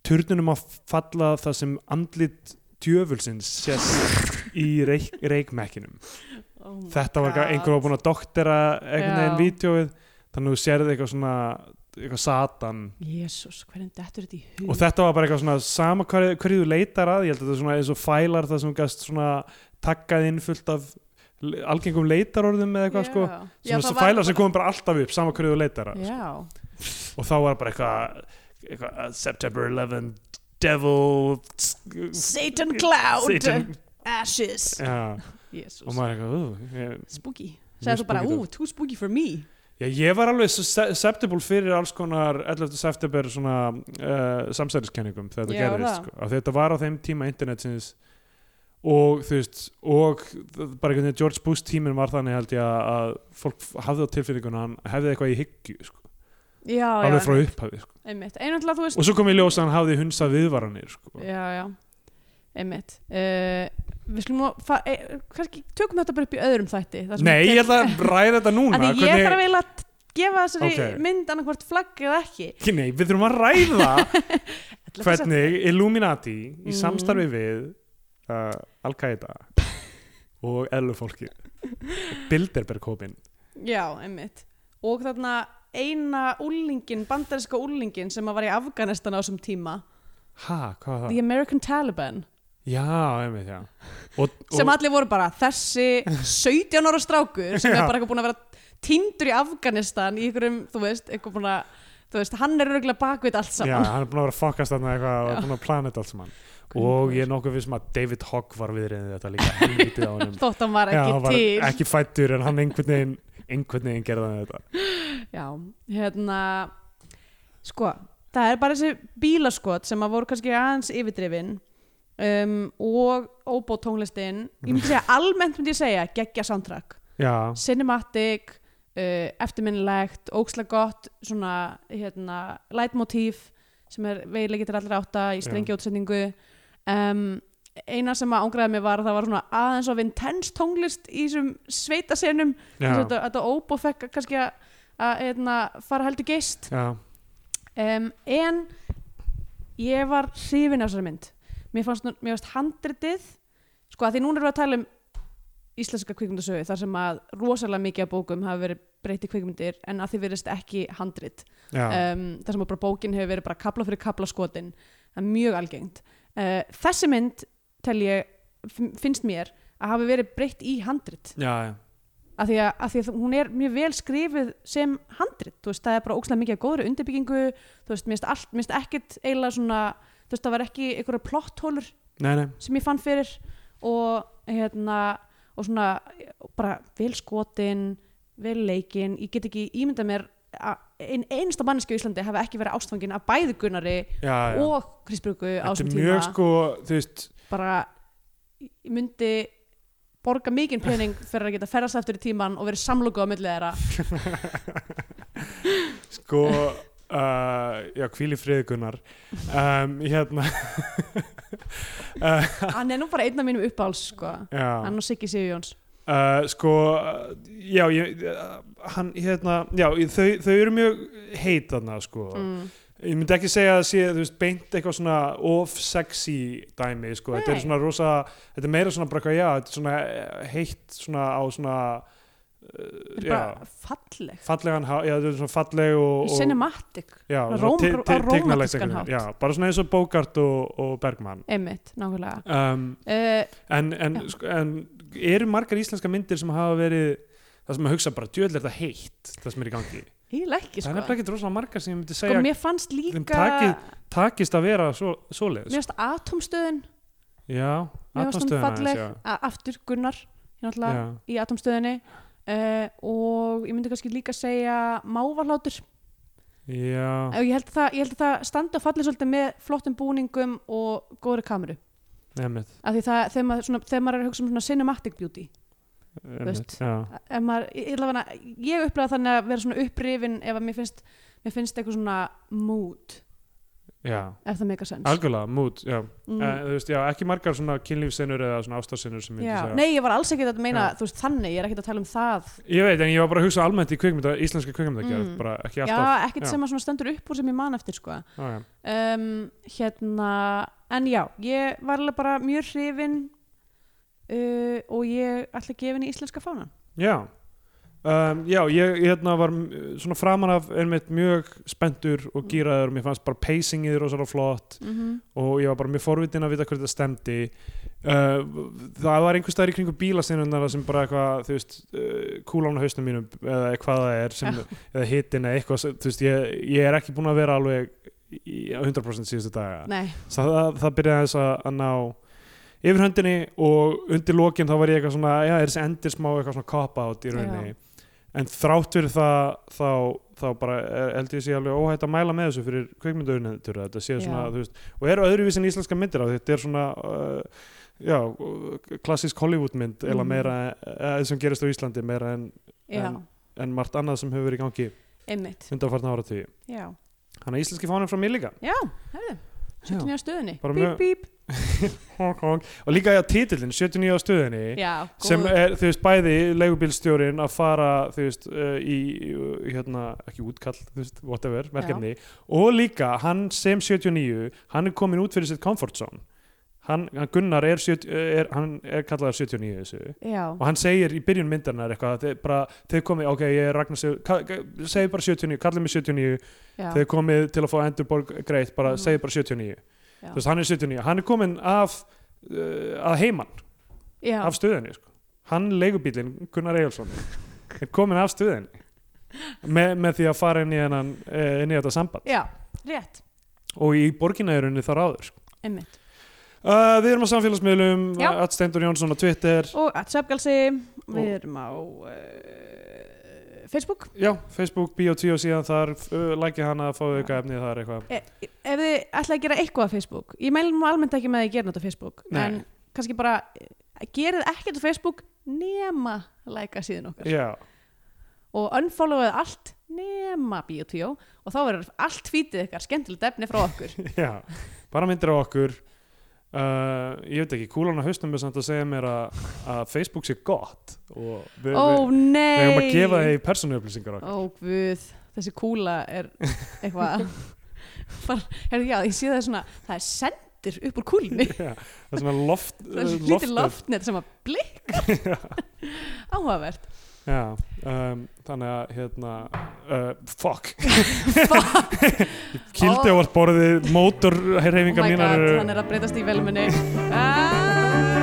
Speaker 3: turnunum að falla það sem andlit djöfulsins sést í reik, reikmekkinum
Speaker 2: oh
Speaker 3: þetta var eitthvað einhver var búinn að doktera einhvern veginn
Speaker 2: Já.
Speaker 3: vídeoið þannig að þú sérði eitthvað svona eitthvað satan
Speaker 2: Jésús, hvernig dettur þetta í hug
Speaker 3: og þetta var bara eitthvað svona sama hverju, hverju þú leitar að, ég held að þetta er svona eins og fælar það sem þú gast svona takkað inn fullt af le- algengum leitarorðum eða eitthvað sko
Speaker 2: Já,
Speaker 3: svona
Speaker 2: það
Speaker 3: þessi
Speaker 2: var
Speaker 3: fælar
Speaker 2: bara-
Speaker 3: sem komum bara alltaf upp sama hverju þú leitar að sko.
Speaker 2: Já,
Speaker 3: og þá var bara eitthvað, eitthvað uh, September 11 Devil
Speaker 2: Satan Cloud
Speaker 3: Satan
Speaker 2: Ashes
Speaker 3: Já, og
Speaker 2: Jésús,
Speaker 3: maður eitthvað uh, ég,
Speaker 2: spooky
Speaker 3: Mjög
Speaker 2: Sæði þú bara,
Speaker 3: spooky
Speaker 2: ú, too spooky for me
Speaker 3: Já, ég var alveg susceptible fyrir alls konar 11. september svona uh, samsæðiskenningum þegar þetta
Speaker 2: Já,
Speaker 3: gerðist
Speaker 2: það.
Speaker 3: sko. af því þetta var á þeim tíma internetsins og þú veist og þ- bara einhvern veginn George Bush tíminn var þannig held ég að- að fólk f- hafði á tilfinninguna að hann hefði eitthvað í hyggju sko.
Speaker 2: Já,
Speaker 3: alveg frá
Speaker 2: já,
Speaker 3: upphafi sko.
Speaker 2: einmitt Einhvernlega þú veist
Speaker 3: og svo kom ég ljósa að hann hafði hunsað viðvaranir sko.
Speaker 2: já, já, einmitt uh, við skulum nú fa- eh, kannski tökum þetta bara upp í öðrum þætti þar sem
Speaker 3: Nei, ég ætla að ræða þetta núna
Speaker 2: að því ég þarf eiginlega að gefa þessari
Speaker 3: Ókei.
Speaker 2: mynd annarkvort flagg eða ekki
Speaker 3: Ekki, Nei, við þurfum að ræða
Speaker 2: Ætla þess að-
Speaker 3: hvernig Illuminati í
Speaker 2: Mm.
Speaker 3: samstarfi við uh, Al-Qaida og eðlufólki Bilderberg-hópin
Speaker 2: já, einmitt og þarna eina úlingin, bandarinska úlingin sem að var í Afganistan á þessum tíma
Speaker 3: ha, hvað var
Speaker 2: The
Speaker 3: það?
Speaker 2: American Taliban
Speaker 3: Já, einmitt, já og, og,
Speaker 2: sem allir voru bara þessi 17 ára strákur sem er bara eitthvað búin að vera tindur í Afganistan í einhverjum, þú veist, eitthvað búin að þú veist, hann er rauglega bakvið allt
Speaker 3: Já,
Speaker 2: saman
Speaker 3: hann er búin að vera að fokkast þarna eitthvað og búin að plana þetta allt saman og ég er nokkuð vissum að David Hogg var viðriðin þetta líka helvítið á honum
Speaker 2: þótt hann var
Speaker 3: Já,
Speaker 2: ekki
Speaker 3: hann var
Speaker 2: til
Speaker 3: ekki fættur en hann einhvern veginn einhvern veginn gerði hann þetta
Speaker 2: Já, hérna sko, það er bara þessi bílaskot sem að voru kannski aðeins yfirdrifin um, og óbóð tónlistin ég myndi segja, almennt myndi ég segja geggja soundtrack,
Speaker 3: Já,
Speaker 2: cinematic uh, eftirminnilegt, óksla gott svona, hérna, leitmotíf sem er veilegið til allra átta í strengi útsendingu um, eina sem að ángraði mig var að það var svona aðeins of intense tónlist í þessum sveitasenum
Speaker 3: já,
Speaker 2: Þess að þetta, þetta óbúð fekk kannski að, að hérna, fara heldur geist
Speaker 3: já
Speaker 2: um, en ég var hrifin af þessari mynd mér fannst, nú- mér fannst handritið sko að því núna erum við að tala um íslenska kvikmyndasögu þar sem að rosalega mikið af bókum hafa verið breytt í kvikmyndir en að því verðist ekki handrit
Speaker 3: já,
Speaker 2: um, þar sem að bara bókin hefur verið bara kapla fyrir kapla skotin það er mjög algengt uh, þessi mynd tel ég finnst mér að hafi verið breytt í handrit
Speaker 3: já, já.
Speaker 2: af því að, að, því að hún er mjög vel skrifuð sem handrit, þú veist, það er bara ókslega mikið af góðri undirbyggingu, þú veist, minnst allt, minnst ekkert eiginlega svona, þú veist, það var ekki einhverja plotthólur
Speaker 3: Nei, nei,
Speaker 2: sem ég fann fyrir og hérna, og svona bara vel skotin, vel leikin, ég get ekki ímyndað mér að ein, einsta manneski á Íslandi hafi ekki verið ástfangin af bæði Gunnari
Speaker 3: já, já
Speaker 2: og Krisbrugu á
Speaker 3: Þetta
Speaker 2: þessum
Speaker 3: er
Speaker 2: tíma
Speaker 3: mjög sko, þú veist
Speaker 2: bara ég myndi borga mikinn pening fyrir að geta ferðast eftir í tíman og verið samloku á milli þeirra
Speaker 3: sko uh, já, hvíli friðgunar um, hérna
Speaker 2: hann er nú bara einn af mínum uppáhals sko.
Speaker 3: já,
Speaker 2: hann og Siggi Sigjóns
Speaker 3: uh, sko uh, já, ég, uh, hann hérna, já, ég- þau, þau eru mjög heit þarna, sko
Speaker 2: mm.
Speaker 3: ég myndi ekki segja að sé, þú veist, beint eitthvað svona off-sexy dæmi, sko þetta
Speaker 2: Nei.
Speaker 3: er svona rosa, þetta er meira svona bara eitthvað, já, þetta er svona eh, heitt svona á svona uh,
Speaker 2: er
Speaker 3: já,
Speaker 2: bara falleg
Speaker 3: fallegan, há- já, þetta er svona falleg og, og
Speaker 2: cinematic,
Speaker 3: já,
Speaker 2: Róm-
Speaker 3: svona te- te-
Speaker 2: á rómantískan
Speaker 3: teiknalegt einhvern veginn.
Speaker 2: hátt.
Speaker 3: já, bara svona eins og Bogart og, og Bergman
Speaker 2: einmitt, nákvæmlega
Speaker 3: um,
Speaker 2: uh,
Speaker 3: en, en,
Speaker 2: Já.
Speaker 3: sko, en eru margar íslenska myndir sem hafa verið það sem að hugsa bara, djöðlega er þetta heitt það sem er í gangi,
Speaker 2: ég lækki
Speaker 3: það er
Speaker 2: sko.
Speaker 3: nefnilega ekki rosalega margar sem ég myndi
Speaker 2: sko
Speaker 3: segja
Speaker 2: mér fannst líka
Speaker 3: Þeim takið- takist að vera svo,
Speaker 2: mér
Speaker 3: svoleiðis
Speaker 2: fannst atomstöðun
Speaker 3: já,
Speaker 2: mér fannst hún
Speaker 3: atómstöðuna
Speaker 2: falleg
Speaker 3: já.
Speaker 2: hérna A- aftur Gunnar ég náttúrulega
Speaker 3: Já.
Speaker 2: í atomstöðunni uh, og ég myndi kannski líka segja mávarlátur
Speaker 3: já,
Speaker 2: og ég held að það, ég held að það standa og falli svolítið með flottum búningum og góðri kameru
Speaker 3: emmitt
Speaker 2: af því það, þegar maður, svona, þegar maður er að hugsa um svona cinematic beauty veist.
Speaker 3: emmitt, já,
Speaker 2: ef maður, ég, ég, allavega- ég upplega þannig að vera svona upprifin ef að mér finnst, mér finnst eitthvað svona mood,
Speaker 3: já
Speaker 2: ef það meika sens
Speaker 3: algjörlega, mút, já
Speaker 2: Mm.
Speaker 3: Eh, þú veist, já, ekki margar svona kynlífsinnur eða svona ástarsinnur sem ég myndi
Speaker 2: Já.
Speaker 3: segja
Speaker 2: Nei, ég var alls ekki að meina
Speaker 3: Já.
Speaker 2: þú veist, þannig, ég er ekki að tala um það
Speaker 3: Ég veit, en ég var bara að hugsa almennt í kvikmynda, íslenska kvikmynda
Speaker 2: Mm.
Speaker 3: bara ekki
Speaker 2: Já,
Speaker 3: alltaf
Speaker 2: ekkert
Speaker 3: já.
Speaker 2: sem að svona stendur upp úr sem ég man eftir sko.
Speaker 3: Já, já.
Speaker 2: um, Hérna, en já ég var alveg bara mjög hrifin uh, og ég ætla að gefa henni íslenska fánan
Speaker 3: Já, um, já ég ég hérna var m- svona framan af einmitt mjög spenntur og gýraður mér fannst bara pacingið rosalega flott
Speaker 2: mm -hmm.
Speaker 3: og ég var bara mjög forvitin að vita hvernig þetta stemdi uh, það var einhver staðar í kringu bílasinnunar sem bara eitthvað, þú veist uh, kúlan á hausnum mínum eða hvað það er sem, eða hitin eða eitthvað, sem- þú veist ég, ég er ekki búin að vera alveg í- á 100% síðustu daga
Speaker 2: Nei,
Speaker 3: Svo það, það byrjaði aðeins að, að ná yfir höndinni og undir lokin þá var ég eitthvað svona, já, er þessi endir smá eitthvað svona cop-out í rauninni en þrátt fyrir það þá, þá bara er- held ég sé alveg óhætt að mæla með þessu fyrir kveikmyndaunendur þetta sé svona,
Speaker 2: Já.
Speaker 3: þú veist, og eru öðruvísin íslenska myndir á því, þetta er svona uh, já, uh, klassísk Hollywood mynd eða
Speaker 2: Mhm.
Speaker 3: meira, eða sem gerist á Íslandi meira en,
Speaker 2: já,
Speaker 3: En- en margt annað sem hefur verið í gangi
Speaker 2: einmitt
Speaker 3: undanfarna áratíu
Speaker 2: Já,
Speaker 3: hann er íslenski fánum frá mér líka
Speaker 2: já, herðu, 79 á stöðunni
Speaker 3: Bara
Speaker 2: Bíp,
Speaker 3: mjög-
Speaker 2: bíp,
Speaker 3: Honk, honk. og líka já, titillin, 79 á stöðinni
Speaker 2: já, góð
Speaker 3: sem er, þú veist, bæði leigubílstjórin að fara, þú veist, uh, í, í, hérna, ekki útkall, þú veist, whatever, verkefni, og líka hann sem 79, hann er komin út fyrir sitt comfort zone. Hann, hann Gunnar er, 70, er, hann er kallaður 79 í þessu
Speaker 2: Já,
Speaker 3: og hann segir í byrjun myndarinnar eitthvað, þeir bara, þeir komið, ok, ég er Ragnar, Sig- ka- ka- segir bara 79, kallið mig 79,
Speaker 2: já,
Speaker 3: þeir komið til að fá endurborg greitt, bara
Speaker 2: Mhm.
Speaker 3: segir bara 79.
Speaker 2: Já.
Speaker 3: Þú veist, hann er 79, hann er komin af, uh, að heiman
Speaker 2: já,
Speaker 3: af stöðinni sko. hann leigubílinn Gunnar Egilson er komin af stöðinni Me, með því að fara inn í, hennan, eh, inn í þetta samband
Speaker 2: já, rétt,
Speaker 3: og í borginæðurunni þar áður sko.
Speaker 2: einmitt
Speaker 3: uh, við erum á samfélagsmiðlum
Speaker 2: Já.
Speaker 3: að Steindur Jónsson á Twitter
Speaker 2: Og að söpgalsi, við
Speaker 3: Og-
Speaker 2: erum á uh, Facebook
Speaker 3: já, Facebook, B.O.T. og síðan þar uh, lækja hana að fá auka efnið þar eitthvað
Speaker 2: E- ef þið ætlaði að gera eitthvað á Facebook ég mæli nú almennt ekki með að ég gera nátt á Facebook
Speaker 3: Nei.
Speaker 2: en kannski bara eh, gerið ekkert á Facebook nema læka síðan okkar
Speaker 3: já,
Speaker 2: og unfollowið allt nema Biotvíó og þá verður allt fítið ykkar skemmtilegt efni frá okkur
Speaker 3: já, bara myndir á okkur uh, ég veit ekki, kúlan á hausnum er samt að segja mér að, að Facebook sé gott og við,
Speaker 2: ó
Speaker 3: við, við
Speaker 2: nei
Speaker 3: erum að gefa þeir persónuöflýsingar okkar
Speaker 2: ó guð, þessi kúla er eitthvað Bara, heyrðu, já, ég sé það svona, það er sendir upp úr kúlinni
Speaker 3: Já, það sem er loft,
Speaker 2: það er svona
Speaker 3: loft,
Speaker 2: lítið loftnet sem að blikkar áhugavert
Speaker 3: Já, um, þannig að hérna, uh, fuck kildi á allt borðið mótorhreifingar
Speaker 2: oh my
Speaker 3: mínar
Speaker 2: god,
Speaker 3: eru
Speaker 2: hann er að breytast í velmenni ah!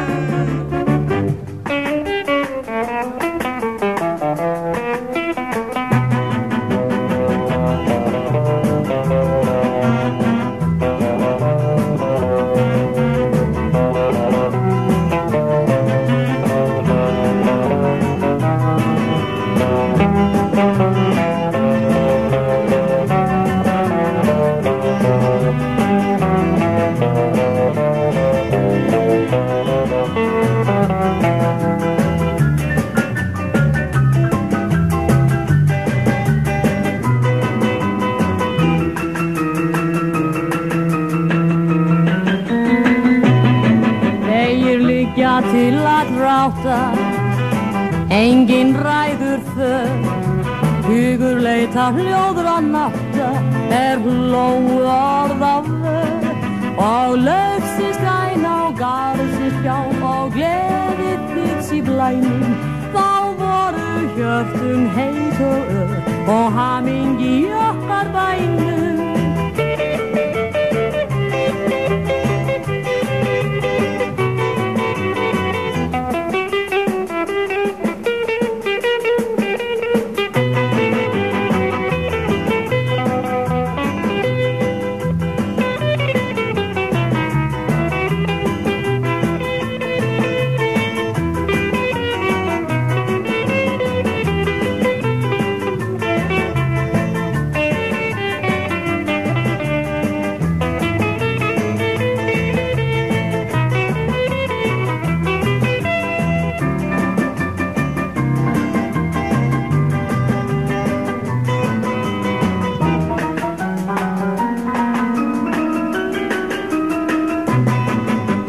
Speaker 4: Vegir liggja til að ráta Engin ræður þau Hugur leita hljóður að nátta Er hlóð orð á þau Og lögsins græn á garðsins fjá Og gleði þitt í blænum Þá voru hjörtum heit og öð Og hamingi okkar bænum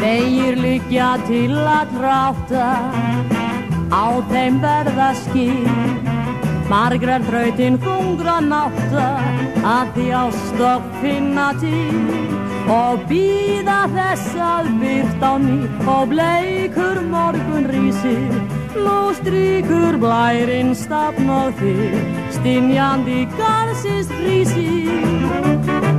Speaker 4: hana til að dráta á þeim verða skýr margrar þrautin þungra nátta að því ástokk finna til og býða þess að byrt á ný og bleikur morgun rísir nú stríkur blærinn stafn og þig stinjandi garðsins frísir